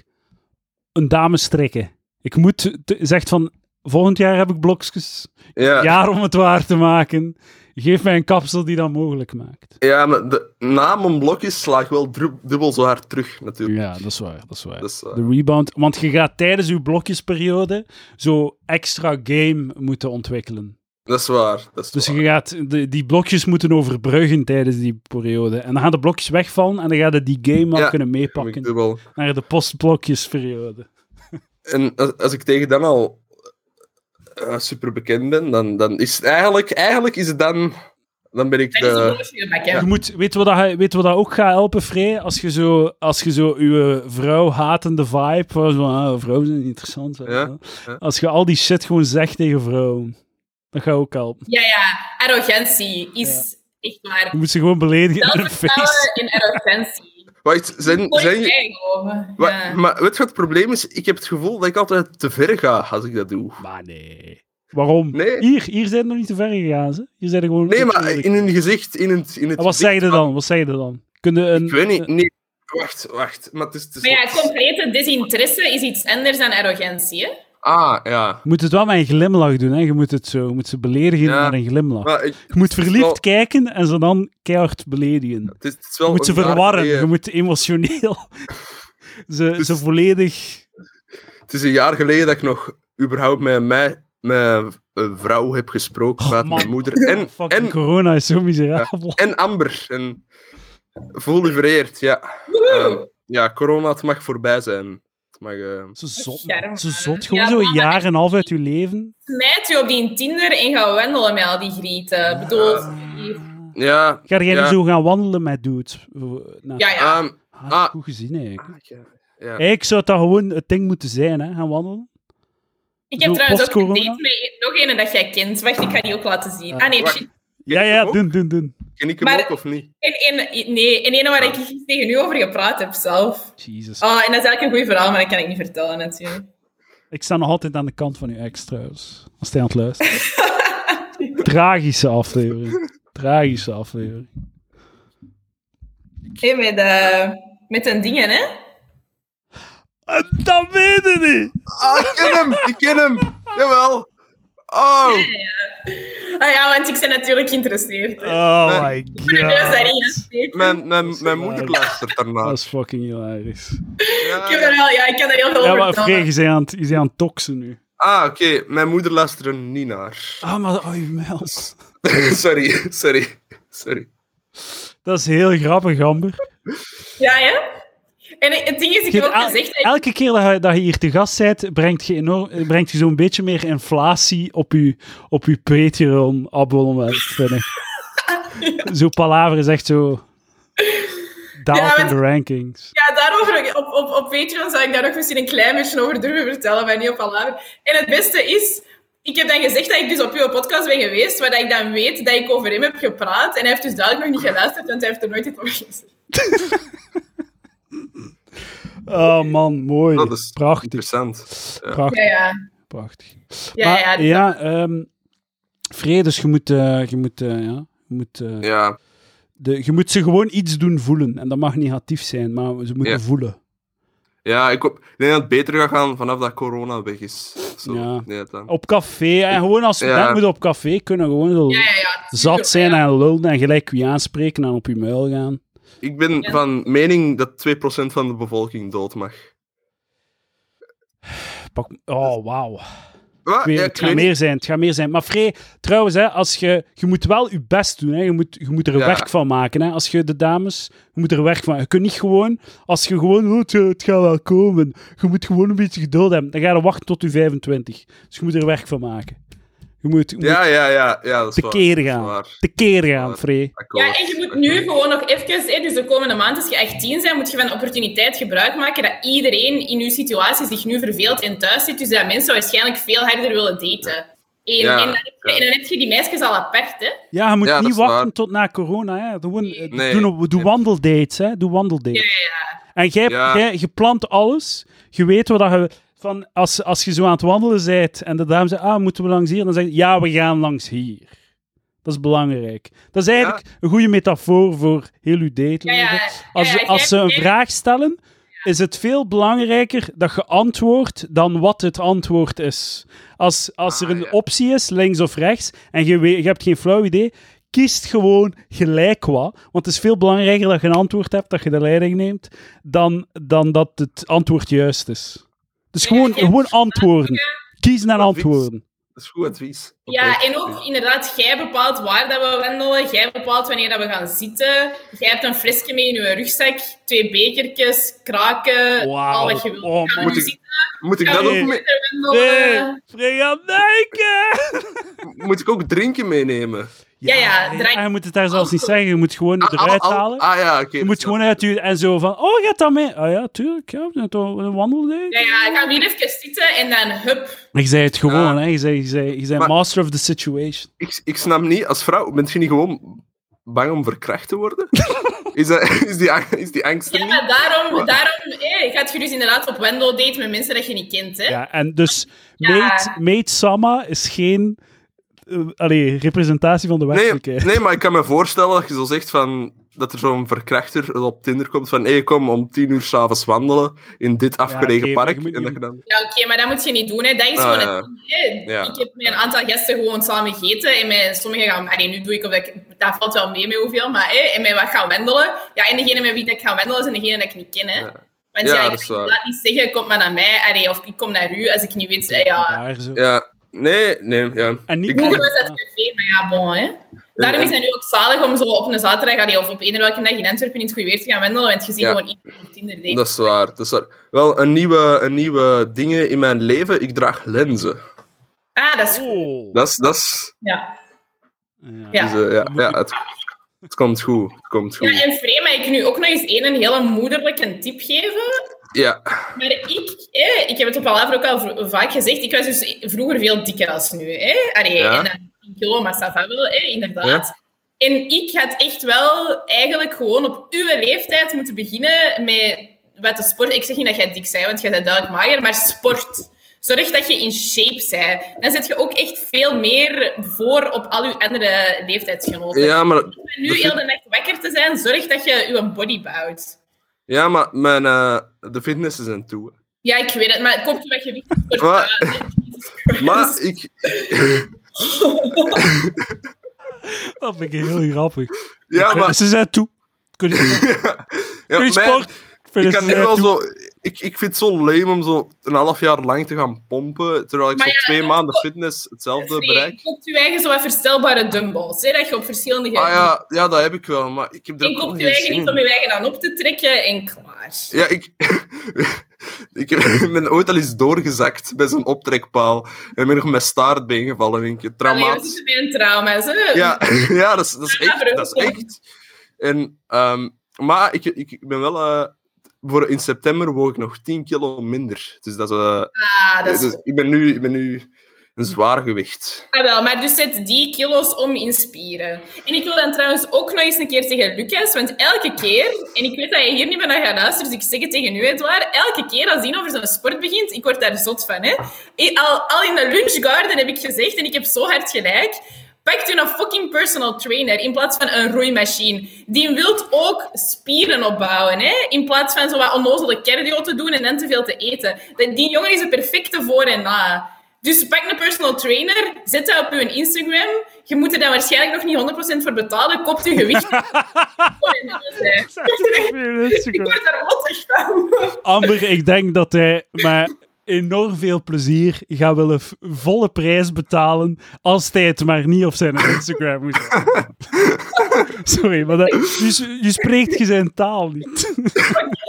Speaker 1: een dame strikken. Ik moet, te- zegt van, volgend jaar heb ik blokjes,
Speaker 3: Ja, ja.
Speaker 1: jaar om het waar te maken. Geef mij een kapsel die dat mogelijk maakt.
Speaker 3: maar de, na mijn blokjes sla ik wel dru- dubbel zo hard terug, natuurlijk.
Speaker 1: Ja, dat is waar, dat is waar.
Speaker 3: Dus, eh,
Speaker 1: De rebound, want je gaat tijdens je blokjesperiode zo extra game moeten ontwikkelen.
Speaker 3: dat is waar. Dat is
Speaker 1: Dus
Speaker 3: waar.
Speaker 1: je gaat, de- die blokjes moeten overbruggen tijdens die periode. En dan gaan de blokjes wegvallen en dan ga je die game al
Speaker 3: Ja,
Speaker 1: kunnen
Speaker 3: Dan heb ik
Speaker 1: meepakken
Speaker 3: dubbel.
Speaker 1: naar de postblokjesperiode.
Speaker 3: En als, als ik tegen dan al eh, super bekend ben, dan, dan is het eigenlijk, eigenlijk is het dan, dan ben ik
Speaker 2: dat is een
Speaker 3: de.
Speaker 2: bullshit bakken.
Speaker 1: Je moet, weet wat dat, weet wat dat ook gaat helpen, Frey? Als je zo, als je zo je vrouw hatende vibe, van zo, ah, vrouwen zijn interessant. weet je
Speaker 3: Ja,
Speaker 1: wel.
Speaker 3: ja.
Speaker 1: Als je al die shit gewoon zegt tegen vrouwen, dat gaat ook helpen.
Speaker 2: Ja, ja, arrogantie is echt waar.
Speaker 1: Je moet ze gewoon beledigen in hun face.
Speaker 2: Zelfvertrouwen en arrogantie.
Speaker 3: Wacht, zijn,
Speaker 2: Voor
Speaker 3: zijn,
Speaker 2: mij geloven.
Speaker 3: wa-
Speaker 2: Ja.
Speaker 3: maar weet je wat het probleem is? Ik heb het gevoel dat ik altijd te ver ga als ik dat doe.
Speaker 1: Maar nee. Waarom?
Speaker 3: Nee.
Speaker 1: Hier, hier zijn we nog niet te ver gegaan. Ze. Hier zijn er gewoon.
Speaker 3: Nee, maar in hun gezicht, in het. In het
Speaker 1: En wat
Speaker 3: gezicht
Speaker 1: zei je
Speaker 3: van-
Speaker 1: dan? Wat zei je dan? Kunnen een,
Speaker 3: Ik weet niet. Nee, Wacht, wacht. Maar het is, het is
Speaker 2: Maar ja, complete desinteresse is iets anders dan arrogantie. Hè?
Speaker 3: Ah, ja.
Speaker 1: Je moet het wel met een glimlach doen, hè. Je moet het zo, je moet ze beledigen
Speaker 3: Ja.
Speaker 1: met een glimlach.
Speaker 3: Maar ik,
Speaker 1: Je moet
Speaker 3: het is
Speaker 1: verliefd
Speaker 3: wel-
Speaker 1: kijken en ze dan keihard beledigen.
Speaker 3: Het is, het is wel
Speaker 1: Je moet ze
Speaker 3: een jaar
Speaker 1: verwarren,
Speaker 3: geleden-
Speaker 1: je moet emotioneel ze, ze
Speaker 3: Dus-
Speaker 1: volledig...
Speaker 3: Het is een jaar geleden dat ik nog überhaupt met, mij, met een vrouw heb gesproken,
Speaker 1: Oh,
Speaker 3: met
Speaker 1: man.
Speaker 3: mijn moeder. En,
Speaker 1: Fucking
Speaker 3: en,
Speaker 1: corona is zo miserabel.
Speaker 3: en Amber. En voel u vereerd, ja.
Speaker 2: Woehoe!
Speaker 3: Ehm, ja, corona, het mag voorbij zijn. Het mag... eh,
Speaker 1: Ze zot,
Speaker 2: Scherm.
Speaker 1: ze zot. Gewoon
Speaker 2: Ja,
Speaker 1: zo een
Speaker 2: maar-
Speaker 1: jaar en een half uit je leven.
Speaker 2: Smijt je op die Tinder en ga wandelen met al die grieten. Ik bedoel,
Speaker 3: ja,
Speaker 1: Ah. Ga jij nu
Speaker 3: Ja.
Speaker 1: zo gaan wandelen met dude? Nou,
Speaker 2: ja, ja.
Speaker 3: ehm,
Speaker 1: ah,
Speaker 3: ah.
Speaker 1: Goed gezien, eigenlijk.
Speaker 3: ja.
Speaker 1: Ik zou dat gewoon het ding moeten zijn, hè? Gaan wandelen.
Speaker 2: Ik heb
Speaker 1: zo
Speaker 2: trouwens ook een
Speaker 1: post-corona?
Speaker 2: date met e- nog een dat jij kent. Wacht, ik ga die ook laten zien.
Speaker 1: Ja.
Speaker 2: Ah nee,
Speaker 3: Wacht.
Speaker 2: shit.
Speaker 1: Ja,
Speaker 3: Ken ik
Speaker 1: ja,
Speaker 3: hem ook?
Speaker 1: doen, doen, doen.
Speaker 3: Ken ik hem
Speaker 2: Maar-
Speaker 3: ook of niet?
Speaker 2: En, en, nee, en ene waar ik tegen u over gepraat heb zelf.
Speaker 1: Jezus.
Speaker 3: Ah.
Speaker 2: Oh, en dat is eigenlijk een goed verhaal, maar dat kan ik niet vertellen natuurlijk.
Speaker 1: Ik sta nog altijd aan de kant van uw ex, trouwens. Als hij aan het luisteren is. Tragische aflevering. Tragische aflevering.
Speaker 2: Hé, met, eh, met een dingen, hè?
Speaker 1: En Ah, dat weet ik niet!
Speaker 3: Ah, ik ken hem! Ik ken hem! Jawel! Oh!
Speaker 2: Ah ja, want ik ben natuurlijk geïnteresseerd. hè.
Speaker 1: Oh my
Speaker 2: De neus daarin
Speaker 1: god.
Speaker 2: steken.
Speaker 3: Mijn, mijn,
Speaker 1: is
Speaker 3: mijn
Speaker 1: waar.
Speaker 3: moeder luistert daarna.
Speaker 1: Dat is fucking hilarisch.
Speaker 2: Ik heb er wel, ja, ik kan er heel veel
Speaker 1: Ja,
Speaker 2: over
Speaker 1: maar
Speaker 2: vertellen.
Speaker 1: Freek, je bent aan het- je bent aan het toxen nu.
Speaker 3: Ah, oké. Mijn moeder luistert er niet naar.
Speaker 1: Ah, maar oh, je meld.
Speaker 3: sorry, sorry, sorry.
Speaker 1: Dat is heel grappig, Amber.
Speaker 2: Ja, ja. En het ding is,
Speaker 1: Je
Speaker 2: ik heb
Speaker 1: hebt
Speaker 2: ook
Speaker 1: el-
Speaker 2: gezegd... dat ik-
Speaker 1: elke keer dat je, dat je hier te gast bent, brengt je, enorm, eh, brengt je zo'n beetje meer inflatie op je, op je Patreon-abonnement. vind ik. Zo'n palaver is echt zo... Daalt
Speaker 2: Ja,
Speaker 1: in
Speaker 2: want-
Speaker 1: de rankings.
Speaker 2: Ja, daarover, op, op, op Patreon zou ik daar nog misschien een klein beetje over durven vertellen, maar niet op Palaver. En het beste is, ik heb dan gezegd dat ik dus op jouw podcast ben geweest, waar dat ik dan weet dat ik over hem heb gepraat. En hij heeft dus duidelijk nog niet geluisterd, want hij heeft er nooit iets over gezegd.
Speaker 1: Oh man, mooi.
Speaker 3: Dat is
Speaker 1: prachtig,
Speaker 3: interessant.
Speaker 2: Ja,
Speaker 1: prachtig,
Speaker 2: ja.
Speaker 1: prachtig.
Speaker 2: Ja,
Speaker 1: Maar,
Speaker 2: ja, dat-
Speaker 1: ja ehm, Free, dus je moet... eh, je moet, eh, ja, je moet eh,
Speaker 3: Ja,
Speaker 1: de, je moet ze gewoon iets doen voelen. En dat mag negatief zijn, maar ze moeten
Speaker 3: Ja.
Speaker 1: voelen.
Speaker 3: ja ik, hoop, ik denk dat het beter gaat gaan vanaf dat corona weg is. Zo.
Speaker 1: Ja. Oh.
Speaker 3: Nee, dan.
Speaker 1: Op café, en gewoon als we
Speaker 3: Ja.
Speaker 1: moet op café kunnen, gewoon zo
Speaker 2: ja, ja, ja.
Speaker 1: zat zijn en lullen en gelijk wie aanspreken en op je muil gaan.
Speaker 3: Ik ben
Speaker 2: Ja.
Speaker 3: van mening dat 2% van de bevolking dood mag.
Speaker 1: Pak, oh, wauw.
Speaker 3: Wat?
Speaker 1: Ik weet-
Speaker 3: Ja, ik
Speaker 1: het gaat
Speaker 3: weet niet.
Speaker 1: meer zijn, het gaat meer zijn. Maar Free, trouwens, hè, als je, je moet wel je best doen. Hè. Je, moet, je moet er
Speaker 3: Ja.
Speaker 1: werk van maken. Hè. Als je de dames, je moet er werk van Je kunt niet gewoon, als je gewoon, oh, het, het gaat wel komen. Je moet gewoon een beetje geduld hebben. Dan ga je wachten tot je 25. Dus je moet er werk van maken. Je moet, je moet
Speaker 3: Ja, ja, ja, ja, dat is waar.
Speaker 1: tekeer
Speaker 3: dat is
Speaker 1: gaan.
Speaker 3: waar.
Speaker 1: tekeer gaan, Free.
Speaker 3: Akkoord,
Speaker 2: Ja, en je moet
Speaker 3: akkoord.
Speaker 2: nu gewoon nog even, hè, dus de komende maand, als je 18 bent, moet je van de opportuniteit gebruik maken dat iedereen in uw situatie zich nu verveelt en thuis zit. Dus dat mensen waarschijnlijk veel harder willen daten. En,
Speaker 3: Ja,
Speaker 2: en, dan, heb je,
Speaker 3: ja.
Speaker 2: en dan heb je die meisjes al apart, hè?
Speaker 1: Ja, je moet
Speaker 3: Ja, dat
Speaker 1: niet
Speaker 3: is waar.
Speaker 1: wachten tot na corona. Hè. Gewoon, eh,
Speaker 3: Nee.
Speaker 1: doe, doe
Speaker 3: Nee.
Speaker 1: wandeldates. Hè. Doe wandeldates. En jij,
Speaker 3: Ja.
Speaker 1: jij, je plant alles. Je weet wat dat je... Van als, als je zo aan het wandelen bent en de dame zegt, ah, moeten we langs hier? Dan zeg je, ja, we gaan langs hier. Dat is belangrijk. Dat is eigenlijk een goede metafoor voor heel uw
Speaker 2: Ja,
Speaker 1: dateleven.
Speaker 2: ja, ja,
Speaker 1: Als,
Speaker 2: ja,
Speaker 1: als
Speaker 2: jij-
Speaker 1: ze een
Speaker 2: jij-
Speaker 1: vraag stellen, is het veel belangrijker dat je antwoordt dan wat het antwoord is. Als, als er
Speaker 3: Ah,
Speaker 1: een
Speaker 3: ja.
Speaker 1: optie is, links of rechts, en je, weet- je hebt geen flauw idee, kiest gewoon gelijk wat. Want het is veel belangrijker dat je een antwoord hebt, dat je de leiding neemt, dan, dan dat het antwoord juist is. Dus gewoon,
Speaker 2: ja.
Speaker 1: gewoon antwoorden. Kiezen en
Speaker 3: Wat is-
Speaker 1: antwoorden.
Speaker 3: Dat is goed advies.
Speaker 2: Ja,
Speaker 3: Oké.
Speaker 2: en ook inderdaad, jij bepaalt waar dat we wandelen, jij bepaalt wanneer dat we gaan zitten. Jij hebt een flesje mee in je rugzak, twee bekertjes, kraken, al
Speaker 1: Wauw.
Speaker 2: wat je wilt.
Speaker 1: Oh,
Speaker 2: Gaan we
Speaker 3: moet ik-
Speaker 2: zitten,
Speaker 3: Moet ik
Speaker 2: gaan
Speaker 3: dat
Speaker 2: we
Speaker 1: Nee.
Speaker 3: ook mee-
Speaker 2: zitten wandelen?
Speaker 1: Nee, Frigandijken!
Speaker 3: Moet ik ook drinken meenemen?
Speaker 2: Ja, ja, drank.
Speaker 1: Ah, je moet het daar zelfs niet zeggen. Je moet gewoon het
Speaker 3: Ah,
Speaker 1: eruit
Speaker 3: al- al-
Speaker 1: halen.
Speaker 3: Ah ja, oké.
Speaker 1: Je moet gewoon uit je... En zo van, oh, gaat dat mee? Ah ja, tuurlijk, ja. we zijn toch Een wandeldate.
Speaker 2: Ja, ja, gaan we hier even zitten en dan hup.
Speaker 1: Maar je zei het gewoon,
Speaker 3: Ja.
Speaker 1: hè. Je zei, je zei, je zei
Speaker 3: Maar-
Speaker 1: master of the situation.
Speaker 3: ik, ik snap niet, als vrouw, bent je niet gewoon bang om verkracht te worden? is, dat, is, die, ang- is die angst er
Speaker 2: Ja,
Speaker 3: niet?
Speaker 2: maar daarom, daarom eh, gaat je dus inderdaad op Wendel date met mensen dat je niet kent. Hè?
Speaker 1: Ja, en dus
Speaker 2: Ja.
Speaker 1: Maid, Maid Sama is geen eh, allee, representatie van de
Speaker 3: Nee,
Speaker 1: werkelijkheid.
Speaker 3: nee, maar ik kan me voorstellen dat je zo zegt van... dat er zo'n verkrachter op Tinder komt van hé, hey, kom om tien uur s'avonds wandelen in dit afgelegen
Speaker 1: oké, maar
Speaker 3: park.
Speaker 1: je moet
Speaker 3: En dat
Speaker 1: niet-
Speaker 3: je dan...
Speaker 2: Ja, oké, maar dat moet je niet doen. Hè. Dat is
Speaker 3: Ah,
Speaker 2: gewoon
Speaker 3: ja.
Speaker 2: het ding, hè.
Speaker 3: Ja.
Speaker 2: Ik heb met een aantal gasten gewoon samen gegeten. En met sommigen gaan... Allee, nu doe ik of dat... ik- Dat valt wel mee met hoeveel, maar... Hè, en met wat gaan wandelen. Ja, en degene met wie dat ik ga wandelen, zijn degene dat ik niet ken. Hè. Want
Speaker 3: Ja,
Speaker 2: ja,
Speaker 3: dat
Speaker 2: ik
Speaker 3: is
Speaker 2: kan
Speaker 3: waar.
Speaker 2: inderdaad niet zeggen, kom maar naar mij. Allee, of ik kom naar u, als ik niet weet... eh, ja.
Speaker 1: Daar zo.
Speaker 3: Ja, nee, nee, ja.
Speaker 1: En niet
Speaker 3: Ik-
Speaker 1: met-
Speaker 2: Vroeger was dat café, maar ja, bon, hè. Daarom is het nu ook zalig om zo op een zaterdag allee, of op een welke dag in Antwerpen in het goede weer te gaan wandelen, want je ziet
Speaker 3: Ja.
Speaker 2: gewoon iedereen op Tinder daten.
Speaker 3: Dat is waar, dat is waar. Wel, een nieuwe, een nieuwe dingen in mijn leven. Ik draag lenzen.
Speaker 2: Ah, dat is goed.
Speaker 1: Oh.
Speaker 3: Dat is... Dat is
Speaker 2: Ja.
Speaker 1: Ja.
Speaker 2: Ja.
Speaker 3: dus, eh, ja, ja het, het komt goed. Het komt
Speaker 2: ja,
Speaker 3: goed.
Speaker 2: en Free, mag ik nu ook nog eens één een hele moederlijke tip geven?
Speaker 3: Ja,
Speaker 2: Maar ik, eh, ik heb het op Palaver ook al vro- vaak gezegd, ik was dus vroeger veel dikker als nu. Hè? Allee,
Speaker 3: Ja.
Speaker 2: en dan 10 kilo, maar ça va wel, hè, inderdaad. En ik had echt wel eigenlijk gewoon op uw leeftijd moeten beginnen met wat de sport... Ik zeg niet dat jij dik bent, want jij bent duidelijk mager, maar sport. Zorg dat je in shape bent. Dan zet je ook echt veel meer voor op al je andere leeftijdsgenoten.
Speaker 3: ja, maar
Speaker 2: En nu
Speaker 3: dat vind-
Speaker 2: heel de nacht wakker te zijn, zorg dat je je body bouwt.
Speaker 3: Ja, maar mijn, eh, de fitness is een toe.
Speaker 2: Ja, ik weet het, maar het komt omdat je wicht wordt
Speaker 3: Maar-
Speaker 2: aan.
Speaker 3: Maar ik...
Speaker 1: Dat vind ik heel grappig.
Speaker 3: Ja, maar...
Speaker 1: Ze zijn toe. Kun je,
Speaker 3: ja,
Speaker 1: kun je
Speaker 3: mijn-
Speaker 1: sport? vind
Speaker 3: ik
Speaker 1: het
Speaker 3: kan nu
Speaker 1: zij
Speaker 3: wel
Speaker 1: toe.
Speaker 3: zo... Ik, ik vind het zo lame om zo een half jaar lang te gaan pompen, terwijl ik
Speaker 2: Maar
Speaker 3: zo
Speaker 2: ja,
Speaker 3: twee maanden fitness hetzelfde
Speaker 2: Nee,
Speaker 3: bereik.
Speaker 2: je koopt je eigen zo wat verstelbare dumbbells. Hè, dat je op verschillende...
Speaker 3: Ah ja, ja, dat heb ik wel, maar ik heb er
Speaker 2: en
Speaker 3: ook
Speaker 2: koopt
Speaker 3: nog
Speaker 2: je
Speaker 3: geen
Speaker 2: eigen
Speaker 3: zin
Speaker 2: niet om
Speaker 3: in.
Speaker 2: je eigen aan op te trekken en klaar.
Speaker 3: Ja, ik... ik heb- ik ben ooit al eens doorgezakt bij zo'n optrekpaal en ben nog met staartbeen gevallen, denk ik.
Speaker 2: Allee, we
Speaker 3: Traumatisch.
Speaker 2: zitten bij een trauma, hè.
Speaker 3: Ja, ja dat, is, dat is
Speaker 2: Ja, maar
Speaker 3: echt. Dat
Speaker 2: ook,
Speaker 3: is
Speaker 2: ja.
Speaker 3: echt. En, ehm, maar ik, ik ik ben wel. eh, voor in september woog ik nog 10 kilo minder. Dus dat is. eh,
Speaker 2: Ah, dat is
Speaker 3: dus
Speaker 2: goed.
Speaker 3: ik, ben nu, ik ben nu een zwaar gewicht.
Speaker 2: Ah, wel, maar dus zet die kilo's om in spieren. En ik wil dan trouwens ook nog eens een keer tegen Lucas, want elke keer, en ik weet dat je hier niet meer naar gaat luisteren, dus ik zeg het tegen u, Edouard, elke keer als Dino over zo'n sport begint, ik word daar zot van, hè. I- Al, al in de lunchgarden heb ik gezegd, en ik heb zo hard gelijk, pakt u een fucking personal trainer in plaats van een roeimachine. Die wilt ook spieren opbouwen, hè. In plaats van zo wat onnozele cardio te doen en dan te veel te eten. Die die jongen is een perfecte voor en na. Dus pak een personal trainer, zet dat op je Instagram. Je moet er dan waarschijnlijk nog niet 100% voor betalen. Kopt je gewicht.
Speaker 1: Zij doen op je
Speaker 2: Ik
Speaker 1: Instagram.
Speaker 2: word daar rottig van.
Speaker 1: Amber, ik denk dat hij met enorm veel plezier gaat willen v- volle prijs betalen als hij het maar niet op zijn Instagram moet zetten. Sorry, maar dat, je, s- je spreekt je zijn taal niet.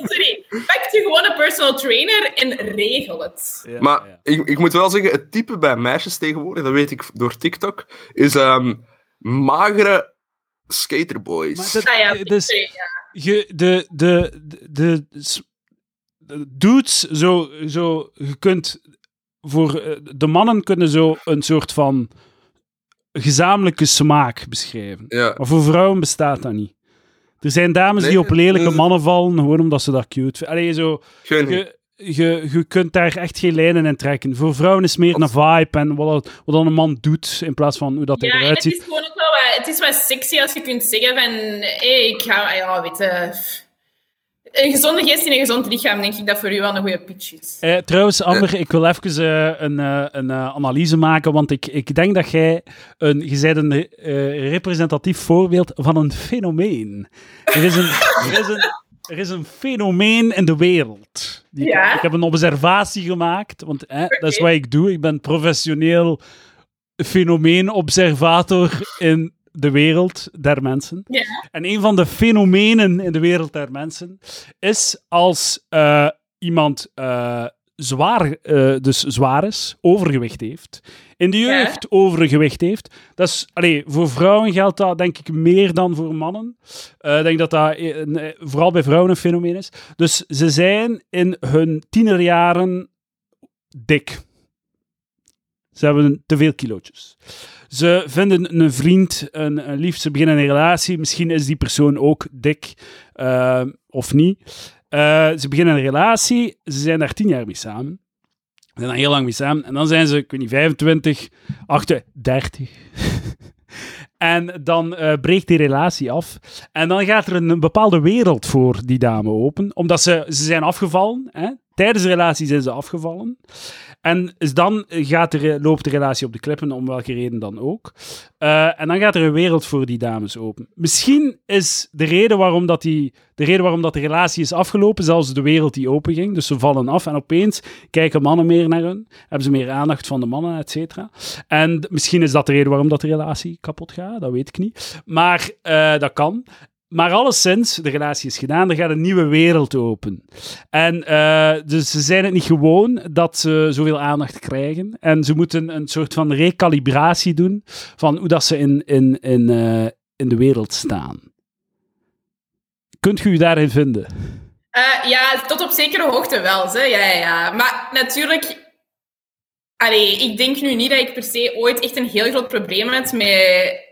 Speaker 2: Sorry. Pak je gewoon een personal trainer en regel het.
Speaker 3: maar Ik, ik moet wel zeggen, het type bij meisjes tegenwoordig, dat weet ik door TikTok, is ehm, magere
Speaker 1: Maar
Speaker 3: skaterboys.
Speaker 1: dat-
Speaker 2: Ah ja,
Speaker 1: Dus-
Speaker 2: sorry, ja.
Speaker 1: je, de, de, de, de, de dudes, zo, zo, je kunt voor eh, de mannen kunnen zo een soort van gezamenlijke smaak beschrijven.
Speaker 3: Ja.
Speaker 1: Maar voor vrouwen bestaat dat niet. Er zijn dames
Speaker 3: Nee,
Speaker 1: die op lelijke
Speaker 3: eh,
Speaker 1: mannen vallen gewoon omdat ze dat cute vinden. Allee, zo,
Speaker 3: Ik weet niet.
Speaker 1: je, je, je kunt daar echt geen lijnen in trekken. Voor vrouwen is meer een vibe en wat, dat- wat dan een man doet in plaats van hoe dat hij
Speaker 2: Ja, en
Speaker 1: eruit
Speaker 2: het
Speaker 1: ziet.
Speaker 2: is gewoon ook wel wat, het is wel sexy als je kunt zeggen van... Hey, ik ga... ah Ja, weet je... Een gezonde geest in een gezond lichaam, denk ik dat voor u wel een goede pitch is.
Speaker 1: Eh, trouwens, Amber, ik wil even eh, een, eh, een eh, analyse maken, want ik, ik denk dat jij een, je bent een eh, representatief voorbeeld van een fenomeen. Er is een, er is een, er is een fenomeen in de wereld. Die ik-
Speaker 2: Ja?
Speaker 1: Ik heb een observatie gemaakt, want eh, dat is
Speaker 2: Oké.
Speaker 1: wat ik doe. Ik ben professioneel fenomeenobservator in de wereld der mensen.
Speaker 2: Ja.
Speaker 1: En een van de fenomenen in de wereld der mensen is als eh, iemand eh, zwaar, eh, dus zwaar is, overgewicht heeft, in de
Speaker 2: Ja.
Speaker 1: jeugd overgewicht heeft. Dat is, allee, voor vrouwen geldt dat denk ik meer dan voor mannen. Eh, ik denk dat dat eh, een, eh, vooral bij vrouwen een fenomeen is. Dus ze zijn in hun tienerjaren dik. Ze hebben te veel kilootjes. Ze vinden een vriend, een, een lief, ze beginnen een relatie. Misschien is die persoon ook dik eh, of niet. Eh, ze beginnen een relatie, ze zijn daar tien jaar mee samen. Ze zijn daar heel lang mee samen. En dan zijn ze, ik weet niet, 25, 38, 30. En dan eh, breekt die relatie af. En dan gaat er een, een bepaalde wereld voor die dame open. Omdat ze, ze zijn afgevallen. Hè? Tijdens de relatie zijn ze afgevallen. En is dan eh, gaat de, re- loopt de relatie op de klippen, om welke reden dan ook. Eh, en dan gaat er een wereld voor die dames open. Misschien is de reden waarom, dat die, de, reden waarom dat de relatie is afgelopen, zelfs de wereld die open ging. Dus ze vallen af en opeens kijken mannen meer naar hun. Hebben ze meer aandacht van de mannen, et cetera. En d- misschien is dat de reden waarom dat de relatie kapot gaat, dat weet ik niet. Maar eh, dat kan. Maar alleszins, de relatie is gedaan, er gaat een nieuwe wereld open. En eh, dus ze zijn het niet gewoon dat ze zoveel aandacht krijgen. En ze moeten een soort van recalibratie doen van hoe dat ze in, in, in, eh, in de wereld staan. Kunt u u daarin vinden?
Speaker 2: Eh, ja, tot op zekere hoogte wel. Ze. Ja, ja, ja. Maar natuurlijk... Allee, ik denk nu niet dat ik per se ooit echt een heel groot probleem heb met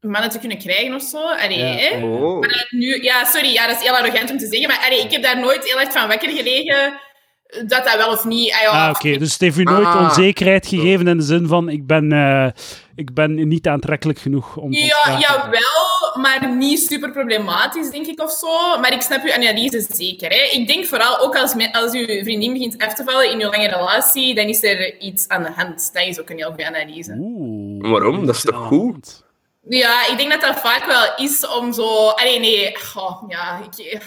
Speaker 2: mannen te kunnen krijgen of zo. Allee,
Speaker 1: Ja,
Speaker 2: hè?
Speaker 1: ja.
Speaker 3: Oh.
Speaker 2: nu, ja, sorry, ja, dat is heel arrogant om te zeggen, maar allee, ik heb daar nooit heel erg van wakker gelegen dat dat wel of niet... ah, ja,
Speaker 1: Ah, oké. Dus het heeft u nooit
Speaker 3: Ah.
Speaker 1: onzekerheid gegeven in de zin van ik ben, eh, ik ben niet aantrekkelijk genoeg om... om
Speaker 2: Ja,
Speaker 1: vragen te doen.
Speaker 2: jawel, maar niet super problematisch, denk ik, of zo. Maar ik snap uw analyse zeker. Hè. Ik denk vooral ook als, me- als uw vriendin begint af te vallen in uw lange relatie, dan is er iets aan de hand. Dat is ook een heel goede analyse.
Speaker 1: Oeh.
Speaker 3: Waarom? Dat is toch goed?
Speaker 2: Ja, ik denk dat dat vaak wel is om zo... Allee, nee, goh, ja, ik...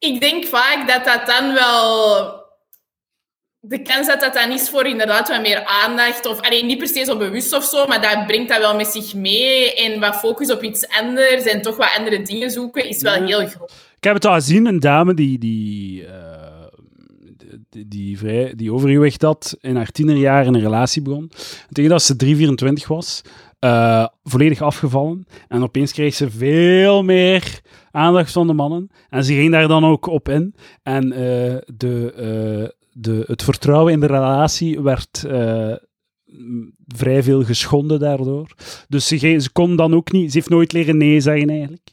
Speaker 2: Ik denk vaak dat dat dan wel... De kans dat dat dan is voor inderdaad wat meer aandacht, of alleen niet per se zo bewust of zo, maar dat brengt dat wel met zich mee. En wat focus op iets anders en toch wat andere dingen zoeken, is wel
Speaker 1: Ja.
Speaker 2: heel groot.
Speaker 1: Ik heb het al gezien, een dame die, die, eh, die, die, vrij, die overgewicht had, in haar tienerjaren een relatie begon. En Tegen dat ze 3,24 was, eh, volledig afgevallen. En opeens kreeg ze veel meer aandacht van de mannen. En ze ging daar dan ook op in. En eh, de, eh, de, het vertrouwen in de relatie werd... eh, m, vrij veel geschonden daardoor. Dus ze, ge- ze kon dan ook niet... Ze heeft nooit leren nee zeggen, eigenlijk.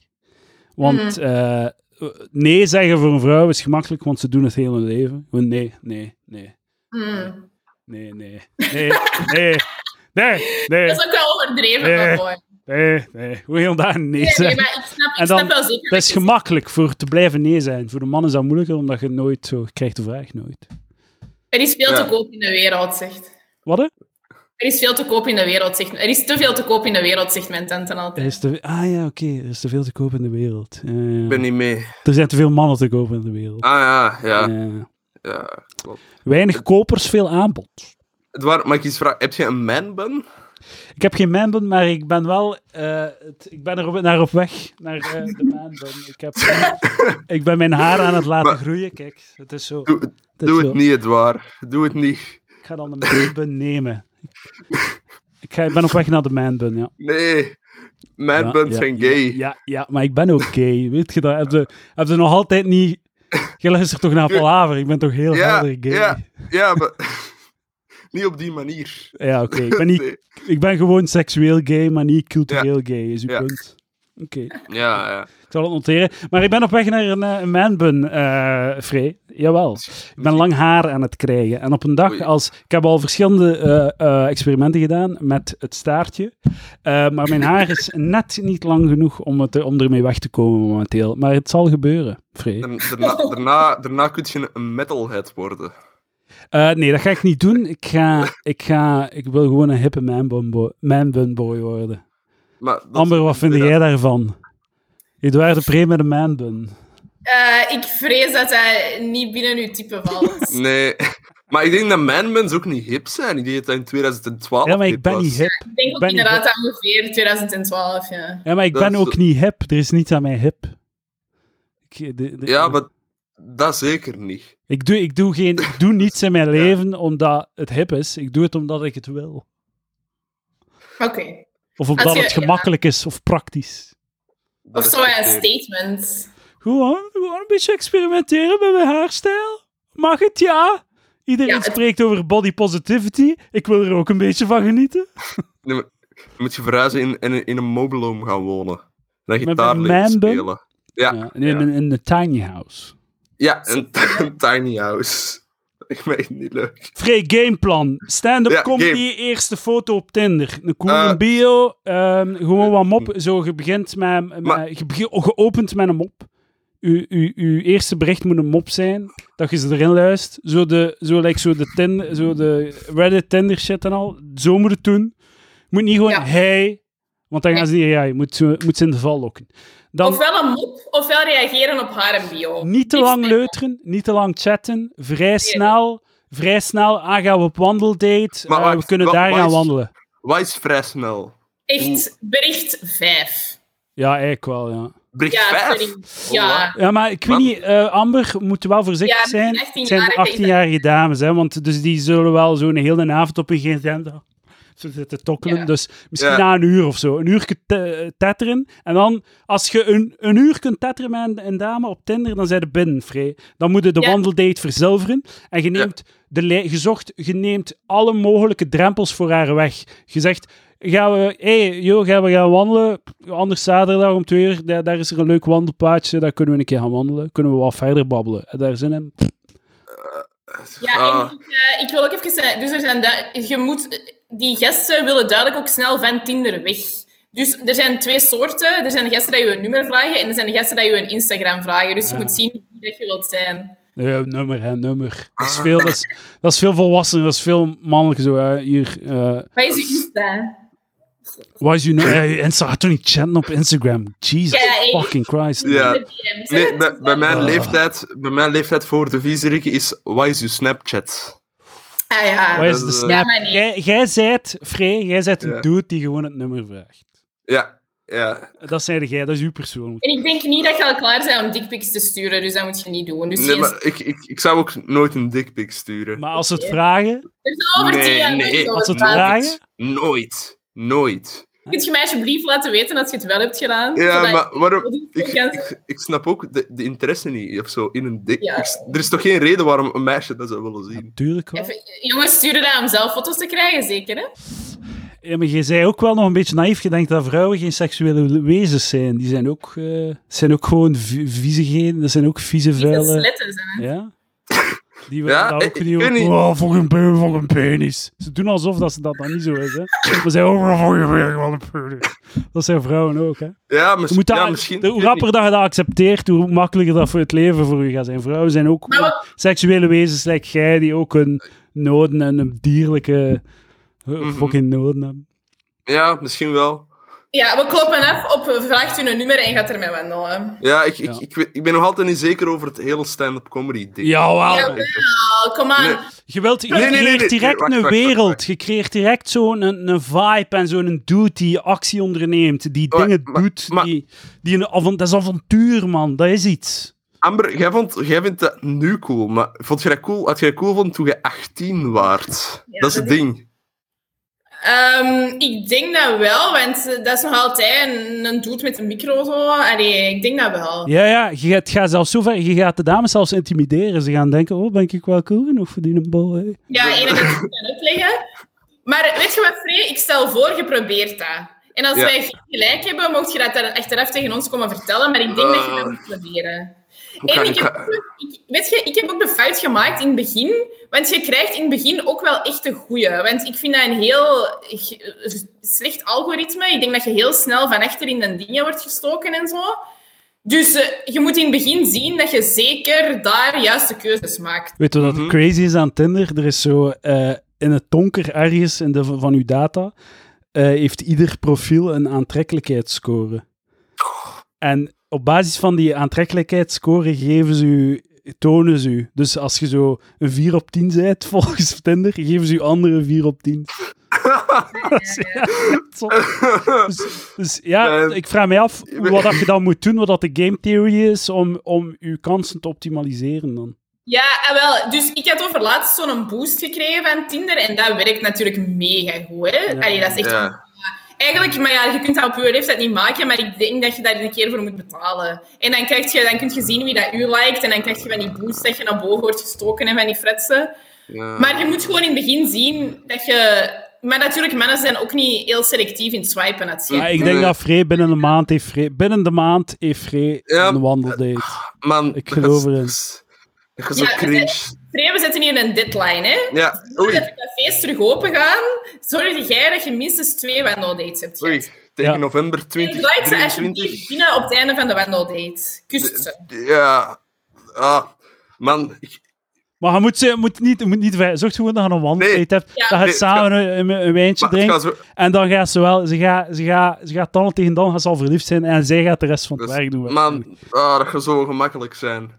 Speaker 1: Want eh, nee zeggen voor een vrouw is gemakkelijk, want ze doen het hele leven. Gewoon nee, nee, nee,
Speaker 2: Hmm.
Speaker 1: nee, nee, nee, nee, nee, nee,
Speaker 2: Dat is ook wel overdreven,
Speaker 1: Ja.
Speaker 2: maar mooi.
Speaker 1: nee, nee. Hoe heel daar nee
Speaker 2: Nee, nee,
Speaker 1: zeggen?
Speaker 2: maar ik snap, ik
Speaker 1: En dan-
Speaker 2: snap wel zeker.
Speaker 1: Dat is gemakkelijk voor te blijven nee zijn. Voor de man is dat moeilijker, omdat je nooit zo je krijgt de vraag nooit.
Speaker 2: Er is veel
Speaker 3: Ja.
Speaker 2: te koop in de wereld, zegt.
Speaker 1: Wat? hè?
Speaker 2: Er is veel te koop in de wereld, zegt Er is te veel te koop in de wereld, zegt mijn tante altijd.
Speaker 1: Er is te... Ah ja, oké. Er is te veel te koop in de wereld. Ja, ja.
Speaker 3: Ik ben niet mee.
Speaker 1: Er zijn te veel mannen te koop in de wereld.
Speaker 3: Ah ja, ja.
Speaker 1: Ja.
Speaker 3: ja. klopt.
Speaker 1: Weinig kopers, veel aanbod.
Speaker 3: Edouard, mag ik iets vragen? Heb je een man-bun?
Speaker 1: Ik heb geen manbun, maar ik ben wel... eh, het, ik ben er op, naar op weg, naar eh, de manbun. Ik, heb, ik ben mijn haar aan het laten
Speaker 3: Maar-
Speaker 1: groeien, kijk. Het is zo.
Speaker 3: Doe,
Speaker 1: is
Speaker 3: doe
Speaker 1: zo.
Speaker 3: het niet, Edouard. Doe het niet.
Speaker 1: Ik ga dan de manbun nemen. Ik, ga, ik ben op weg naar de manbun, ja.
Speaker 3: Nee.
Speaker 1: Ja,
Speaker 3: Man-buns
Speaker 1: ja,
Speaker 3: zijn gay.
Speaker 1: Ja, ja, maar ik ben ook gay. Weet je dat? Heb je, heb je nog altijd niet... Je luistert toch naar Palaver? Ik ben toch heel
Speaker 3: Ja,
Speaker 1: helder gay?
Speaker 3: ja. Ja, maar... niet op die manier.
Speaker 1: Ja, oké. Ik ben niet...
Speaker 3: Nee.
Speaker 1: Ik ben gewoon seksueel gay, maar niet cultureel gay, is uw
Speaker 3: Ja.
Speaker 1: punt. Oké.
Speaker 3: Ja, ja.
Speaker 1: Ik zal het noteren. Maar ik ben op weg naar een, eh, een manbun, eh Frey. Jawel. Ik ben lang haar aan het krijgen. En op een dag
Speaker 3: Oei.
Speaker 1: als... Ik heb al verschillende eh, eh, experimenten gedaan met het staartje. Eh, maar mijn haar is net niet lang genoeg om, het, om ermee weg te komen momenteel. Maar het zal gebeuren, Frey.
Speaker 3: Dan- Daarna, daarna, daarna kun je een metalhead worden.
Speaker 1: Eh, nee, dat ga ik niet doen. Ik, ga, ik, ga, ik wil gewoon een hippe manbun boy, manbun boy worden.
Speaker 3: Maar dat-
Speaker 1: Amber, wat vind jij daarvan? Eduard de Pre met een manbun.
Speaker 2: Eh, ik vrees dat dat niet binnen uw type valt.
Speaker 3: Nee. Maar ik denk dat manbuns ook niet hip zijn. Ik denk dat dat in 2012
Speaker 1: Ja, maar ik
Speaker 3: hip
Speaker 1: ben
Speaker 3: Oh, was.
Speaker 1: niet hip.
Speaker 2: Ik denk ook
Speaker 1: Ben-
Speaker 2: inderdaad aan ongeveer 2012, ja.
Speaker 1: Ja, maar ik
Speaker 3: Dat
Speaker 1: ben
Speaker 3: is-
Speaker 1: ook niet hip. Er is niets aan mij hip. Ik, de- de-
Speaker 3: Ja, maar dat zeker niet.
Speaker 1: ik, doe, ik, doe geen, ik doe niets in mijn leven omdat het hip is. Ik doe het omdat ik het wil.
Speaker 2: Oké.
Speaker 1: Of omdat
Speaker 2: je-
Speaker 1: het gemakkelijk is of praktisch.
Speaker 3: Dat
Speaker 2: Of zo een
Speaker 3: respecteer ik.
Speaker 2: statement.
Speaker 1: Gewoon, gewoon een beetje experimenteren met mijn haarstijl. Mag het, ja? Iedereen
Speaker 2: Ja, het-
Speaker 1: spreekt over body positivity. Ik wil er ook een beetje van genieten.
Speaker 3: Nee, maar Dan moet je verhuizen in, in, in een mobile home gaan wonen. Dan
Speaker 1: Met
Speaker 3: gitaar
Speaker 1: een
Speaker 3: leren
Speaker 1: manbun?
Speaker 3: spelen. Ja,
Speaker 1: in, in, in de tiny house.
Speaker 3: ja een, een tiny house. Ik vind het niet leuk.
Speaker 1: Free gameplan. Stand-up
Speaker 3: Ja,
Speaker 1: comedy,
Speaker 3: game.
Speaker 1: eerste foto op Tinder. Een coole
Speaker 3: Eh.
Speaker 1: bio. ehm, gewoon wat mop. Zo, je begint met... met-
Speaker 3: Maar-
Speaker 1: je, bege- je opent met een mop. U, u, uw eerste bericht moet een mop zijn. Dat je ze erin luist. Zo de, zo, like, zo de, tin, zo de Reddit, Tinder shit en al. Zo moet het doen. Je moet niet gewoon
Speaker 2: Ja.
Speaker 1: hey... Want dan gaan ze niet... Ja, je moet, ze- moet ze in de val lokken. Dan
Speaker 2: Ofwel een mop, ofwel reageren op haar en bio.
Speaker 1: niet te
Speaker 2: Liefst
Speaker 1: lang leuteren, niet te lang chatten. Vrij snel, vrij snel. Ah, gaan we op wandeldate.
Speaker 3: Maar
Speaker 1: Eh, we
Speaker 3: wacht,
Speaker 1: kunnen
Speaker 3: wa-
Speaker 1: daar
Speaker 3: wat
Speaker 1: gaan
Speaker 3: is-
Speaker 1: wandelen.
Speaker 3: Wat is vrij snel?
Speaker 2: Echt bericht 5.
Speaker 1: Ja, eigenlijk wel, ja.
Speaker 3: Bericht
Speaker 2: Ja,
Speaker 3: 5?
Speaker 2: sorry. Ja.
Speaker 1: Ja, maar ik weet
Speaker 3: Wat?
Speaker 1: niet, eh, Amber moet wel voorzichtig
Speaker 2: Ja, het zijn
Speaker 1: zijn. Het zijn de
Speaker 2: 18-jarige
Speaker 1: 18-jarige dames, hè, want dus die zullen wel zo'n hele avond op een agenda zitten tokkelen.
Speaker 2: Ja.
Speaker 1: Dus misschien
Speaker 3: Ja.
Speaker 1: na een uur of zo. Een uur kunt te- tetteren. En dan, als je een, een uur kunt tetteren met een, een dame op Tinder, dan zijn de binnen, vrij. Dan moet je de
Speaker 2: Ja.
Speaker 1: wandeldate verzilveren. En je neemt, de lij- je zocht, je neemt alle mogelijke drempels voor haar weg. Je zegt, gaan we, hey, joh, gaan we gaan wandelen? Anders zaterdag om twee uur, daar, daar is er een leuk wandelpaadje, daar kunnen we een keer gaan wandelen. Kunnen we wat verder babbelen. En daar zin in.
Speaker 2: Ja,
Speaker 3: Ah.
Speaker 2: en ik, eh, ik wil ook even zeggen, dus er zijn du- je moet, die gasten willen duidelijk ook snel van Tinder weg. Dus er zijn twee soorten. Er zijn de gasten die je een nummer vragen en er zijn de gasten die je een Instagram vragen. Dus je
Speaker 1: Ah.
Speaker 2: moet zien wie dat je wilt zijn.
Speaker 1: Ja, nummer, hè, nummer. Dat
Speaker 3: Ah.
Speaker 1: is veel, dat is, dat is veel volwassenen, dat is veel mannelijk zo. Hè. Hier, eh
Speaker 2: Wat is je Insta?
Speaker 1: wat is je nummer? Eh, Insta, ga toch niet chatten op Instagram. Jesus
Speaker 2: Ja, ik-
Speaker 1: fucking Christ.
Speaker 3: Ja.
Speaker 2: De DM's, hè?
Speaker 3: Nee, bij, bij mijn
Speaker 1: Ah.
Speaker 3: leeftijd, bij mijn leeftijd voor de viezerik is, wat is uw Snapchat?
Speaker 2: Ah ja.
Speaker 1: Wat is de
Speaker 3: Eh,
Speaker 2: Ja,
Speaker 1: snap?
Speaker 2: maar nee.
Speaker 1: Jij, jij zijt, Frey, jij zijt een
Speaker 3: Ja.
Speaker 1: dude die gewoon het nummer vraagt.
Speaker 3: Ja, ja.
Speaker 1: Dat zei jij, dat is uw persoon.
Speaker 2: En ik denk niet dat je al klaar bent om dickpics te sturen, dus dat moet je niet doen. Dus
Speaker 3: Nee,
Speaker 2: geen-
Speaker 3: maar ik, ik, ik zou ook nooit een dickpic sturen.
Speaker 1: Maar als ze het vragen,
Speaker 2: Er is over
Speaker 3: nee,
Speaker 2: DM's
Speaker 3: nee.
Speaker 2: over
Speaker 1: als ze het
Speaker 2: praten.
Speaker 1: vragen,
Speaker 3: Nooit. Nooit.
Speaker 2: Kun je mij alsjeblieft laten weten dat je het wel hebt gedaan?
Speaker 3: Ja,
Speaker 2: Zodat-
Speaker 3: maar waarom... Ik,
Speaker 2: Ja.
Speaker 3: ik, ik snap ook de, de interesse niet of zo in een dik.
Speaker 2: Ja.
Speaker 3: ik- Er is toch geen reden waarom een meisje dat zou willen zien?
Speaker 1: natuurlijk wel.
Speaker 2: Even- jongens sturen dat om zelf foto's te krijgen, zeker hè?
Speaker 1: Ja, maar je zei ook wel nog een beetje naïef. Je denkt dat vrouwen geen seksuele wezens zijn. Die zijn ook, eh, zijn ook gewoon vi- viezigheden. Dat zijn ook vieze,
Speaker 2: Niet dat
Speaker 1: vuile...
Speaker 2: sletten zijn. hè.
Speaker 1: Ja? Die willen
Speaker 3: Ja,
Speaker 1: dat
Speaker 3: ik-
Speaker 1: ook
Speaker 3: ik
Speaker 1: die
Speaker 3: weet
Speaker 1: ook-
Speaker 3: niet.
Speaker 1: Oh, voor een penis, voor een penis. Ze doen alsof dat ze dat dan niet zo is, hè. Maar ze oh, voor een penis, voor een penis. Dat zijn vrouwen ook, hè.
Speaker 3: Ja,
Speaker 1: Je
Speaker 3: misschien.
Speaker 1: moet dat,
Speaker 3: Dus, ja, misschien
Speaker 1: de- hoe
Speaker 3: ik weet
Speaker 1: rapper dat je dat accepteert, hoe makkelijker dat voor het leven voor u gaat zijn. Vrouwen zijn ook
Speaker 2: Maar wat-
Speaker 1: seksuele wezens, like jij, die ook hun noden en een dierlijke
Speaker 3: Mhm.
Speaker 1: eh, fucking noden hebben.
Speaker 3: niet. Ja, misschien wel.
Speaker 2: Ja, we kloppen af op eh, vraagt u een nummer en gaat ermee wandelen.
Speaker 3: Ja, ik, ik,
Speaker 1: Ja.
Speaker 3: Ik, weet- ik ben nog altijd niet zeker over het hele stand-up comedy ding.
Speaker 1: Jawel.
Speaker 2: Ja, Oh, kom aan.
Speaker 3: Nee.
Speaker 1: Je, wilt, je
Speaker 3: Nee, nee, nee,
Speaker 1: creëert
Speaker 3: nee.
Speaker 1: direct
Speaker 3: Wacht,
Speaker 1: een
Speaker 3: wacht, wacht,
Speaker 1: wereld.
Speaker 3: wacht.
Speaker 1: Je creëert direct zo'n een, een vibe en zo'n dude die actie onderneemt. Die
Speaker 3: Maar-
Speaker 1: dingen
Speaker 3: maar-
Speaker 1: doet.
Speaker 3: maar-
Speaker 1: die, die een avon- dat is avontuur, man. Dat is iets.
Speaker 3: Amber, jij, vond, jij vindt dat nu cool, maar vond je dat cool, had je dat cool vond toen je 18 waard?
Speaker 2: Ja,
Speaker 3: dat is het
Speaker 2: dat is-
Speaker 3: ding.
Speaker 2: Ehm, ik denk dat wel, want eh, dat is nog altijd een, een dude met een micro zo. Allee, ik denk dat wel.
Speaker 1: Ja, ja. Je gaat, gaat zelfs zo ver. Je gaat de dames zelfs intimideren. Ze gaan denken: oh, ben ik wel cool genoeg voor die bol? hè?
Speaker 2: Ja, één dat ik het kan uitleggen. Maar weet je wat, Free? Ik stel voor, je probeert dat. En als
Speaker 3: Ja.
Speaker 2: wij geen gelijk hebben, mocht je dat dan achteraf tegen ons komen vertellen, maar ik denk dat je dat
Speaker 3: Eh.
Speaker 2: moet proberen.
Speaker 3: Hoe kan
Speaker 2: en ik
Speaker 3: ik
Speaker 2: heb,
Speaker 3: dat-
Speaker 2: ook- ik, weet je, ik heb ook de fout gemaakt in het begin. Want je krijgt in het begin ook wel echt de goeie. Want ik vind dat een heel ge- slecht algoritme. Ik denk dat je heel snel van achter in de dingen wordt gestoken en zo. Dus eh, je moet in het begin zien dat je zeker daar juiste keuzes maakt.
Speaker 1: Weet je wat
Speaker 3: Mhm.
Speaker 1: crazy is aan Tinder? Er is zo eh, in het donker ergens in de, van uw data eh, heeft ieder profiel een aantrekkelijkheidsscore. En op basis van die aantrekkelijkheidsscore geven ze u, tonen ze u. Dus als je zo een 4 op 10 bent volgens Tinder, geven ze u andere 4 op 10. Dat is- ja, zot. dus, dus ja,
Speaker 3: Eh,
Speaker 1: ik vraag mij af wat dat je dan moet doen, wat dat de game theory is, om, om je kansen te optimaliseren dan.
Speaker 2: Ja, ah, wel. Dus ik had over laatst zo'n boost gekregen van Tinder. En dat werkt natuurlijk mega goed. Hè?
Speaker 1: Ja.
Speaker 2: Allee, dat is echt...
Speaker 3: Ja.
Speaker 2: Eigenlijk, maar ja, je kunt dat op je leeftijd niet maken. Maar ik denk dat je daar een keer voor moet betalen. En dan, krijg je, dan kun je zien wie dat u lijkt. En dan krijg je van die boost dat je naar boven wordt gestoken en van die fretsen.
Speaker 3: Ja.
Speaker 2: Maar je moet gewoon in het begin zien dat je... Maar natuurlijk, mannen zijn ook niet heel selectief in het swipen. Dat
Speaker 1: Ja,
Speaker 2: schijnt.
Speaker 1: ik denk
Speaker 3: Nee.
Speaker 1: dat Frey binnen de maand heeft Frey, binnen de maand heeft Frey
Speaker 3: Ja.
Speaker 1: een wandeldate.
Speaker 3: Man,
Speaker 1: Ik
Speaker 3: dat
Speaker 1: geloof
Speaker 3: is-
Speaker 1: erin.
Speaker 3: Dat is dat is zo
Speaker 2: Ja,
Speaker 3: cringe.
Speaker 2: Trey, we zitten hier in een deadline, hè?
Speaker 3: Ja, oei,
Speaker 2: Voordat de cafés terug open gaan, zorg jij dat je minstens twee wandeldates hebt
Speaker 3: oei.
Speaker 2: gehad.
Speaker 3: Tegen
Speaker 1: Ja.
Speaker 3: november
Speaker 2: En like ze
Speaker 3: 2023.
Speaker 2: alsjeblieft binnen op het einde van de wandeldate. Kust ze.
Speaker 3: Ja. Ah, man, ik-
Speaker 1: Maar je moet, ze- je moet niet, je moet niet wij- zorg gewoon dat je een wandeltijd
Speaker 3: Nee.
Speaker 1: hebt.
Speaker 2: Ja.
Speaker 1: dat je
Speaker 3: Nee,
Speaker 1: samen een, een- een wijntje
Speaker 3: maar het
Speaker 1: drinkt.
Speaker 3: gaat zo-
Speaker 1: En dan gaat ze wel, ze gaat, ze gaat, ze gaat dan tegen dan gaat ze al verliefd zijn. En zij gaat de rest van het
Speaker 3: Dus,
Speaker 1: werk doen.
Speaker 3: Man, ah, dat gaat zo gemakkelijk zijn.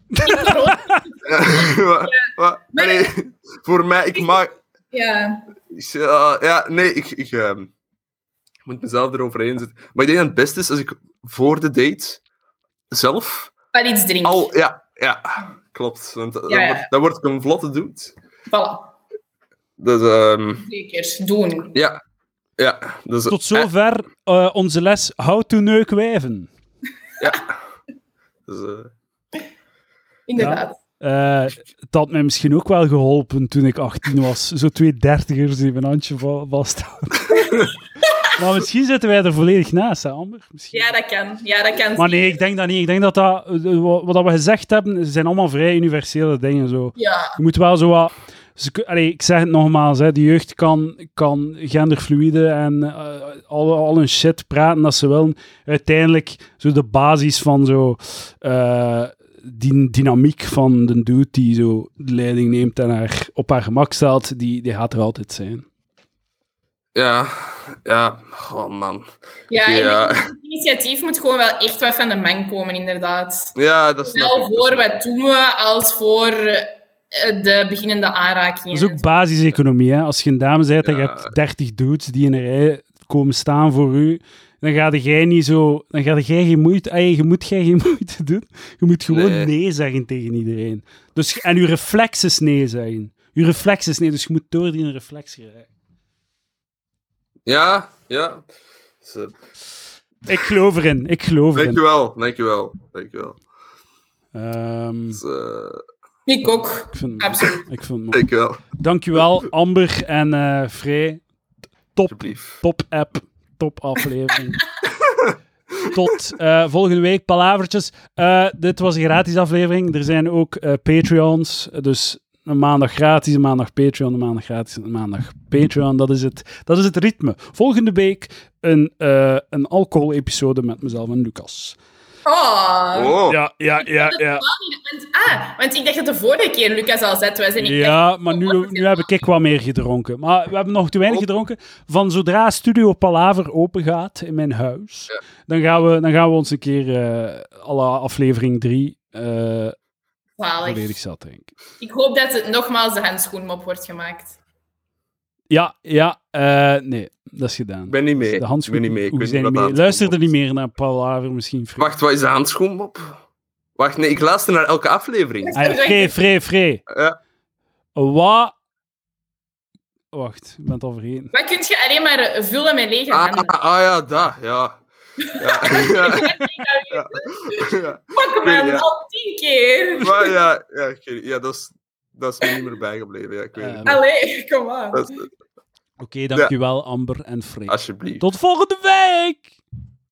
Speaker 3: Wat- wat-
Speaker 2: Maar-
Speaker 3: nee, voor mij, ik maak...
Speaker 2: Ja.
Speaker 3: ik- ja, ja, nee, ik, ik, ehm, ik moet mezelf erover eens zetten. Maar ik denk dat het beste is als ik voor de date zelf
Speaker 2: Wel iets drinken.
Speaker 3: al... Ja, ja, klopt. Want dat,
Speaker 2: Ja, ja.
Speaker 3: wordt- dat wordt een vlotte dude.
Speaker 2: Voilà.
Speaker 3: Dus, ehm,
Speaker 2: Zeker. Doen.
Speaker 3: ja. Ja, dus...
Speaker 1: Tot
Speaker 3: eh,
Speaker 1: zover eh, onze les How to Neuk Wijven.
Speaker 3: dus, eh,
Speaker 2: Inderdaad.
Speaker 1: Eh, het had mij misschien ook wel geholpen toen ik 18 was. Zo twee dertigers die een handje va- vasthouden. maar misschien zitten wij er volledig naast, hè, Amber? Misschien.
Speaker 2: Ja, dat kan. Ja, dat kan.
Speaker 1: Maar nee, ik denk dat niet. Ik denk dat, dat eh, wat wat we gezegd hebben, zijn allemaal vrij universele dingen. Zo.
Speaker 2: Ja.
Speaker 1: Je moet wel zo wat... ze kun- allee, ik zeg het nogmaals, hè, de jeugd kan, kan genderfluïde en eh, al, al hun shit praten dat ze willen. Uiteindelijk zo de basis van zo, eh, die dynamiek van de dude die zo de leiding neemt en haar op haar gemak stelt, die, die gaat er altijd zijn.
Speaker 3: ja, ja. Oh, man.
Speaker 2: Ja,
Speaker 3: Ja.
Speaker 2: en het initiatief moet gewoon wel echt wat van de man komen, inderdaad.
Speaker 3: Ja, dat snap
Speaker 2: Zowel
Speaker 3: ik. dat
Speaker 2: voor
Speaker 3: snap ik.
Speaker 2: wat doen we als voor eh, de beginnende aanraking.
Speaker 1: Dat is ook basiseconomie. Hè? Als je een dame bent en je
Speaker 3: Ja.
Speaker 1: hebt 30 dudes die in een rij komen staan voor u, dan ga jij niet zo. Dan ga jij geen moeite. ey, je moet jij geen moeite doen. Je moet gewoon nee,
Speaker 3: Nee.
Speaker 1: zeggen tegen iedereen. Dus, en je reflex is nee zeggen. Je reflex is nee, dus je moet door die reflex geraken.
Speaker 3: Ja, ja. Dus, eh,
Speaker 1: Ik geloof erin. Ik geloof erin.
Speaker 3: Dankjewel, dankjewel, dankjewel.
Speaker 1: Ehm,
Speaker 3: Dus, eh,
Speaker 2: Ik ook.
Speaker 1: ik vind het
Speaker 2: Absoluut.
Speaker 1: mooi. Ik vind het mooi.
Speaker 3: dankjewel,
Speaker 1: Dankjewel, Amber en eh Frey. Top
Speaker 3: alsjeblieft.
Speaker 1: Top app, top aflevering. Tot eh, volgende week, palavertjes. Eh, dit was een gratis aflevering. Er zijn ook eh, Patreons. Dus een maandag gratis, een maandag Patreon, een maandag gratis, een maandag Patreon. Dat is het, dat is het ritme. Volgende week een, eh een alcohol-episode met mezelf en Lucas.
Speaker 2: Oh.
Speaker 3: Oh,
Speaker 1: Ja, ja, ja, ja.
Speaker 2: Want, ah, want ik dacht dat de vorige keer Lucas al zet was. En ik
Speaker 1: Ja, maar nu, nu heb ik wat meer gedronken. Maar we hebben nog te
Speaker 3: Oh.
Speaker 1: weinig gedronken. Van zodra Studio Palaver open gaat in mijn huis, dan, gaan we, dan gaan we ons een keer eh à la aflevering 3 eh
Speaker 2: dacht, zalig.
Speaker 1: volledig zat drinken.
Speaker 2: Ik hoop dat het nogmaals de handschoenmop wordt gemaakt.
Speaker 1: Ja, ja, eh, nee, dat is gedaan.
Speaker 3: ik ben niet mee.
Speaker 1: De handschoenen.
Speaker 3: ik ben niet mee. Ik
Speaker 1: hoe
Speaker 3: weet
Speaker 1: zijn
Speaker 3: niet
Speaker 1: die
Speaker 3: wat
Speaker 1: mee?
Speaker 3: de
Speaker 1: Luister er
Speaker 3: handschoen
Speaker 1: niet meer naar Palaver misschien.
Speaker 3: is. Wacht, wat is de handschoen op? Wacht, nee, ik luister naar elke aflevering.
Speaker 1: Ah, ja, Free, free, free.
Speaker 3: Ja.
Speaker 1: Wat? Wacht, ik ben het al vergeten.
Speaker 2: Wat kun je alleen maar eh, vullen met lege
Speaker 3: Ah,
Speaker 2: handen?
Speaker 3: ah, ah, ja, daar, ja. Ja, ja, ja, ja.
Speaker 2: Fuck man,
Speaker 3: Ja.
Speaker 2: al tien keer.
Speaker 3: Maar ja, ja, ik weet niet. ja dat, is, dat is me niet meer bijgebleven. Ja, ik weet
Speaker 1: Eh,
Speaker 3: het niet.
Speaker 2: Allee, kom aan.
Speaker 3: Dat is-
Speaker 1: Oké, dankjewel Amber en Free.
Speaker 3: alsjeblieft.
Speaker 1: Tot volgende week!